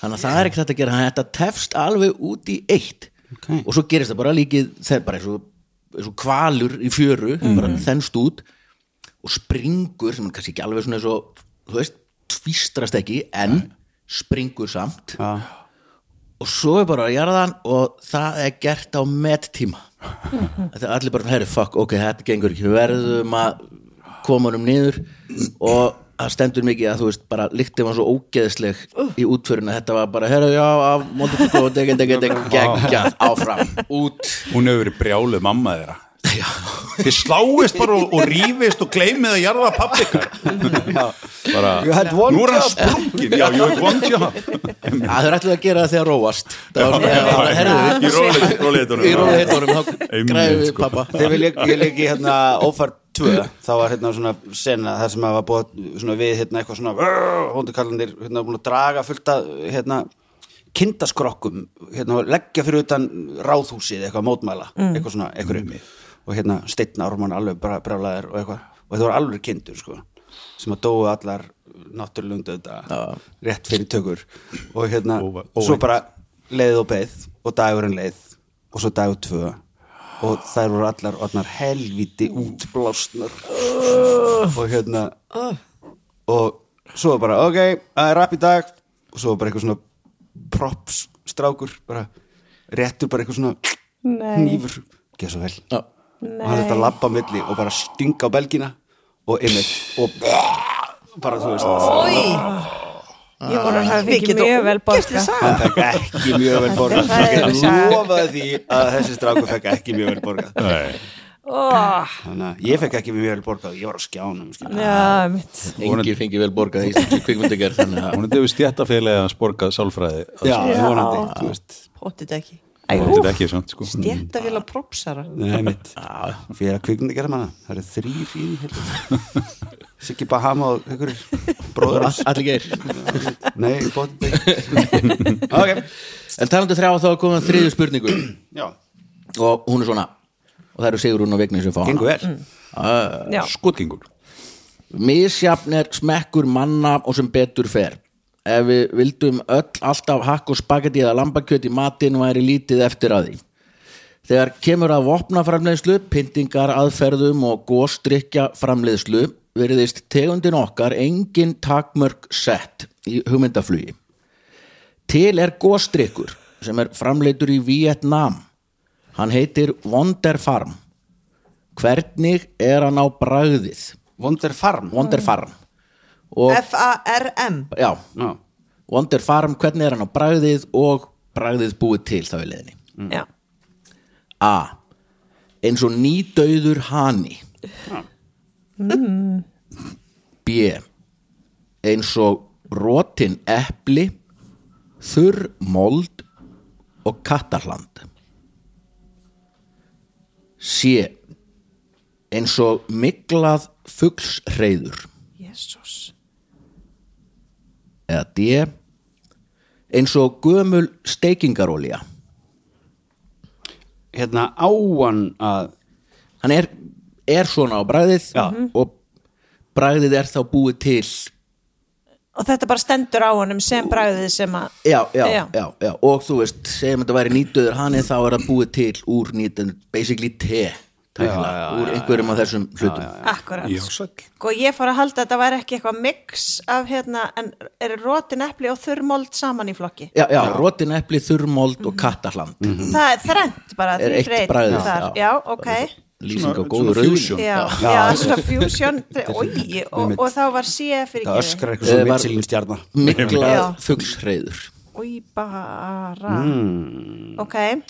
Speaker 2: þannig að það er ekki þetta að gera þannig að þetta tefst alveg út í eitt
Speaker 4: Ok.
Speaker 2: og svo gerist það bara líkið þegar bara eins og, eins og kvalur í fjöru bara þennst út og springur sem er kannski ekki alveg svona eins og þú veist, tvistrast ekki en springur samt
Speaker 4: Já.
Speaker 2: og svo er bara að jarða hann og það er gert á mettíma það er allir bara, herri, fuck, ok, þetta gengur ekki við verðum að koma honum niður og það stendur mikið að þú veist, bara líktið var svo ógeðsleg í útförinu, þetta var bara, herri, já af Montefico, degi, degi, degi, geggjað áfram, út
Speaker 5: Hún hefur verið brjáluð mamma þeirra. Þið sláist bara og, og rífist og gleymið að jarða pappi ykkar. bara,
Speaker 4: You had one
Speaker 5: nú er hann
Speaker 4: job.
Speaker 5: sprungin, já, you had one job.
Speaker 2: að þau eru allir að gera það þegar róast það var svona,
Speaker 5: Já,
Speaker 2: bara, herri,
Speaker 5: Í róleitunum.
Speaker 2: í róðu hittunum þá
Speaker 5: Einmitt,
Speaker 2: græðum við
Speaker 5: sko.
Speaker 2: pappa
Speaker 4: Þegar ég, ég leik í hérna Ófar 2 þá var hérna svona sena þar sem að var búið svona við hérna eitthvað svona hóndukallandir hérna búin að draga fullt að hérna kindaskrokkum hérna og leggja fyrir utan ráðhúsið eitthvað mótmæla eitthvað svona eitthvað og hérna steitna orman alveg bara brjálæðir og eitthvað og þetta voru alveg kindur sko sem að dóu allar náttúrlundu þetta rétt fyrir tökur og hérna
Speaker 5: Óvæ-
Speaker 4: svo
Speaker 5: óvænt.
Speaker 4: bara leið og beið og dagurinn leið og svo dagur tvö og þær voru allar orðnar helviti útblásnar og hérna og svo bara ok, það er rap í dag og svo bara eitthvað svona props strákur, bara réttur bara eitthvað svona
Speaker 6: Nei.
Speaker 4: nýfur, geð svo vel
Speaker 2: Já.
Speaker 4: og hann þetta labba á milli og bara stinga á belgina og einmitt og bara þú veist
Speaker 3: Oi,
Speaker 6: Ég voru að hafa fengið
Speaker 3: Mikið
Speaker 6: mjög vel borga
Speaker 4: hann fekk ekki mjög vel borgað
Speaker 6: Þetta er
Speaker 4: ég
Speaker 6: hræðileg
Speaker 4: lofaði því að þessi strákur fekk ekki mjög vel borgað
Speaker 5: Nei,
Speaker 6: Ó,
Speaker 4: þannig að ég fekk ekki mjög vel borgað ég var á skjánum skilur.
Speaker 6: Já, mitt
Speaker 2: Engi fengi vel borgað í Íslandsku kvikmyndagerð þannig að
Speaker 5: hún er defið stjættafélagi að borgað sálfræði
Speaker 4: já,
Speaker 6: Já.
Speaker 4: vonandi þú veist
Speaker 3: óttið ekki
Speaker 5: Þetta er ekki samt sko
Speaker 3: Stjættafélag propsara
Speaker 4: Nei, mitt Fyrir að kvikmyndi gera manna Það eru þrýr í því Siggi Bahama og einhverjir bróður hans
Speaker 2: allir geir
Speaker 4: Nei, bóttið Ok
Speaker 2: En talandi um þrjá þá komum við að þriðju spurningu
Speaker 4: Já,
Speaker 2: og hún er svona og það eru Sigrún og Vigni sem fá hana
Speaker 4: gengur vel
Speaker 6: Mm. Já,
Speaker 5: Skotgengur
Speaker 2: Misjafn er smekkur manna og sem betur fer Ef við vildum öll alltaf hakk og spagetti eða lambakjöt í matinn væri lítið eftir að því Þegar kemur að vopnaframleiðslu, pyntingar, aðferðum og góstrykja framleiðslu veriðist tegundin okkar engin takmörk sett í hugmyndaflugi. Til er góstrykkur sem er framleitur í Vietnam. Hann heitir Wonderfarm. Hvernig er hann á bragðið?
Speaker 4: Wonder Farm
Speaker 2: Wonderfarm. Og,
Speaker 3: F-A-R-M
Speaker 2: já,
Speaker 4: Já,
Speaker 2: Wonderfarm, hvernig er hann á bragðið og bragðið búið til þá í leiðinni?
Speaker 6: já
Speaker 2: A. Eins og nýdauður hani B. Eins og rótin epli þurr mold og kattarland C. Eins og miklað fuglsreiður
Speaker 6: Jésús
Speaker 2: eða D. Eins og gömul steikingarolja
Speaker 4: hérna áan að
Speaker 2: hann er, er svona á bragðið Já. og bragðið er þá búið til
Speaker 6: Og þetta bara stendur á honum sem bragðið sem að
Speaker 2: Já, já, já,
Speaker 6: Já.
Speaker 2: já, og þú veist, segjum þetta væri nýtöður hanið þá er það búið til úr nýtöður, basically te tækla, úr einhverjum af þessum hlutum
Speaker 6: Akkurat
Speaker 5: Já, sæll.
Speaker 6: Sko ég fór að halda að þetta væri ekki eitthvað mix af hérna, en eru rótin epli og þurrmold saman í flokki?
Speaker 2: Já, já, rótin epli, þurrmold og kattarland
Speaker 6: Það er þrennt bara,
Speaker 2: Er
Speaker 6: þrír
Speaker 2: eitt
Speaker 6: reit
Speaker 2: bragðið,
Speaker 6: þar.
Speaker 2: já.
Speaker 6: Já, ok.
Speaker 2: lýsing á
Speaker 5: Svona-
Speaker 2: góðu
Speaker 5: svona fusion.
Speaker 2: rauðin
Speaker 6: Já, já, já svona fusion, oi, og, og þá var síða fyrir
Speaker 4: það
Speaker 6: ekki.
Speaker 4: öskrar eitthvað svo
Speaker 2: Eh, var-
Speaker 4: mitsilin stjarnar
Speaker 2: miklað
Speaker 6: Já.
Speaker 2: fuglsreiður
Speaker 6: Oi, bara.
Speaker 2: Mm.
Speaker 6: Ok,
Speaker 4: Mm.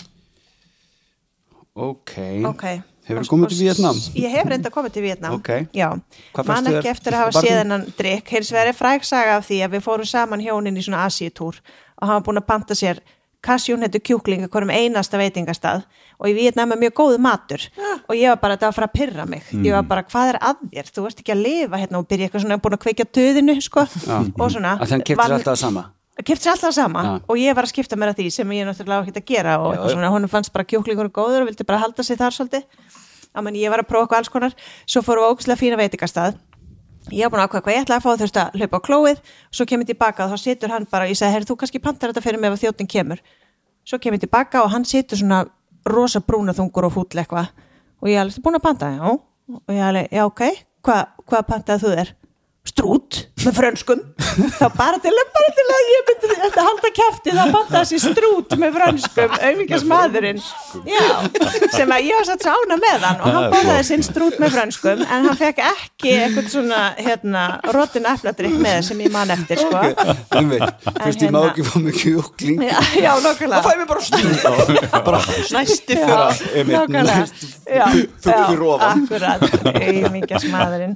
Speaker 4: Ok
Speaker 6: ok.
Speaker 4: Hefur komið til Vietnam?
Speaker 6: Ég hef reynda komið til Vietnam.
Speaker 4: Ok.
Speaker 6: Já,
Speaker 4: Hvað fannst
Speaker 6: man
Speaker 4: þér
Speaker 6: ekki eftir að hafa
Speaker 4: barnum?
Speaker 6: séð hennan drikk. Hins vegar er fræksaga af því að við fórum saman hjónin í svona Asiatúr og hann var búin að panta sér kassjón hættu kjúklinga hverjum einasta veitingastað og í Vietnam er mjög góð matur og ég var bara þetta var að fara að pyrra mig
Speaker 4: Mm.
Speaker 6: ég var bara hvað er að þér, þú ert ekki að lifa hérna og byrja eitthvað svona búin að kveikja töðinu sko, og svona
Speaker 4: Að hann keftir
Speaker 6: Vann-
Speaker 4: alltaf sama
Speaker 6: kefti sér alltaf sama
Speaker 4: Já.
Speaker 6: og ég var að skipta mér að því sem ég náttúrulega á ekkert að gera og eitthvað
Speaker 4: já.
Speaker 6: svona, honum fannst bara kjúklingur góður og vildi bara halda sig þar svolítið á menn ég var að prófa eitthvað alls konar svo fórum við á ógæslega fína veitingastað ég var búin að ákveða hvað ég ætlaði að fá þurfti að hlaupa á klóið svo kemur tilbaka og þá situr hann bara og ég segi, herri þú kannski pantar þetta fyrir mig ef þjóttin kemur svo kemur ég tilbaka og hann situr svona rosa brúnaþungur og fúll eitthvað og ég er alveg "Ertu búin að panta, já og ég er alveg, já ok, Hva, hvað pantaði þú þér? strút með frönskum þá bara til, bara til að ég myndi þetta halda kæfti, þá pantaði sér strút með frönskum, auðvíkjast maðurinn já, sem að ég var satt sána með hann og hann borðaði sinn strút með frönskum en hann fekk ekki eitthvað svona hérna, rotin efladrykk með sem ég man eftir sko
Speaker 4: Þú veist, þú veist, ég má
Speaker 6: hérna-
Speaker 4: ekki fá mig kjúkling
Speaker 6: Já, já, nokkulega
Speaker 4: Það fæði mér bara stund Bara næsti
Speaker 6: Já,
Speaker 4: þeirra einmitt,
Speaker 6: nákvæmlega.
Speaker 4: næsti-
Speaker 6: Já,
Speaker 4: Þú
Speaker 6: já,
Speaker 4: fyrir ofan
Speaker 6: akkurat, auðvíkjast maðurinn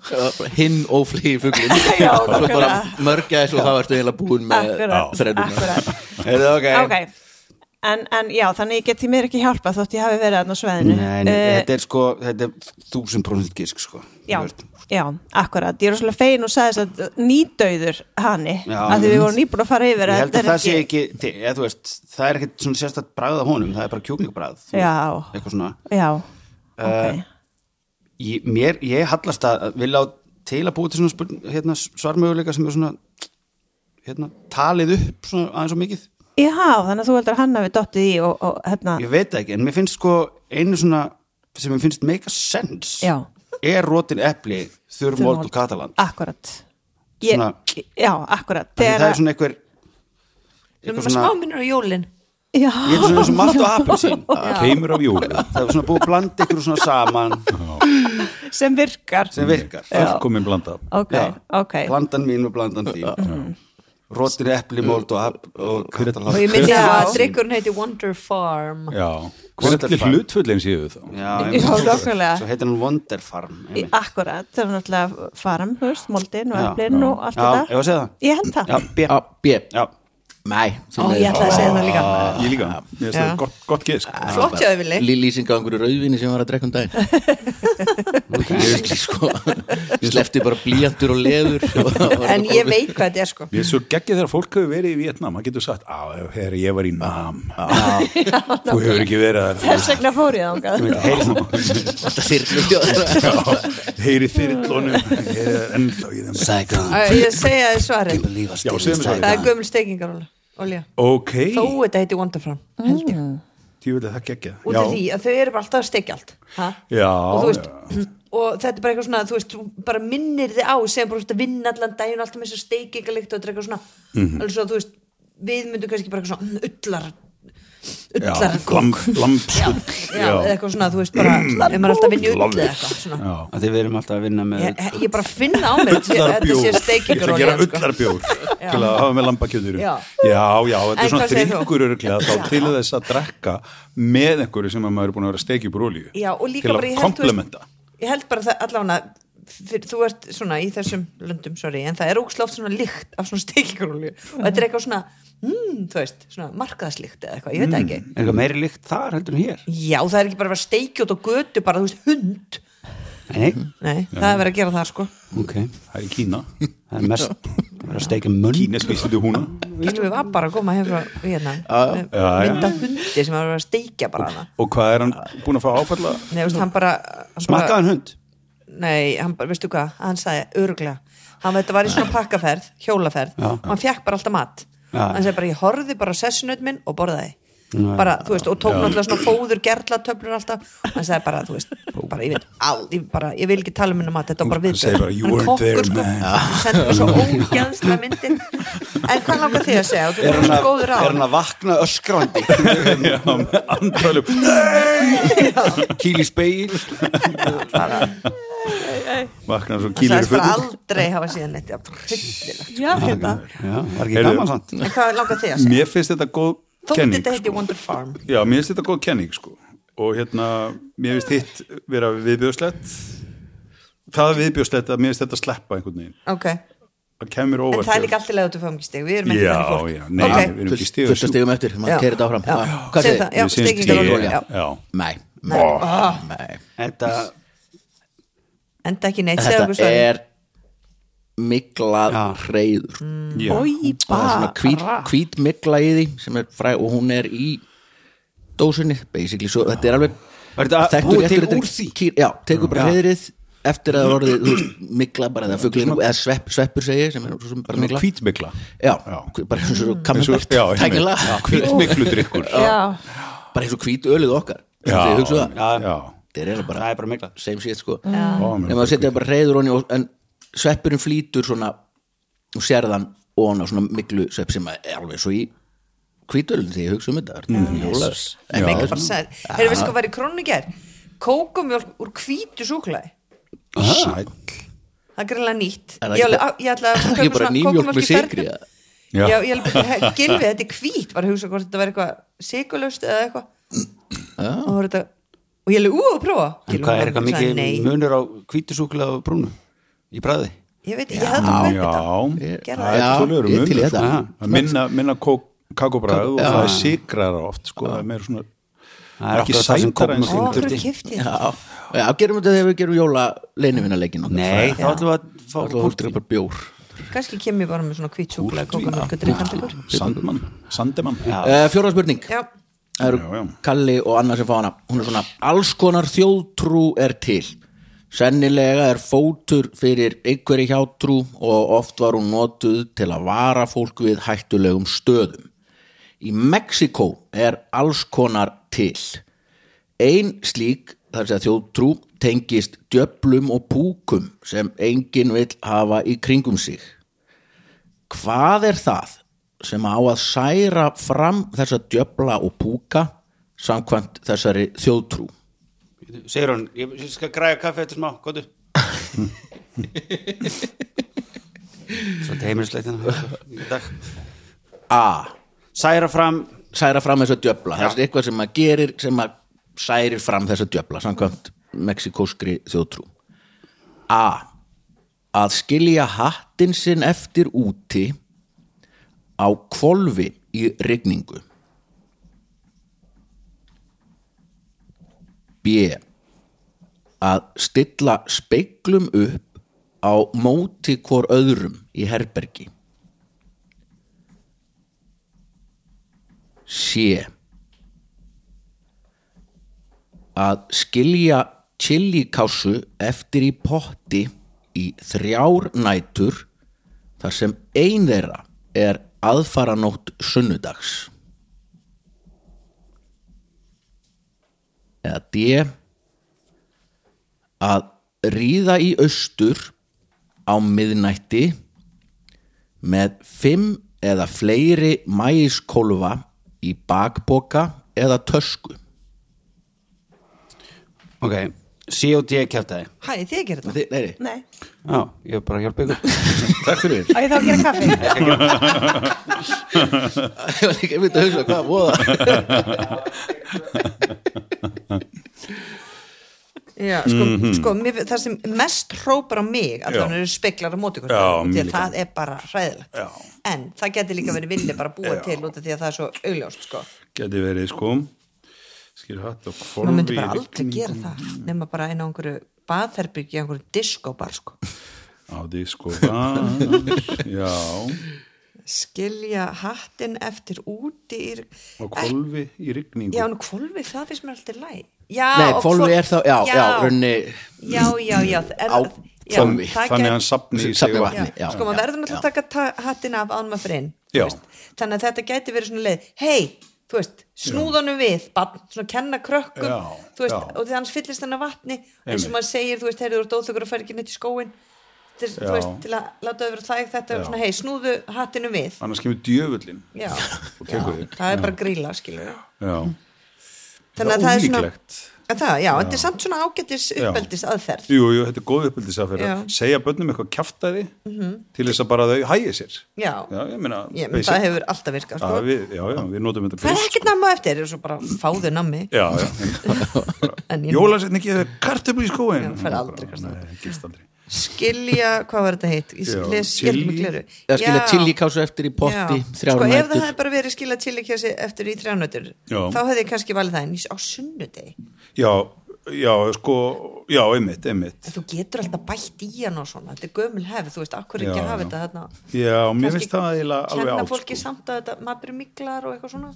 Speaker 2: hinn óflýi fuglin
Speaker 6: Já,
Speaker 2: svo bara
Speaker 6: nákvæmlega.
Speaker 2: mörgæs og það ertu heila búin með
Speaker 6: Akkurat,
Speaker 2: þreðunar
Speaker 6: akkurat
Speaker 4: Er það ok?
Speaker 6: ok en, en já, þannig ég get því mér ekki hjálpa þótt ég hafi verið þarna á sveðinu
Speaker 4: Nei, nei,
Speaker 6: Eh,
Speaker 4: þetta er sko, þetta er þúsund prósent gísk sko
Speaker 6: já,
Speaker 4: Þú veist.
Speaker 6: já, akkurat, ég er rosalega fegin og sagði þess að nýdauður hanni
Speaker 4: Já.
Speaker 6: að því við vorum nýbúin að fara yfir
Speaker 4: Ég
Speaker 6: að
Speaker 4: held
Speaker 6: þetta
Speaker 4: að
Speaker 6: er
Speaker 4: það sé ekki, til, eða, þú veist, það er ekkert svona sérstætt bragð af honum, það er bara kjúklingabræð
Speaker 6: Já.
Speaker 4: Eitthvað svona
Speaker 6: já,
Speaker 4: Eh,
Speaker 6: ok
Speaker 4: Ég, mér, ég hallast að vilja á til að búa til svona spurn, hérna, svarmöguleika sem er svona hérna, talið upp svona aðeins og mikið
Speaker 6: já, þannig að þú heldur að hann hafi dottið í og, og hérna,
Speaker 4: Ég veit það ekki, en mér finnst sko einu svona sem mér finnst make a sense
Speaker 6: Já.
Speaker 4: er rotin epli þurrmóld og katalan
Speaker 6: akkurat ég,
Speaker 4: Svona-
Speaker 6: já, akkurat
Speaker 4: það er svona einhver
Speaker 3: Sem
Speaker 4: eitthvað
Speaker 3: er smá minnur á jólin
Speaker 6: já,
Speaker 4: ég er svona eins og malt og appum sín
Speaker 5: það kemur af jólum
Speaker 4: það er svona búið að blanda ykkur svona saman
Speaker 6: sem virkar
Speaker 4: sem virkar
Speaker 5: fullkomin blanda
Speaker 6: ok,
Speaker 4: Já.
Speaker 6: ok
Speaker 4: blandan mín og blandan þín rotin epli, móld og, app- Mm. og katalan
Speaker 3: Og ég myndi
Speaker 6: Já.
Speaker 3: að drikkurinn heiti Wonder Farm
Speaker 5: já,
Speaker 4: Wonderful.
Speaker 5: hvernig hlutfullin séu þá
Speaker 4: Já,
Speaker 6: Já, nákvæmlega.
Speaker 4: Svo heitir hann Wonder Farm
Speaker 6: Í-
Speaker 4: einmitt.
Speaker 6: akkurat, það er náttúrulega farm, þú veist, moldin og
Speaker 4: Já.
Speaker 6: eflin og allt
Speaker 4: Já, ég var
Speaker 6: þetta
Speaker 4: að segja það
Speaker 6: ég held það,
Speaker 4: Já, B
Speaker 2: á B
Speaker 4: Já,
Speaker 2: Nei, því
Speaker 3: Ó,
Speaker 2: miður.
Speaker 3: ég ætlaði að segja það líka
Speaker 5: Ah, ég líka, mér finnst það
Speaker 3: Já.
Speaker 5: gott, gott sko. gesk
Speaker 3: Flott hjá þau villi
Speaker 2: Lí- lýsing á einhverju rauðvinni sem ég var að drekka um daginn ég veist ekki sko ég slefti bara blíjantur og leður
Speaker 3: En ég veit hvað þetta er sko
Speaker 5: Ég er svo geggið þegar fólk hefur verið í Vietnam maður getur sagt, á, þegar ég var í Nam þú hefur ekki verið
Speaker 6: þess vegna fór ég þangað
Speaker 2: þetta fyrir sig
Speaker 5: þar heyri þyrlunum ég er ennþá í þeim
Speaker 4: Saigon
Speaker 3: Æ, Ég segja þið svarið
Speaker 4: Lífa
Speaker 5: Já, segðu mér svarið.
Speaker 3: Það er gömul stekingar olja
Speaker 5: ok,
Speaker 3: Þó þetta heiti Wonder Farm held ég
Speaker 5: ég vil að það geggið
Speaker 3: Út af því að þau eru bara alltaf að steikja allt ha?
Speaker 5: já,
Speaker 3: Og þú veist
Speaker 5: já.
Speaker 3: Og þetta er bara eitthvað svona, þú veist, þú bara minnir þið á sem bara þú veist, að vinna allan daginn alltaf með þessu steikingalikt og þetta er eitthvað svona
Speaker 5: Mhm.
Speaker 3: alveg svo, þú veist, við myndum kannski bara eitthvað svona mm, ullar
Speaker 5: já,
Speaker 3: ullar
Speaker 5: lamb, lambskull
Speaker 3: já, eða eitthvað svona, þú veist, bara ef maður er alltaf að vinna í ull eða eitthvað svona.
Speaker 5: já.
Speaker 4: Þegar við erum alltaf að vinna með
Speaker 3: ég, ég bara finn á mig þetta sé- þetta
Speaker 5: ullarbjór
Speaker 3: sé
Speaker 5: ég ætla að gera
Speaker 3: steikingarolja sko.
Speaker 5: ullarbjór til að hafa með lambakjöður
Speaker 3: Já.
Speaker 5: já, já, þetta
Speaker 3: En
Speaker 5: er svona
Speaker 3: hvað segir þú?
Speaker 5: drikkur örglega þá til þess að drekka með einhverju sem að maður er búin að vera að steikja úr olíu
Speaker 3: já, og líka
Speaker 5: til
Speaker 3: bara
Speaker 5: að
Speaker 3: ég held, þú veist,
Speaker 5: komplementa
Speaker 3: ég held bara það allavega fyrir, þú ert svona í þessum löndum sorry, en það er ógsláft svona lykt af svona steikingarolju og þetta er eitthvað svona mm, þú veist, svona markaðslykt eða eitthvað, ég veit það ekki
Speaker 4: Er eitthvað meiri líkt þar heldur en hér
Speaker 5: Hmm.
Speaker 3: já, það er ekki bara að vera steikjótt og götu bara, þú veist, hund
Speaker 4: Nei,
Speaker 3: nei, það er verið að gera það sko
Speaker 4: ok
Speaker 5: það er í Kína,
Speaker 4: Það er mest Það er að steikja munn
Speaker 5: Kínes vísið húna
Speaker 3: Gylfi var bara að koma hér frá hérna,
Speaker 5: já, já.
Speaker 3: mynda hundi sem var að vera að steikja bara hana
Speaker 5: og hvað er hann búin að fá áfalla
Speaker 3: Nei, veist, hann bara hann
Speaker 4: Smakkaði
Speaker 3: bara,
Speaker 4: hann hund
Speaker 3: Nei, hann bara, veistu hvað, hann sagði öruglega Hann þetta var í svona pakkaferð, hjólaferð og hann fekk bara alltaf mat
Speaker 4: Já.
Speaker 3: Hann sagði bara, ég horfði bara á sessunaut minn og borðaði bara, þú veist, og tók náttúrulega svona fóður gerlatöflur alltaf, hann sagði bara, þú veist bara, ég veit, á, ég, bara, ég vil ekki tala um minna mat, þetta var bara
Speaker 5: Hann
Speaker 3: við
Speaker 5: segir bara, "You weren't there,
Speaker 3: sko.
Speaker 5: man."
Speaker 3: sendi mér svo ógeðslega myndir en hvað langar þið að segja, Og þú
Speaker 4: Er
Speaker 3: voru
Speaker 4: hann
Speaker 3: svo
Speaker 4: að,
Speaker 3: góður á
Speaker 4: er hann að vakna öskrandi
Speaker 5: já, með andrælum
Speaker 4: Kýl í speil
Speaker 5: vaknar svo
Speaker 3: hann
Speaker 5: kýlir
Speaker 3: sagðist bara
Speaker 5: fyrir
Speaker 3: aldrei hafa síðan neitt, já, hryllilegt
Speaker 6: já, hérna
Speaker 4: Já, var ekki
Speaker 5: Heyrðu.
Speaker 4: gaman samt
Speaker 3: en hvað langar þið að segja,
Speaker 5: mér finnst þetta góð
Speaker 3: þó
Speaker 5: kenning sko.
Speaker 3: þetta heiti Wonder Farm
Speaker 5: já, mér finnst þetta góð kenning sko og hérna, mér finnst hitt vera viðbjóðslegt það er viðbjóðslegt að mér finnst þetta sleppa einhvern veginn
Speaker 3: ok,
Speaker 5: það kemur
Speaker 3: En
Speaker 5: óvart
Speaker 3: það er líka alltaf leið út af fómgistig, við erum ekki
Speaker 5: já,
Speaker 3: þannig fólk
Speaker 5: já, nei,
Speaker 3: Ok.
Speaker 5: við erum ekki stíð
Speaker 2: fullt að stegum eftir, maður kerir þetta áfram
Speaker 3: Já.
Speaker 2: Ah, hvað segir
Speaker 3: Segðu það, Ah. já,
Speaker 5: já,
Speaker 3: stekingarolja já.
Speaker 5: já.
Speaker 2: Nei, Ó, nei.
Speaker 4: Þetta
Speaker 3: Enda ekki neitt, segðu okkur
Speaker 2: þetta
Speaker 3: svo
Speaker 2: er miklað
Speaker 4: Já.
Speaker 2: reyður
Speaker 4: Mm.
Speaker 5: Já.
Speaker 2: það
Speaker 6: Í
Speaker 2: er svona
Speaker 6: bara
Speaker 2: hvít, hvít mikla í því sem er fræ og hún er í dósunni, basically, svo þetta er alveg
Speaker 4: Var þetta
Speaker 2: þekktur
Speaker 4: búið til
Speaker 2: réttur, þetta er
Speaker 4: úr því?
Speaker 2: kýr- já, tekur bara hreiðrið eftir að það orðið, þú veist, mikla bara eða fuglinn, eða svepp, sveppur segi sem er svo sem bara mikla,
Speaker 5: hvítmikla
Speaker 2: já, bara eins
Speaker 3: Mm.
Speaker 2: og kamerabert, tækilega,
Speaker 5: hvítmiklu drikkur
Speaker 6: já,
Speaker 2: bara eins og hvít ölið okkar
Speaker 5: Já.
Speaker 2: þið hugsa það,
Speaker 4: Já,
Speaker 5: já,
Speaker 2: þetta er eiginlega
Speaker 4: það er
Speaker 2: bara
Speaker 4: bara mikla
Speaker 2: same shit sko,
Speaker 5: Ó,
Speaker 2: en
Speaker 5: mér
Speaker 2: maður setja bara reyður honni og, en sveppurinn flýtur svona og sérðan og hann á svona miklu svepp sem er alveg svo í hvítölinn þegar ég hugsa um þetta mm.
Speaker 3: En
Speaker 5: Já.
Speaker 3: meikar bara sæður Hefur við sko verið krónu ger Kókumjólk úr hvítu súklaði
Speaker 5: sæll
Speaker 3: Það er greinlega nýtt
Speaker 2: Er það
Speaker 3: Ég
Speaker 2: ekki
Speaker 3: alveg- á- ég ætla að
Speaker 2: það
Speaker 3: kaupa
Speaker 2: ekki bara
Speaker 3: svona
Speaker 2: nýmjólk
Speaker 3: kókumjólk
Speaker 2: með
Speaker 3: í fernu.
Speaker 2: sigri
Speaker 5: Já.
Speaker 3: Já, ég alveg bara, he- gilfi þetta er hvít Var að hugsa hvort þetta var eitthvað sigurlaust eða eitthvað Og voru þetta Og ég alveg, ú, að prófa
Speaker 4: En
Speaker 3: Gylfi
Speaker 4: hvað er
Speaker 3: bara
Speaker 4: eitthvað
Speaker 3: sagði,
Speaker 4: mikið
Speaker 3: Nei,
Speaker 4: munur á hvítusúkulega og brúnu í bræði?
Speaker 3: ég veit, ég hefði að kaupa þetta
Speaker 5: já,
Speaker 3: Gerðu
Speaker 5: það er
Speaker 2: það.
Speaker 5: tölur
Speaker 2: Já,
Speaker 5: um sko.
Speaker 2: ég er til í þetta.
Speaker 5: minna, minna kók kakobræð og það er sigrara oft sko, það er meira svona
Speaker 4: Það er
Speaker 5: Ekki
Speaker 4: akkurat það sem
Speaker 5: sætara en
Speaker 4: kókum
Speaker 3: Ó,
Speaker 5: Ég
Speaker 3: hverju
Speaker 4: þurfti
Speaker 3: keypti ég þetta?
Speaker 2: Já, já, gerum þetta þegar við gerum jóla leinivinnaleikin
Speaker 4: Nei, þá ætlum við að fá
Speaker 2: þá ætlum við að drepa bjór
Speaker 3: Kannski kem ég bara með svona hvít súklaði Kókumjólk og drikkandi ykkur
Speaker 5: Sandmann, Sandemann já,
Speaker 2: uh, Fjóra spurning,
Speaker 3: Já,
Speaker 2: það eru
Speaker 5: Já, já.
Speaker 2: Kalli og Anna sem fá hana Hún er svona, alls konar þjóðtrú er til Sennilega er fótur fyrir einhverju hjátrú og oft var hún notuð til að vara fólk við hættulegum stöðum Í Mexiko er alls konar til Ein slík þar að segja þjóðtrú tengist djöflum og púkum sem enginn vill hafa í kringum sig hvað er það sem á að særa fram þessa djöfla og púka samkvæmt þessari þjóðtrú
Speaker 4: segir hún, ég ég skal græja kaffi eftir smá, góðu Svo heimilislegt hérna í dag.
Speaker 2: A.
Speaker 4: Særa fram
Speaker 2: Særa fram þessa djöfla það er eitthvað sem maður gerir sem maður særir fram þessa djöfla samkvæmt meksikóskri þjóðtrú A. Að skilja hattinn sinn eftir úti á kvolfi í rigningu. B. Að stilla speiklum upp á móti hvor öðrum í herbergi. C. Að skilja chilikásu eftir í potti í þrjár nætur þar sem ein þeirra er aðfaranótt sunnudags. Eða D. Að ríða í austur á miðnætti með fimm eða fleiri mæiskólfa í bakboka eða tösku.
Speaker 4: Ok, COD kjátaði
Speaker 3: Hæ, þið gerir þetta
Speaker 2: Þi, nei, nei,
Speaker 6: Nei,
Speaker 4: Já, ég er bara að hjálpa ykkur
Speaker 2: takk fyrir.
Speaker 6: á ég þá að gera kaffi
Speaker 2: Ég var líka einmitt að hugsa hvað voða.
Speaker 3: Já, sko, sko mér, það sem mest hrópar á mig að
Speaker 5: Mhm. Já.
Speaker 3: þannig eru speklar á móti hvort
Speaker 5: Já,
Speaker 3: öðru, því
Speaker 5: mér
Speaker 3: að
Speaker 5: líka.
Speaker 3: það er bara hræðilegt
Speaker 5: Já.
Speaker 3: en það getur líka verið villi bara að búa
Speaker 5: Já.
Speaker 3: til út af því að það er svo augljóst sko.
Speaker 5: geti verið sko skil hatt og form
Speaker 3: maður myndi bara aldrei gera það nema bara inn á einhverju baðherbyrgi einhverju diskóbar sko.
Speaker 5: á disko bar, já,
Speaker 3: skilja hattinn eftir úti í...
Speaker 5: og kolvi í rigningu
Speaker 3: já, en hvolfi, það finnst mér alltaf læg já,
Speaker 2: Nei,
Speaker 3: og
Speaker 2: hvolfi
Speaker 3: hvolf-
Speaker 2: er þá, já, já, já runni,
Speaker 3: já, já, já, er,
Speaker 2: Á
Speaker 3: já
Speaker 2: hvolfi.
Speaker 3: það
Speaker 5: þannig
Speaker 3: gæti-
Speaker 5: að hann sapni í sig
Speaker 2: Safni
Speaker 5: vatn
Speaker 2: vatni. Já,
Speaker 3: sko maður
Speaker 2: já,
Speaker 3: verður náttúrulega
Speaker 2: já.
Speaker 3: að taka ta- hattinn af án maður frinn
Speaker 5: Já.
Speaker 3: þannig að þetta gæti verið svona leið hei, þú veist, snúðanum við barn, svona kenna krökkum
Speaker 5: Já,
Speaker 3: þú veist,
Speaker 5: já.
Speaker 3: og því hans fyllist hann af vatni eins
Speaker 5: Einmitt.
Speaker 3: og maður segir, þú veist, heyrðu úr dóþugur og fer ekki neitt í skóin til,
Speaker 5: Já.
Speaker 3: þú veist, til að láta öfra þæg þetta
Speaker 5: Já.
Speaker 3: svona, hei, snúðu hattinu við
Speaker 5: annars kemur djöfullin
Speaker 3: já,
Speaker 5: og
Speaker 3: já
Speaker 5: tekur þig
Speaker 3: það er bara gríla, skilur við.
Speaker 5: já,
Speaker 3: þannig að
Speaker 5: Það
Speaker 3: það
Speaker 5: er
Speaker 3: er svona
Speaker 5: ólíklegt.
Speaker 3: að það, já, þetta er samt svona ágætis uppeldis aðferð
Speaker 5: jú, jú, þetta er góð uppeldisafferð að
Speaker 3: Já. Mhm.
Speaker 5: segja börnum eitthvað kjaftaði til þess að bara þau hægi sér
Speaker 3: já,
Speaker 5: já, ég meina,
Speaker 3: ég,
Speaker 5: basic.
Speaker 3: það hefur alltaf virkað
Speaker 5: Já,
Speaker 3: sko.
Speaker 5: við, já, já, við notum þetta sko.
Speaker 3: það er
Speaker 5: basic,
Speaker 3: ekkert namma á eftir, það er svo bara fáðu nammi
Speaker 5: sko. já, já,
Speaker 3: En ég-
Speaker 5: jólasetning eða kartöflu í skóin
Speaker 3: Já, færðu aldrei kartöflu.
Speaker 5: Nei, gerst aldrei.
Speaker 3: skilja, hvað var þetta heitt ég
Speaker 5: Já,
Speaker 3: les,
Speaker 5: chili.
Speaker 3: ég held mig gleru
Speaker 2: að skilja chilikásu eftir í potti þrjár
Speaker 3: sko, ef það
Speaker 2: nætur.
Speaker 3: hefði bara verið skilja chilikjási eftir í þrjánötur
Speaker 5: Já.
Speaker 3: þá hefði ég kannski valið það en ég á sunnudegi
Speaker 5: já, já, sko já, einmitt, einmitt
Speaker 3: en þú getur alltaf bætt í hann og svona þetta er gömul hefð, þú veist, akkur ekki
Speaker 5: Já,
Speaker 3: að hafa
Speaker 5: já.
Speaker 3: þetta þarna
Speaker 5: já, mér
Speaker 3: Kannski
Speaker 5: finnst það eiginlega alveg
Speaker 3: kenna
Speaker 5: átt
Speaker 3: fólki
Speaker 5: sko.
Speaker 3: samt að þetta maður er miklar og eitthvað svona
Speaker 5: Já.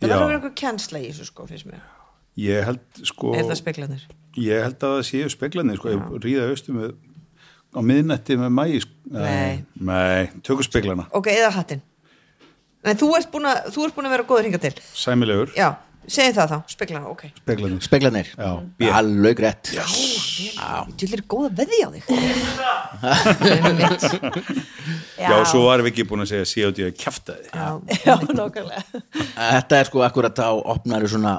Speaker 3: það verður að vera einhver kennsla í þessu sko, finnst mér
Speaker 5: ég held, sko
Speaker 3: er það speklanir?
Speaker 5: Ég held að það séu speglandi sko, ef ríða austum með, á miðnætti með mægi sko.
Speaker 3: Nei.
Speaker 5: Nei, tökum speglana
Speaker 3: ok, eða hattinn en þú ert búin að, þú ert búin að vera góður hinga til
Speaker 5: Sæmilegur,
Speaker 3: já, segjum það þá, speklana, ok
Speaker 5: speglandi
Speaker 2: Speglanir,
Speaker 5: Já.
Speaker 2: alveg rétt
Speaker 3: Þú er góð að veðja á þig
Speaker 5: Já, svo varum við ekki búin að segja séu því að kjafta þið
Speaker 3: Já,
Speaker 6: Já, nákvæmlega
Speaker 2: Þetta er sko akkurat þá opnar svona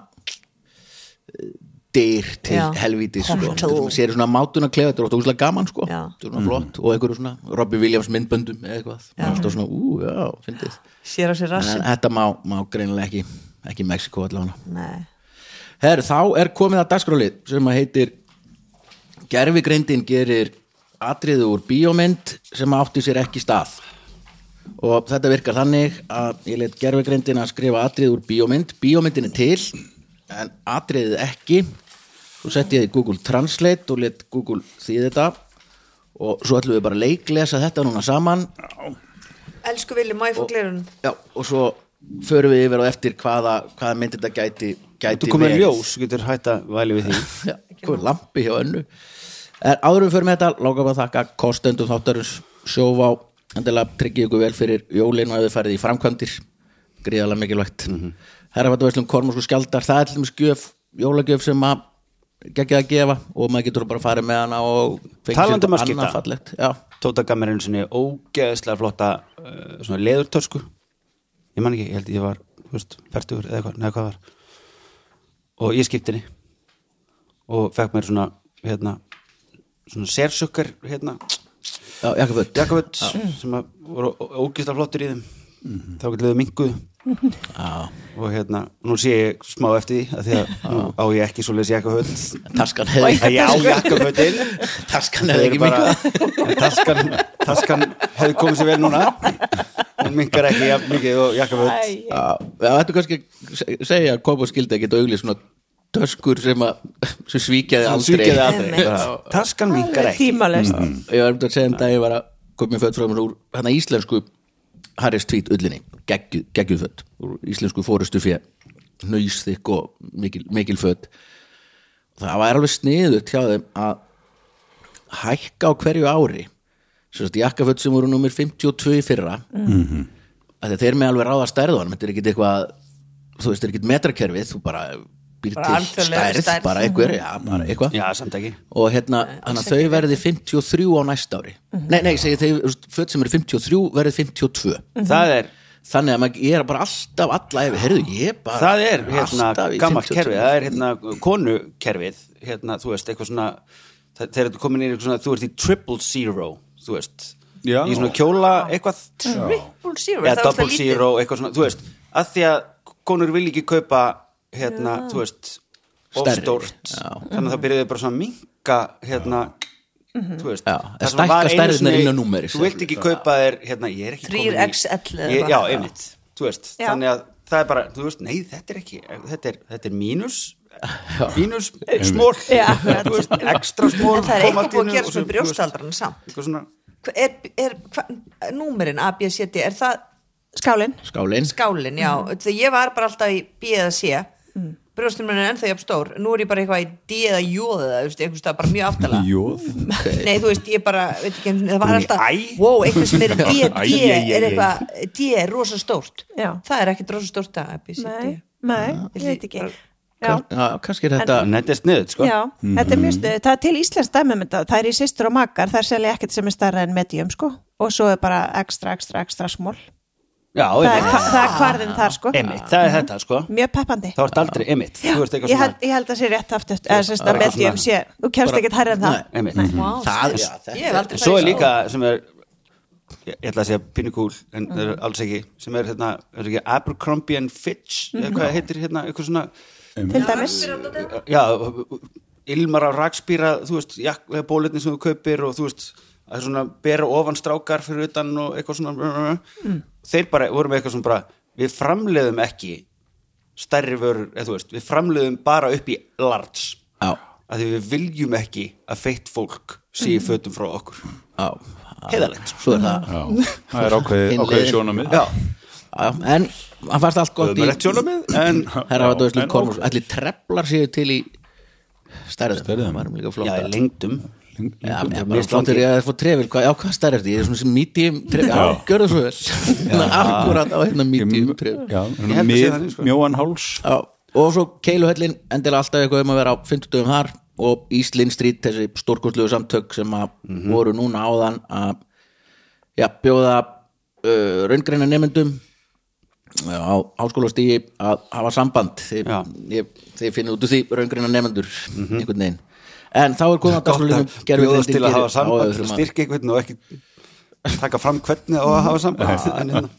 Speaker 2: eh, dyr til
Speaker 3: Já.
Speaker 2: helvíti sko.
Speaker 3: Portal.
Speaker 2: Þetta sér svona mátun að klefa þetta er ótt úslega gaman sko.
Speaker 3: Já.
Speaker 2: þetta er svona flott og einhverju svona Robbie Williams myndböndum eða eitthvað alltaf svona, ú, já, fyndið
Speaker 3: sér á sér
Speaker 2: en
Speaker 3: rassin
Speaker 2: þetta má, má greinilega ekki ekki Mexiko allavega
Speaker 3: Nei.
Speaker 2: Herru, þá er komið að dagskrálið sem að heitir Gervigreindin gerir atriðu úr bíómynd sem átti sér ekki stað og þetta virkar þannig að ég let gervigreindin að skrifa atriðu úr bíómynd bíómyndin er til en atriðið ekki svo setti ég í Google Translate og let Google þýði þetta og svo ætlum við bara að leiklesa þetta núna saman
Speaker 3: Elsku Vili, má ég fá glerun?
Speaker 2: Já, og svo förum við yfir og eftir hvaða, hvaða mynd þetta gæti, gæti
Speaker 4: Þú komið
Speaker 2: verið.
Speaker 4: ljós, þú getur hætt að væli við því
Speaker 2: Já, hvað er lampi hjá önnu en áðurum fyrir með þetta, lókaum að þakka kostendum þáttarins sjóvá endilega tryggið ykkur vel fyrir jólin og ef þið farið í framkvæmdir
Speaker 4: Mhm.
Speaker 2: gríðalega mikilvægt mm -hmm. herrafættu veislum Kormosku Skjaldar það er til dæmis gjöf, jólagjöf sem að geggjað að gefa og maður getur bara að fara með hana og fengið sér
Speaker 4: Talandi um að
Speaker 2: eitthvað annað
Speaker 4: skipta.
Speaker 2: fallegt já,
Speaker 4: Tóta gaf mér einu sinni ógeðslega flotta uh, svona leðurtösku ég man ekki, ég held ég var þú veist, færtugur eða hvað, neða hvað var og ég skipti henni og fekk mér svona hérna, svona sérsökkar hérna,
Speaker 2: já, jakkaföld
Speaker 4: jakaföld sem að voru ó- ógeðslega flottir í þeim þá getur við minguð og hérna, nú sé ég smá eftir því að því að nú á ég ekki svo leys jakaföld
Speaker 2: taskan hefði,
Speaker 4: að ég á jakaföldin
Speaker 2: taskan hefði ekki mikið
Speaker 4: mikið Taskan, taskan hefði komið sér vel núna Hún minkar ekki jafn mikið og jakkaföld
Speaker 6: Æ,
Speaker 2: Já, það ættu kannski að se- segja að Kópa skildi ekkert auglið svona töskur sem, að, sem svíkjaði
Speaker 4: Hún
Speaker 2: aldrei
Speaker 4: svíkjaði aldrei
Speaker 2: Já.
Speaker 4: Taskan minkar
Speaker 6: alveg
Speaker 4: ekki
Speaker 6: tímalöst mm.
Speaker 2: Ég var um þetta að segja um dag ég var að koma með fött frá mér úr hann íslensku Harris Tweet ullinni, geggjuð geggju fött úr íslensku fórustu fyrir nöysþykk og mikil, mikil fött það var alveg sniðut hjá þeim að hækka á hverju ári sem sagt jakkaföt sem voru nummer 52 í fyrra af því að þeir með alveg ráða stærðan þetta er ekkit eitthvað þú veist, þetta er ekkit metrakerfið þú bara býr
Speaker 3: Bara
Speaker 2: til
Speaker 3: alþjóðlega
Speaker 2: stærð,
Speaker 3: stærð.
Speaker 2: bara einhver, já, bara eitthvað
Speaker 4: Já, samt ekki
Speaker 2: og hérna, þannig að þau verði 53 á næsta ári nei, nei, segi þau, þú veist, föt sem eru 53 verði 52
Speaker 4: Það er,
Speaker 2: þannig að maður, ég er bara alltaf alla yfir, heyrðu, ég bara
Speaker 4: það er hérna,
Speaker 2: alltaf í
Speaker 4: gammalt
Speaker 2: 52.
Speaker 4: kerfið Það er hérna, konukerfið Hérna, þú veist, eitthvað svona þe- Þegar þú komin í eitthvað svona, þú ert í triple zero Þú veist,
Speaker 5: Já.
Speaker 4: í svona kjóla eitthvað
Speaker 3: Triple zero,
Speaker 4: eða
Speaker 3: það var
Speaker 4: double
Speaker 3: það lítið
Speaker 4: zero, eitthvað svona, þú veist að því að konur vil ekki kaupa hérna, þú veist
Speaker 2: Stærri,
Speaker 4: ofstórt,
Speaker 2: já.
Speaker 4: þannig að það byrjuðu bara svona að minka hérna,
Speaker 3: Mhm.
Speaker 4: þú veist
Speaker 2: Já,
Speaker 4: það
Speaker 2: en
Speaker 4: sem var
Speaker 2: stækka
Speaker 4: einu
Speaker 2: stærðirnar
Speaker 4: sinni-
Speaker 2: inn á númeri,
Speaker 4: þú vilt ekki kaupa þér, hérna, ég er ekki
Speaker 3: 3XL eða
Speaker 4: ég,
Speaker 3: eitthvað.
Speaker 4: já, einmitt, þú veist
Speaker 6: Já.
Speaker 4: þannig að það er bara, þú veist, nei, þetta er ekki þetta er, þetta er mínus mínus smól
Speaker 6: Já, akkurat.
Speaker 4: þú veist, ekstra smól
Speaker 3: En það er eitthvað búið að gera svona
Speaker 4: brjóstaldur
Speaker 3: brjóstaldran samt
Speaker 4: eitthvað svona
Speaker 3: Hva- er, er hva, númerin A, B, C, D er það
Speaker 6: skálin
Speaker 2: skálin,
Speaker 3: skálin, já,
Speaker 6: Mhm.
Speaker 3: þegar ég var bara alltaf í B eða C mm. brjóstin minn er ennþá jafn stór, nú er ég bara eitthvað í D eða J eða, þú veist, eitthvað stað bara mjög aftala
Speaker 5: Jóð
Speaker 3: nei, þú veist, ég bara, veit ekki, einu sinni, það var
Speaker 4: Hún í
Speaker 3: alltaf
Speaker 4: æ?
Speaker 3: wow, eitthvað sem er D,
Speaker 5: Æ,
Speaker 3: D
Speaker 5: æ, æ, æ, æ.
Speaker 3: er eitthvað, D er rosa stórt
Speaker 6: Já.
Speaker 3: það er ekkit rosa stórt að A, B, C, D
Speaker 6: nei, nei, ég veit ekki já
Speaker 2: já, kannski er þetta
Speaker 4: en þetta er sniðut, sko
Speaker 6: Já, þetta er mjög stuð, það er til Íslands dæmum þetta, það er í sýstur og makar, það er selja ekkert sem er starra en medium sko og svo er bara ekstra, ekstra, ekstra smól
Speaker 4: Já,
Speaker 6: það er,
Speaker 4: einmitt.
Speaker 6: hva- það er hvarðin þar sko Mm-hmm.
Speaker 4: Einmitt, það er þetta sko
Speaker 6: mjög peppandi
Speaker 4: þá ert aldrei emitt þú ert eitthvað
Speaker 6: ég held,
Speaker 4: svona
Speaker 6: ég held að sé rétt aftur eða sérst að
Speaker 4: bara eitthvað
Speaker 6: medium sé, þú kemst ekkert hærri en það
Speaker 2: Nei.
Speaker 4: emitt
Speaker 2: það, já, þetta
Speaker 3: ég hef aldrei
Speaker 4: Mhm. svo er
Speaker 3: farið í
Speaker 4: líka sem er ég ég ætla að segja pinnukúl en það er alls ekki sem er hérna er ekki Abercrombie and Fitch eða hvað það heitir hérna eitthvað svona
Speaker 6: til dæmis
Speaker 4: já ilmar á rakspýra þú veist jakklega bólitni sem þú kaupir og þú veist að svona bera ofan strákar fyrir utan og eitthvað svona þeir bara voru með eitthvað svona bara við framleiðum ekki stærri vörur eða þú veist við framleiðum bara upp í large
Speaker 2: já,
Speaker 4: að því við viljum ekki að feitt fólk sé í fötum frá okkur
Speaker 2: já,
Speaker 4: heiðalegt sko.
Speaker 2: svo er það já,
Speaker 5: Það er ákveðið
Speaker 2: Hinn
Speaker 5: ákveði
Speaker 2: leiðin.
Speaker 5: sjónamið
Speaker 2: já, en hann fannst allt gott
Speaker 4: það
Speaker 2: í
Speaker 4: er rétt sjónamið en
Speaker 2: herra var
Speaker 5: Já,
Speaker 2: döðslu
Speaker 5: en
Speaker 2: kormus, allir treflar séu til í stærðum,
Speaker 5: Stærðum.
Speaker 2: það varum líka
Speaker 4: já,
Speaker 2: flott
Speaker 4: í lengdum
Speaker 2: Já, ég er
Speaker 4: Mér
Speaker 2: bara
Speaker 4: finnst
Speaker 2: flottur
Speaker 4: langi.
Speaker 2: ég að fór trefil, hvað, já, hvað stærð er þetta? Ég er svona sem medium trefil, já, gjörðu svo vel Akkurat á hérna medium trefil
Speaker 5: Já,
Speaker 4: Ég held að sé
Speaker 5: mið,
Speaker 4: þannig, sko.
Speaker 5: mjóan háls
Speaker 2: Já, og svo keiluhöllin endilega alltaf eitthvað um að vera á 50 dögum þar og Íslinn Street, þessi stórkostlegu samtök sem að
Speaker 4: Mhm.
Speaker 2: voru núna áðan að já, bjóða uh, raungreina nefndum á háskólastígi að hafa samband þið,
Speaker 4: Já. Mhm.
Speaker 2: ég, þið finnir út úr því raungreina nefndur einhvern veginn en þá er komað
Speaker 4: gott að bjóðast til að hafa samband styrk einhvern og ekki taka fram hvernig á að hafa samband En hérna-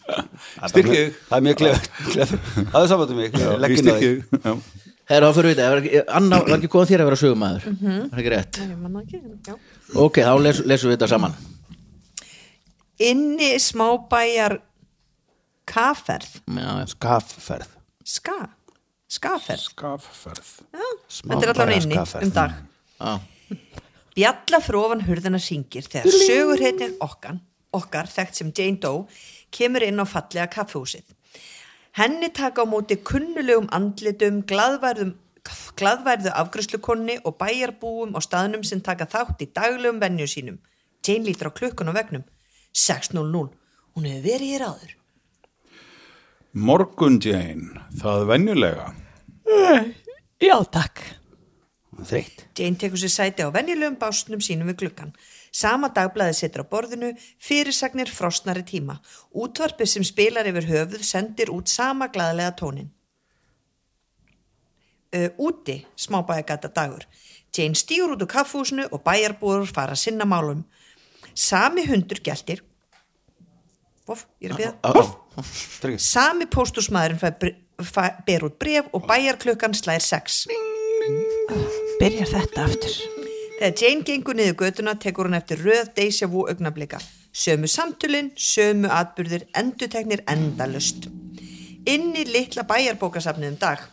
Speaker 4: Það
Speaker 5: Styrkið.
Speaker 4: er mjög- það er mjög klef það er samband um mig
Speaker 5: Í
Speaker 4: leggin á því
Speaker 5: styrkið, já.
Speaker 2: Herra, það fyrir við þetta, Anna var ekki komað þér að vera sögumæður Það er ekki rétt
Speaker 3: Ég man það ekki, já.
Speaker 2: Ok, þá les, lesum við þetta saman
Speaker 3: inni smábæjar kaferð
Speaker 2: Já, já.
Speaker 4: skafferð
Speaker 3: ska, skaferð
Speaker 5: Skafferð
Speaker 3: þetta er allavega inni um dag
Speaker 2: Já.
Speaker 3: Bjalla fyrir ofan hurðina syngir þegar sögurheitnið okkan, okkar, þekkt sem Jane Doe, kemur inn á fallega kaffehúsið. Henni taka á móti kunnulegum andlitum, glaðværðum, glaðværðu afgröslukonni og bæjarbúum á staðnum sem taka þátt í daglegum vennju sínum. Jane lítur á klukkun á vegnum. 6.00. Hún hefur verið hér áður.
Speaker 5: Morgun Jane, það venjulega
Speaker 6: já takk
Speaker 4: þreytt
Speaker 3: Jane tekur sér sæti á venjulegum básnum sínum við gluggan. Sama dagblæði setur á borðinu, fyrirsagnir frosnari tíma. Útvarpið sem spilar yfir höfuð sendir út sama glaðlega tónin. Uh, úti, smábæðagata dagur. Jane stýr út úr kaffúsinu og bæjarbúður fara sinna málum. Sami hundur geltir. Vof, ég er að byrja.
Speaker 2: Ó, ó.
Speaker 4: Tryggis.
Speaker 3: Sami póstusmaðurinn fær bre- fær- ber út bref og bæjarklukkan slær sex.
Speaker 6: Byrjar þetta aftur.
Speaker 3: Þegar Jane gengur niður göduna tekur hún eftir röð deysja vú augnablika. Sömu samtölin, sömu atbyrðir, enduteknir endalust. Inn í litla bæjarbókasafnið um dag.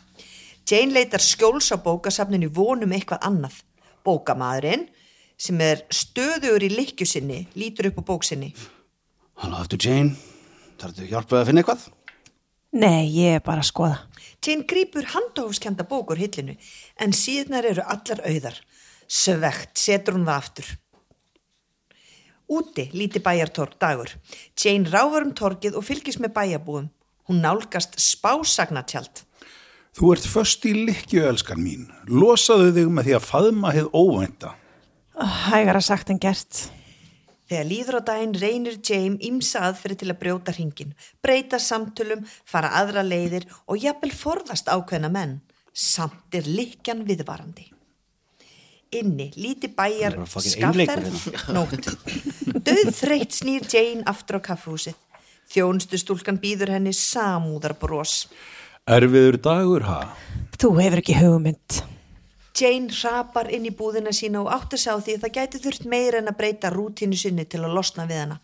Speaker 3: Jane leitar skjóls á bókasafninu í vonum eitthvað annað. Bókamaðurinn, sem er stöðugur í likju sinni, lítur upp á bóksinni.
Speaker 4: Hann á aftur Jane Þarf þú hjálpaði að finna eitthvað?
Speaker 6: Nei, ég er bara að skoða.
Speaker 3: Jane grýpur handahófskenda bókur hillinu, en síðnar eru allar auðar. Svegt setur hún það aftur. Úti líti bæjartorg dagur. Jane ráfur um torgið og fylgist með bæjarbúum. Hún nálgast spásagnatjald.
Speaker 5: Þú ert föst í likju, elskan mín. Losaðu þig með því að faðma hefð óvænta.
Speaker 6: Hægara sagt en gert.
Speaker 3: Þegar líður á daginn reynir Jane ímsa aðferði til að brjóta hringin, breyta samtölum, fara aðra leiðir og jafnvel forðast ákveðna menn. Samt er likjan viðvarandi. Inni, líti bæjar,
Speaker 4: Hann er bara fucking
Speaker 3: skafferð,
Speaker 4: einleikur hérna.
Speaker 3: nótt. Döð þreytt snýr Jane aftur á kaffhúsið. Þjónustu stúlkan býður henni samúðarbros.
Speaker 5: Erfiður dagur, ha?
Speaker 6: Þú hefur ekki hugmynd.
Speaker 3: Jane hrapar inn í búðina sína og átti sig á því að það gæti þurft meira en að breyta rútínu sinni til að losna við hana.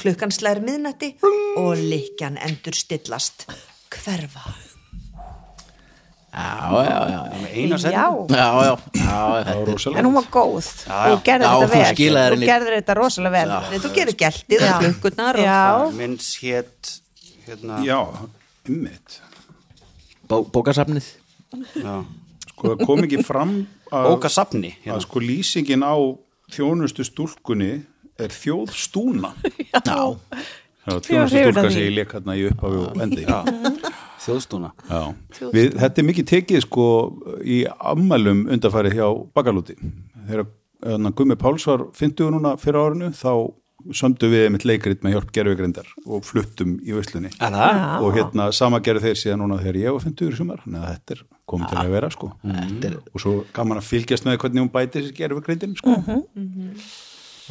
Speaker 3: Klukkan slær miðnætti og likjan endur stillast. Hverfa.
Speaker 2: Já, já, já, já.
Speaker 4: Eina setning.
Speaker 6: Já,
Speaker 2: Já, já, já, já.
Speaker 5: Það var rosalega.
Speaker 6: en hún var góð. Þú gerðir
Speaker 2: Já,
Speaker 6: þetta
Speaker 2: þú
Speaker 6: vel.
Speaker 2: skilaðir
Speaker 6: Þú
Speaker 2: henni-
Speaker 6: gerðir þetta rosalega vel.
Speaker 3: Nei, þú gerir gæltið og klukkunar og...
Speaker 6: Já,
Speaker 4: Minns hétt hérna,
Speaker 5: Já, ymmit.
Speaker 2: Bó, bókasafnið
Speaker 4: já.
Speaker 5: Sko, það kom ekki fram að,
Speaker 4: Bókasafni
Speaker 5: að
Speaker 4: hérna.
Speaker 5: sko lýsingin á þjónustu stúlkunni er þjóðstúna.
Speaker 2: Já,
Speaker 5: Já,
Speaker 6: var
Speaker 5: þjónustu
Speaker 6: hrifin af
Speaker 5: stúlka
Speaker 6: því.
Speaker 5: sé ég leik hérna í upphafi og endi. Já.
Speaker 4: Þjóðstúna
Speaker 5: Við, þetta er mikið tekið sko í ammælum undarfærið hjá Bakalúti. Þegar hérna, Gummi Páls var 50 núna fyrir árinu þá sömdu við einmitt leikrit með hjálp gerfugrindar og fluttum í Íslunni.
Speaker 4: Er það?
Speaker 5: Og hérna sama gerðu þeir síðan núna þegar ég var 50 í sumar. Nei, þetta er komið til að vera sko.
Speaker 2: er-
Speaker 5: Og svo gaman að fylgjast með hvernig hún bæti sér gerfugrindin sko.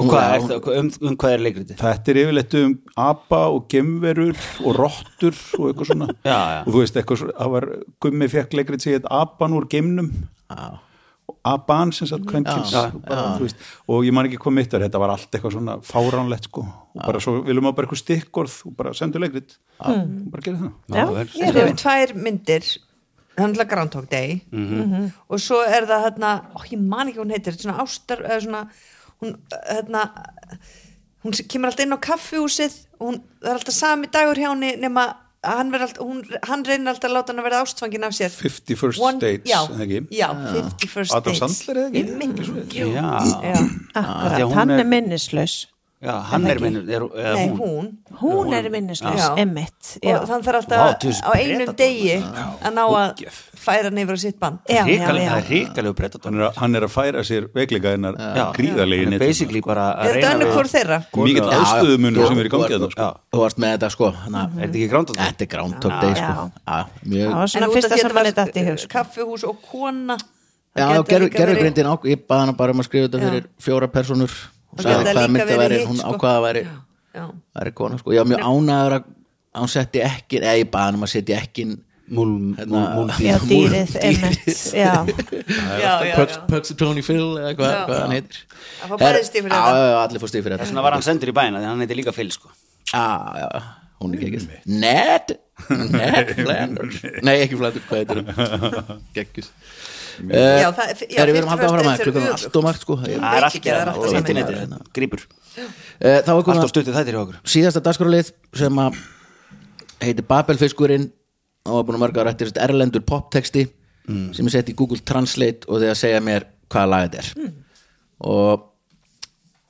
Speaker 4: Og hvað er það? Um, um hvað er leikriti?
Speaker 5: Þetta er yfirleitt um apa og gemverur og rottur og eitthvað svona.
Speaker 4: Já, já.
Speaker 5: Og þú veist, eitthvað svo, það var, Gummi fekk leikrit sig eitthvað apan úr gemnum.
Speaker 2: Já.
Speaker 5: Apan sem sagt kvenkins.
Speaker 2: Já,
Speaker 5: og, bara, þú veist, og ég man ekki hvað mitt er, þetta var allt eitthvað svona fáránlegt sko. Og bara svo viljum að bara eitthvað stikkorð og bara sendu leikrit. Og bara gera það.
Speaker 6: já,
Speaker 4: vel.
Speaker 6: ég
Speaker 3: Þetta
Speaker 6: er
Speaker 3: eru tvær myndir, handla Groundhog Day og svo er það hérna, ó, ég man ekki hvað hún heitir, þetta er svona ástar, eða svona, hún, hérna, hún sem kemur alltaf inn á kaffihúsið og hún, það er alltaf sami dagur hjá henni nema að hann, verður alltaf, hún, hann reynir alltaf að láta hann að verða ástfangin af sér.
Speaker 5: 51st dates,
Speaker 3: já,
Speaker 5: eða ekki?
Speaker 3: Já, 51st
Speaker 5: Adam
Speaker 3: Dates.
Speaker 5: Sandler, eða ekki?
Speaker 3: Einmitt, jú.
Speaker 4: Já,
Speaker 3: Já.
Speaker 4: Af því að
Speaker 6: akkurat.
Speaker 4: hún
Speaker 6: Hann
Speaker 4: er-
Speaker 6: er minnislaus.
Speaker 4: já hann er minnur er, er,
Speaker 3: Nei,
Speaker 4: hún.
Speaker 3: hún.
Speaker 6: Hún er minnislaus,
Speaker 3: Já.
Speaker 6: emmitt. Já,
Speaker 3: Og þannig
Speaker 4: Vá,
Speaker 3: þarf alltaf
Speaker 4: þú veist,
Speaker 3: á einum
Speaker 4: Predator.
Speaker 3: degi að ná að færa hann yfir á sitt band.
Speaker 6: já, já.
Speaker 4: Ríkale-
Speaker 6: já.
Speaker 4: Það er ríkalegu breytatón
Speaker 5: Hann er, að- hann er að færa sér veikleika hennar gríðarlegin.
Speaker 4: Hann er basically
Speaker 5: sko.
Speaker 4: bara að
Speaker 3: Er þetta
Speaker 4: reyna
Speaker 3: annað hvort þeirra?
Speaker 5: Mikið
Speaker 2: Já, já.
Speaker 5: aðstöðumunur sem er í
Speaker 2: Þú-
Speaker 5: gangi
Speaker 2: þú-
Speaker 5: þetta sko.
Speaker 2: Þú varst með þetta sko hana,
Speaker 4: Er þetta ekki grándað?
Speaker 2: Þetta er Groundhog Day sko Já,
Speaker 6: Já. Það
Speaker 2: mjög
Speaker 6: var svona fyrsta sem manni dætti í hug. sko.
Speaker 3: kaffihús og kona
Speaker 2: Já, gerðu grindin á, ég baði hana bara um að skrifa þetta fyrir fjóra personur og
Speaker 3: Það
Speaker 2: sagði hvaða
Speaker 3: gæti líka
Speaker 2: myndi
Speaker 3: verið
Speaker 2: væri,
Speaker 3: hitt,
Speaker 2: hún
Speaker 3: sko.
Speaker 2: ákvaða væri
Speaker 3: grindin
Speaker 2: væri kona sko, ég var mjög ánæður að að hún setti ekki, eða ég baði hana um að setja ekki hérna-
Speaker 4: Hérna,
Speaker 6: Já, dýrið, emmitt. Já.
Speaker 2: Pugs Tony Phil eða hvað
Speaker 3: Já.
Speaker 2: hvað hann heitir
Speaker 3: Hann fór bæði
Speaker 2: Her-
Speaker 3: stig fyrir
Speaker 2: Já,
Speaker 3: þetta.
Speaker 2: já, já, allir fór stíf fyrir
Speaker 4: Svona
Speaker 2: þetta
Speaker 4: var hann sendur í bæina því hann heiti líka Phil sko
Speaker 2: Já, já, hún er ekki ekki Ned, Ned Flanders Nei, ekki Flanders, hvað heitir hún Gekkus
Speaker 3: Já, það- já,
Speaker 2: Er við erum
Speaker 3: 51st
Speaker 2: alltaf áfram að
Speaker 3: dates eru
Speaker 2: klukkan
Speaker 3: öfugt.
Speaker 2: allt og margt sko
Speaker 4: Það
Speaker 2: Ég-
Speaker 4: er allt
Speaker 3: ekki, það er allt að
Speaker 4: allt
Speaker 3: saman.
Speaker 4: internetið hérna, Grípur
Speaker 2: Eh, Þá er
Speaker 4: Allt á
Speaker 2: komin
Speaker 4: stuttið þættir hjá okkur
Speaker 2: síðasta dagskrálið sem að heitir Babelfiskurinn og var búin að mörga ára eftir þetta erlendur poptexti sem ég sett í Google Translate og þegar segja mér hvaða lag þetta er og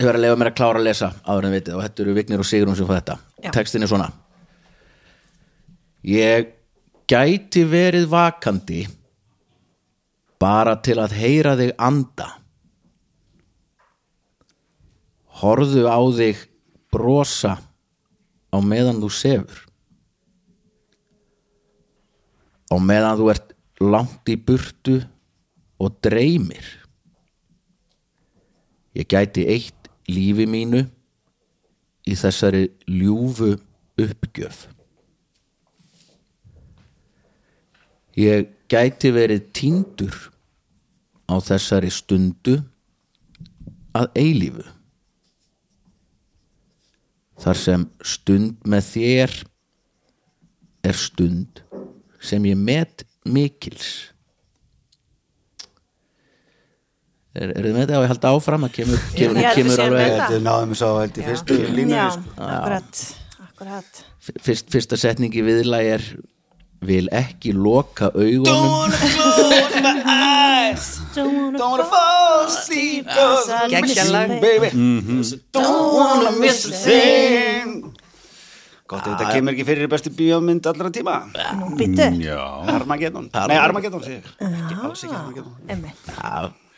Speaker 2: ég verið að leifa mér að klára að lesa áður en vitið og þetta eru Vignir og Sigrun sem fá þetta
Speaker 6: Já.
Speaker 2: textin er svona Ég gæti verið vakandi bara til að heyra þig anda horðu á þig brosa á meðan þú sefur á meðan þú ert langt í burtu og dreymir ég gæti eitt lífi mínu í þessari ljúfu uppgjöf Ég gæti verið týndur á þessari stundu að eilífu. Þar sem stund með þér er stund sem ég met mikils. Er, er þið með þetta að ég halda áfram að kemur, kemur,
Speaker 6: Ég held við
Speaker 2: kemur
Speaker 6: séum
Speaker 2: alveg
Speaker 6: með
Speaker 4: Þetta er náðum svo held í fyrstu línu
Speaker 6: já,
Speaker 4: sko.
Speaker 6: akkurat, akkurat.
Speaker 2: fyrst, fyrsta setning í viðlæg er vil ekki loka augunum
Speaker 4: Don't wanna fall asleep cause I'm
Speaker 3: Gekkjalag.
Speaker 4: missing you, baby Don't wanna miss a thing Gott ef þetta kemur ekki fyrir í bestu bíómynd allra tíma
Speaker 6: Býtu,
Speaker 5: Já,
Speaker 4: Armageddon Nei, Ah. Armageddon sé ég Ekki, alls ekki Armageddon
Speaker 6: emmitt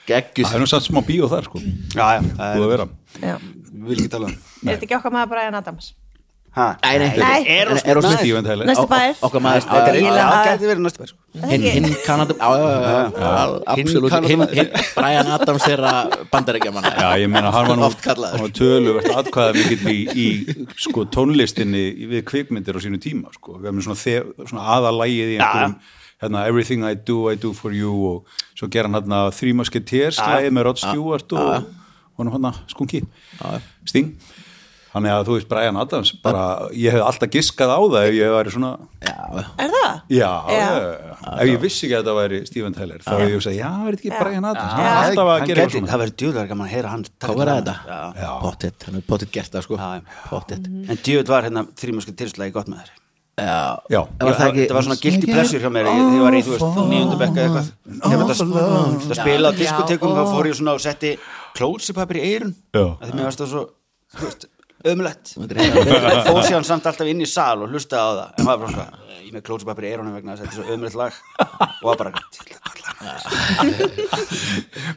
Speaker 2: geggjus
Speaker 5: það er nú satt smá bíó þar sko Búið
Speaker 4: Já, já, það
Speaker 5: að
Speaker 4: er,
Speaker 5: vera
Speaker 6: Er
Speaker 4: vil ekki tala um
Speaker 6: þetta ekki okkar maður Brian Adams?
Speaker 4: Ha?
Speaker 2: Nei, nei,
Speaker 6: Nei.
Speaker 2: er er Aerosmith
Speaker 5: Steve and Helen.
Speaker 6: Næsti bæir.
Speaker 2: Okkar maður
Speaker 4: Þetta er
Speaker 6: eiginlega-
Speaker 4: eiginlega Gæti verið næstu bæri sko
Speaker 2: Hinn hin Kanadum Já, já, já, já Absolutt
Speaker 4: Hinn
Speaker 2: Hinn
Speaker 4: Kanada-
Speaker 2: hin, Brian Adams er að bandarækja manna
Speaker 5: Já, ég meina, hann var nú
Speaker 2: Oft kallaður.
Speaker 5: hann var töluvert atkvæða mikill í, í sko, tónlistinni í- við kvikmyndir á sínu tíma, sko, við erum svona, þef, svona aðalægið í einhverjum hérna, Everything I Do, I Do For You og svo ger hann hérna Three Musketeers slæðið með Rod Stewart og honum hann skunki, Sting Þannig að þú veist Brian Adams bara, ég hef alltaf giskað á það ef ég væri svona,
Speaker 6: Er það?
Speaker 5: já,
Speaker 6: Já.
Speaker 5: já. ef ég vissi ekki að þetta væri Steven Tyler þá hef ég sagt, já, er þetta ekki Brian Adams hann
Speaker 6: Já.
Speaker 5: er alltaf að
Speaker 4: Hann
Speaker 5: gera
Speaker 4: gæti-
Speaker 5: eitthvað svona
Speaker 4: Það verður djúðlega gaman að heyra hann taka
Speaker 2: Hvað verða
Speaker 4: til
Speaker 2: þetta?
Speaker 4: hana. Já.
Speaker 5: Já.
Speaker 2: Pottet Hann er pottet gert það sko
Speaker 4: Já, já.
Speaker 2: Pottet
Speaker 4: En djúð var hérna þrýmösku tilslægi gott með þér
Speaker 2: Já
Speaker 5: Já.
Speaker 2: Það var það ekki
Speaker 4: Þetta var svona guilty pleasure hjá mér Ég, ég var í, þú veist, nýjöndu bekka eða eitthvað Ég veit að sp- að spila á diskotekum Þá fór ég svona og setti klósipapir í eirun
Speaker 5: Já.
Speaker 4: Af Því mér varst það svo, þú veist, ömulegt
Speaker 2: Þetta er hérna-
Speaker 4: Fór síðan samt alltaf inn í sal og hlustaði á það En maður bara svona, ég með klósipapir í eirunum vegna þess að Þetta er svo ömulegt lag Og var bara, til að kalla hann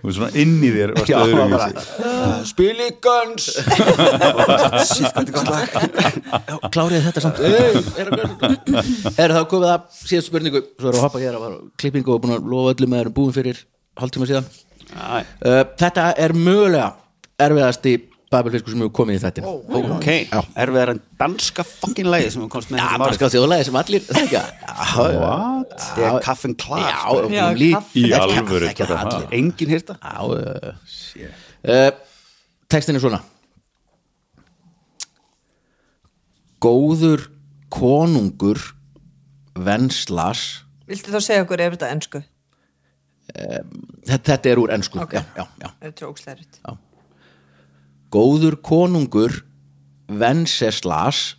Speaker 5: og svona inn í þér varstu
Speaker 4: Já,
Speaker 5: öðruvísi.
Speaker 4: bara, uh, spili guns Og bara, Shit, hvað þetta er gott lag
Speaker 2: Já, Klárið þetta samt Er það komið að síðast spurningu Svo erum við að hoppa hér að klippingu og búin að lofa öllum að erum búin fyrir hálftíma síðan
Speaker 4: Æ,
Speaker 2: Uh, Þetta er mögulega erfiðasti babelfiskur sem hefur komið í þetta
Speaker 4: Ok, erfiðar en danska fucking lagi sem við komst með
Speaker 2: Já,
Speaker 4: hérna um
Speaker 2: bara
Speaker 4: árið.
Speaker 2: skáð þjóðlega sem allir þekkja. Já, já.
Speaker 5: What?
Speaker 4: Þetta er kaffin klart
Speaker 2: Já,
Speaker 4: sko.
Speaker 2: já, lít,
Speaker 5: Í alvöru
Speaker 2: Ekki
Speaker 5: þetta,
Speaker 2: allir.
Speaker 4: Engin hérta
Speaker 2: Já, uh, uh, textin er svona Góður konungur venslas
Speaker 3: Viltu þá segja okkur ef þetta er ennsku?
Speaker 2: þetta, þetta er úr ennsku já, já, já.
Speaker 3: Er þetta ógslærit?
Speaker 2: Góður konungur Venceslas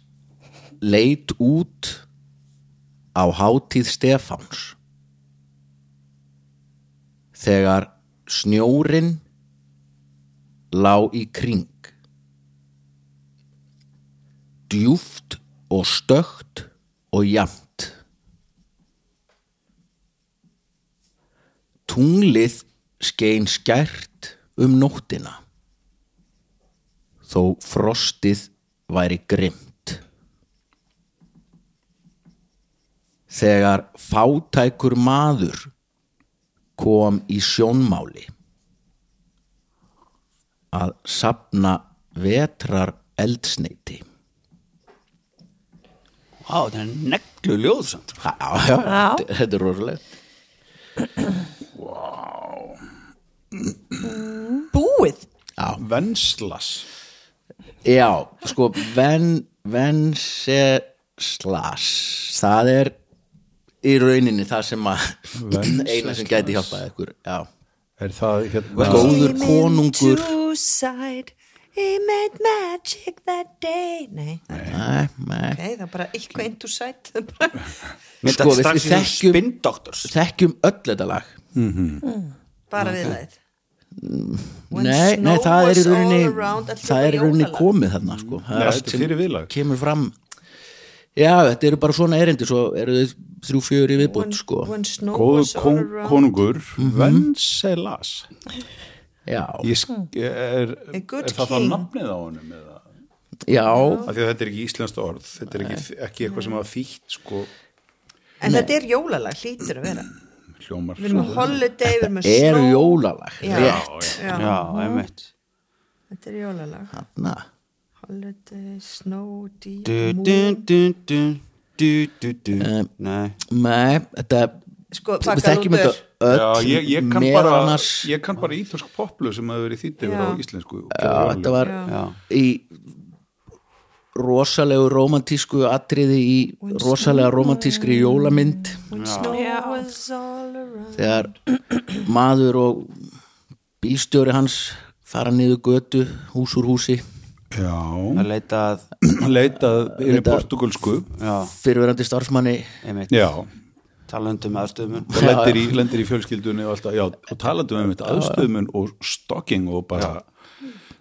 Speaker 2: leit út á hátíð Stefáns þegar snjórin lá í kring djúft og stökt og jamt tunglið skein skært um nóttina þó frostið væri grimt. Þegar fátækur maður kom í sjónmáli að sapna vetrar eldsneiti.
Speaker 4: Vá, þetta er neglu ljóðsamt
Speaker 2: Já, já,
Speaker 6: Já.
Speaker 2: þetta- þetta er rosalegt.
Speaker 3: Búið?
Speaker 5: Venslas
Speaker 2: Já, sko ven, Venceslas það er í rauninni það sem að eina sem gæti hjálpað ykkur já.
Speaker 5: Er það hérna
Speaker 2: Góður konungur
Speaker 3: Two side He made magic that day Nei,
Speaker 2: Nei, nei.
Speaker 3: nei það er bara eitthvað into sight Það er bara-
Speaker 4: Mynda
Speaker 2: Sko, við-
Speaker 4: strax
Speaker 2: við
Speaker 4: í
Speaker 2: þekkjum-
Speaker 4: spindoktors
Speaker 2: Þekkjum öll þetta lag
Speaker 3: Bara viðlæðið When
Speaker 2: Nei,
Speaker 3: snow
Speaker 2: nei, það er í
Speaker 3: was all
Speaker 2: rauninni
Speaker 3: around,
Speaker 2: Það er í
Speaker 3: allir bara
Speaker 2: rauninni
Speaker 3: jólalag.
Speaker 2: komið þarna sko. Það
Speaker 5: Nei,
Speaker 2: er allt
Speaker 5: þetta er
Speaker 2: sem
Speaker 5: fyrir viðlag.
Speaker 2: Kemur fram já, þetta eru bara svona erindi svo eru þau þrjú fjögur í viðbútt sko.
Speaker 3: When snow
Speaker 5: Góðu
Speaker 3: was all
Speaker 5: kon,
Speaker 3: around
Speaker 5: konungur Venselas
Speaker 2: já,
Speaker 5: Ég sk- er,
Speaker 3: A
Speaker 5: er
Speaker 3: good
Speaker 5: það það
Speaker 3: king.
Speaker 5: nafnið á honum eða?
Speaker 2: já,
Speaker 5: Af því að þetta er ekki íslenskt orð Þetta er ekki, ekki eitthvað sem að þýtt sko
Speaker 3: En þetta er jólalag, hlýtur að vera
Speaker 5: hljómar
Speaker 3: Við erum með holiday, við erum með snow
Speaker 2: eru jólalag
Speaker 3: Já.
Speaker 2: rétt,
Speaker 3: Já,
Speaker 4: já, einmitt
Speaker 3: þetta er jólalag
Speaker 2: na
Speaker 3: Holiday, snow, deep
Speaker 4: du, du,
Speaker 3: moon
Speaker 4: du, du, du, du, du.
Speaker 2: Um,
Speaker 4: nei,
Speaker 2: nei, þetta
Speaker 3: Sko,
Speaker 2: við
Speaker 3: pakkaðu
Speaker 2: þekkjum
Speaker 3: út
Speaker 2: þetta
Speaker 3: þér.
Speaker 2: öll
Speaker 5: Já, ég, ég kann
Speaker 2: meðal
Speaker 5: bara
Speaker 2: annars,
Speaker 5: ég kann bara ítölsk poplu sem hefur verið þýtt yfir
Speaker 3: Já.
Speaker 5: á íslensku
Speaker 2: já, þetta var
Speaker 4: já,
Speaker 2: í rosalegu romantísku atriði í rosalega romantískri jólamynd
Speaker 3: When snow
Speaker 6: Já.
Speaker 3: was all around
Speaker 2: þegar maður og bílstjóri hans fara niður götu hús úr húsi
Speaker 5: Já,
Speaker 4: að leita að
Speaker 5: leitað yfir portugalsku
Speaker 4: já,
Speaker 2: fyrirverandi starfsmanni
Speaker 4: einmitt,
Speaker 5: Já,
Speaker 4: talendum aðstöðumun
Speaker 5: og lendir í, lendir í fjölskyldunni og alltaf, já, og talandi um þetta aðstöðumun og stalking og bara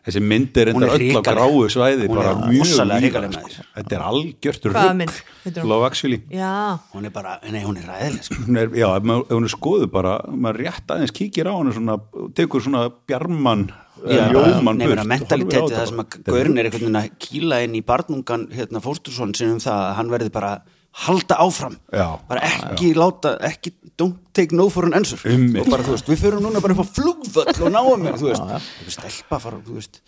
Speaker 5: þessi mynd er
Speaker 4: Hún er
Speaker 5: enda öll á
Speaker 4: hrikaleg.
Speaker 5: gráu svæði
Speaker 4: Hún
Speaker 5: bara
Speaker 4: er
Speaker 5: mjög
Speaker 4: rosalega
Speaker 5: víða,
Speaker 4: hrikaleg,
Speaker 5: sko.
Speaker 4: maður.
Speaker 5: Þetta er algjört
Speaker 3: Hvaða mynd? Heitir
Speaker 5: rugg
Speaker 3: hún?
Speaker 5: Love Actually
Speaker 3: Já,
Speaker 4: hún er bara, nei, hún er ræðileg sko.
Speaker 5: Hún er, já, ef maður- ef hún er skoðu bara maður rétt aðeins kíkir á hann svona, tekur svona bjarmann
Speaker 4: Já,
Speaker 5: ljóman
Speaker 4: nefnir
Speaker 5: burt
Speaker 4: að
Speaker 5: og
Speaker 4: mentaliteti
Speaker 5: horfir á
Speaker 4: það
Speaker 5: þetta
Speaker 4: sem að
Speaker 5: bara.
Speaker 4: gaurin er einhvern veginn að kýla inn í barnungan hérna fóstursson sem um það að hann verði bara að halda áfram
Speaker 5: Já.
Speaker 4: bara ekki láta, ekki don't take no for an answer
Speaker 5: Einmitt.
Speaker 4: og bara þú veist, við förum núna bara upp á flugvöll og náum mér, þú veist, þú veist stelpa fara, þú veist,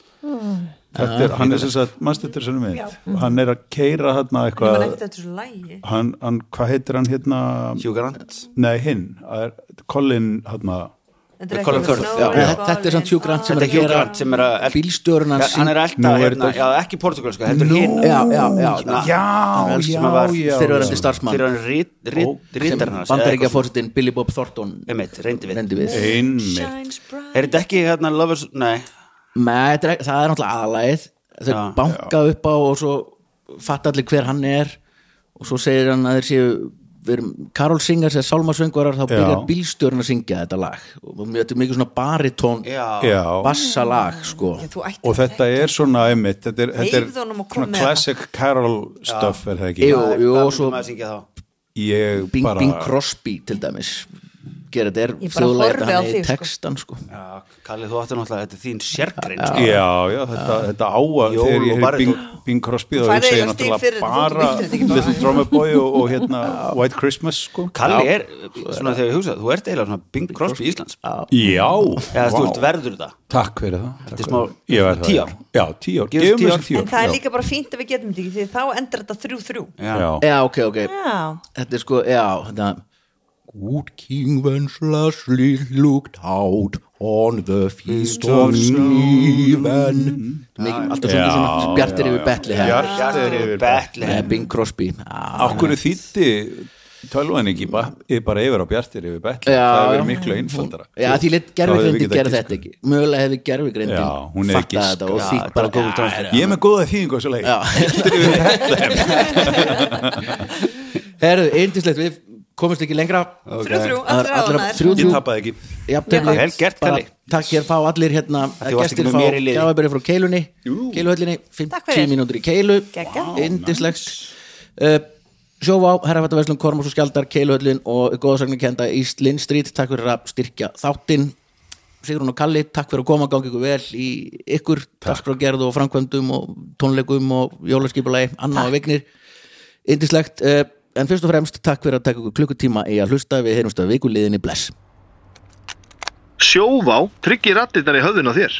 Speaker 5: Þetta er, hann er sem sagt, mannstu þetta er sem við hann er að keira
Speaker 3: það
Speaker 5: hérna
Speaker 3: var
Speaker 5: eitthvað
Speaker 3: ekkert eftir svo lægi
Speaker 5: hann, hann, hvað heitir hann hérna
Speaker 4: Hugh Grant
Speaker 5: nei hinn, það er Colin hérna,
Speaker 3: Þetta er
Speaker 4: Colin
Speaker 3: ekki-
Speaker 4: Firth. Já,
Speaker 3: Snow is
Speaker 2: Já,
Speaker 3: all
Speaker 2: þetta er samt Hugh Grant sem
Speaker 4: þetta er
Speaker 2: er að
Speaker 4: Hugh
Speaker 2: gera
Speaker 4: Grant sem er að
Speaker 2: bílstjórun hans
Speaker 4: hann er
Speaker 5: Nú
Speaker 4: alltaf,
Speaker 5: er
Speaker 4: hérna,
Speaker 5: þetta-
Speaker 4: já, ekki portugalska þetta er hinn,
Speaker 2: já, já, já,
Speaker 4: Svona-
Speaker 5: já,
Speaker 4: sem
Speaker 5: já,
Speaker 4: að var
Speaker 5: já
Speaker 2: fyrirverandi
Speaker 4: fyrir
Speaker 2: starfsmann
Speaker 4: hann rit- rit- ritarinn hans eða
Speaker 2: bandar ekki
Speaker 4: eitthvað
Speaker 2: að fórsetin Billy Bob Thornton
Speaker 4: svona. einmitt, reyndi við
Speaker 2: rendi við
Speaker 5: einmitt,
Speaker 3: shines bright.
Speaker 4: er þetta ekki hérna lovers, nei
Speaker 2: Nei, þetta er ekki- það er náttúrulega aðalæð þau
Speaker 4: Já.
Speaker 2: banka upp á og svo fatta allir hver hann er og svo segir hann að þeir séu við erum Karol Singers eða Sálmarsöngvarar þá byrjar bílstjórun að syngja þetta lag og mjög- þetta er mikið svona baritón
Speaker 4: já,
Speaker 5: já
Speaker 2: bassalag sko
Speaker 3: Já, Þú ætti
Speaker 5: og þetta er svona einmitt þetta er, þetta er
Speaker 3: Heyrðu honum og hérna. kom
Speaker 5: svona
Speaker 3: með
Speaker 5: classic Carol stuff er það ekki
Speaker 2: Jú.
Speaker 4: Hvað-
Speaker 2: og
Speaker 4: hvað myndum
Speaker 2: svo-
Speaker 4: maður að syngja þá?
Speaker 5: ég
Speaker 2: Bing
Speaker 5: bara
Speaker 2: Bing Crosby til dæmis gera þetta er
Speaker 3: Ég bara
Speaker 2: þjóðlega
Speaker 3: horfi
Speaker 2: þetta
Speaker 3: á
Speaker 2: hann er
Speaker 3: þig,
Speaker 2: í
Speaker 3: sko.
Speaker 2: textan sko
Speaker 4: Já, Kalli, þú áttu náttúrulega, þetta er þín sérgrein sko.
Speaker 5: já, já, þetta, þetta á að
Speaker 4: Jól
Speaker 5: þegar
Speaker 4: og
Speaker 5: ég hefði
Speaker 4: baríton.
Speaker 5: Bing, Bing Crosby þá
Speaker 3: Færðu
Speaker 5: hugsa ég
Speaker 3: eiginlega stig fyrir þetta, þú- þú vildir
Speaker 5: náttúrulega bara
Speaker 3: þetta ekki bara.
Speaker 5: Little Drummer Boy og, og hérna White Christmas sko
Speaker 4: Kalli er, svona þegar ég hugsa, þú ert eiginlega svona Bing Crosby Íslands
Speaker 5: já,
Speaker 4: eða þú ert
Speaker 5: vá.
Speaker 4: verður þetta
Speaker 5: Takk fyrir það Þetta
Speaker 4: er smá- tíu ár.
Speaker 5: Já, tíu ár,
Speaker 4: Gefum
Speaker 5: gefum
Speaker 4: tíu
Speaker 5: þessi
Speaker 4: ár.
Speaker 5: tíu ár
Speaker 3: En það er
Speaker 5: já.
Speaker 3: líka bara fínt að við getum þetta ekki því þá endar þetta þrjú þrjú
Speaker 5: Já,
Speaker 2: Já, ok, ok,
Speaker 6: Já,
Speaker 2: þetta er sko, já þetta Good King Wenceslawsly looked out on the feast of Stephen Mikið- Alltaf svona,
Speaker 5: Já,
Speaker 2: svona bjartir yfir Bethlehem
Speaker 5: Bjart er yfir Bethlehem
Speaker 4: Bethlehem,
Speaker 2: Nei, Bing Crosby Já,
Speaker 5: Akkur þýtti tölvan ekki ba- yfir bara yfir á bjartir yfir Bethlehem
Speaker 2: Já,
Speaker 5: Það hefur
Speaker 2: já.
Speaker 5: verið miklu einfaldara
Speaker 2: Já, því leitt
Speaker 5: Þá hefði
Speaker 2: gerfigreindin
Speaker 5: við
Speaker 2: gera
Speaker 5: getað sko.
Speaker 2: þetta ekki Mögulega hefði
Speaker 5: Já, hún
Speaker 2: gerfigreindin
Speaker 5: hefði
Speaker 2: fattað
Speaker 5: giskað.
Speaker 2: þetta og
Speaker 4: Já,
Speaker 2: þýtt bara
Speaker 4: Google Translate.
Speaker 5: Ég er með góða þýðingu þessu leik Bjartir yfir Bethlehem
Speaker 2: Herðu, eindislegt, við komumst ekki lengra
Speaker 3: Þrjú þrjú,
Speaker 2: Það er
Speaker 3: allir
Speaker 2: allra
Speaker 3: ánaðir
Speaker 2: þrjú
Speaker 5: Ég
Speaker 2: þrjú
Speaker 5: tapaði ekki
Speaker 2: jafntefli
Speaker 4: Vel gert,
Speaker 2: Bara
Speaker 4: Kalli.
Speaker 2: takk hér fá allir hérna
Speaker 4: þú varst ekki
Speaker 2: gestir
Speaker 4: með
Speaker 2: fá
Speaker 4: mér í liði.
Speaker 2: gjáðabæri frá keilunni
Speaker 5: Jú.
Speaker 2: keiluhöllinni,
Speaker 6: Takk fyrir.
Speaker 2: 50 mínútur í keilu
Speaker 6: Geggjað.
Speaker 2: indislegt uh, sjóvá, herrafattaverslun, kormos og skjaldar keiluhöllin og góðsagnarkenda East Lynn Street takk fyrir að styrkja þáttinn Sigrun og Kalli, takk fyrir að koma, gangi ykkur vel í ykkur, dagskrágerð og framkvæmdum og tónleikum og jólaskipulegi Anna og Vignir, indislegt uh, en fyrst og fremst takk fyrir að taka ykkur klukkutíma í að hlusta, við heyrumst að vikuliðinni bless
Speaker 1: Sjóvá tryggir rattirnar í höfðun á þér.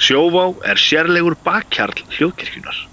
Speaker 1: Sjóvá er sérlegur bakkjarl hljóðkirkjunar.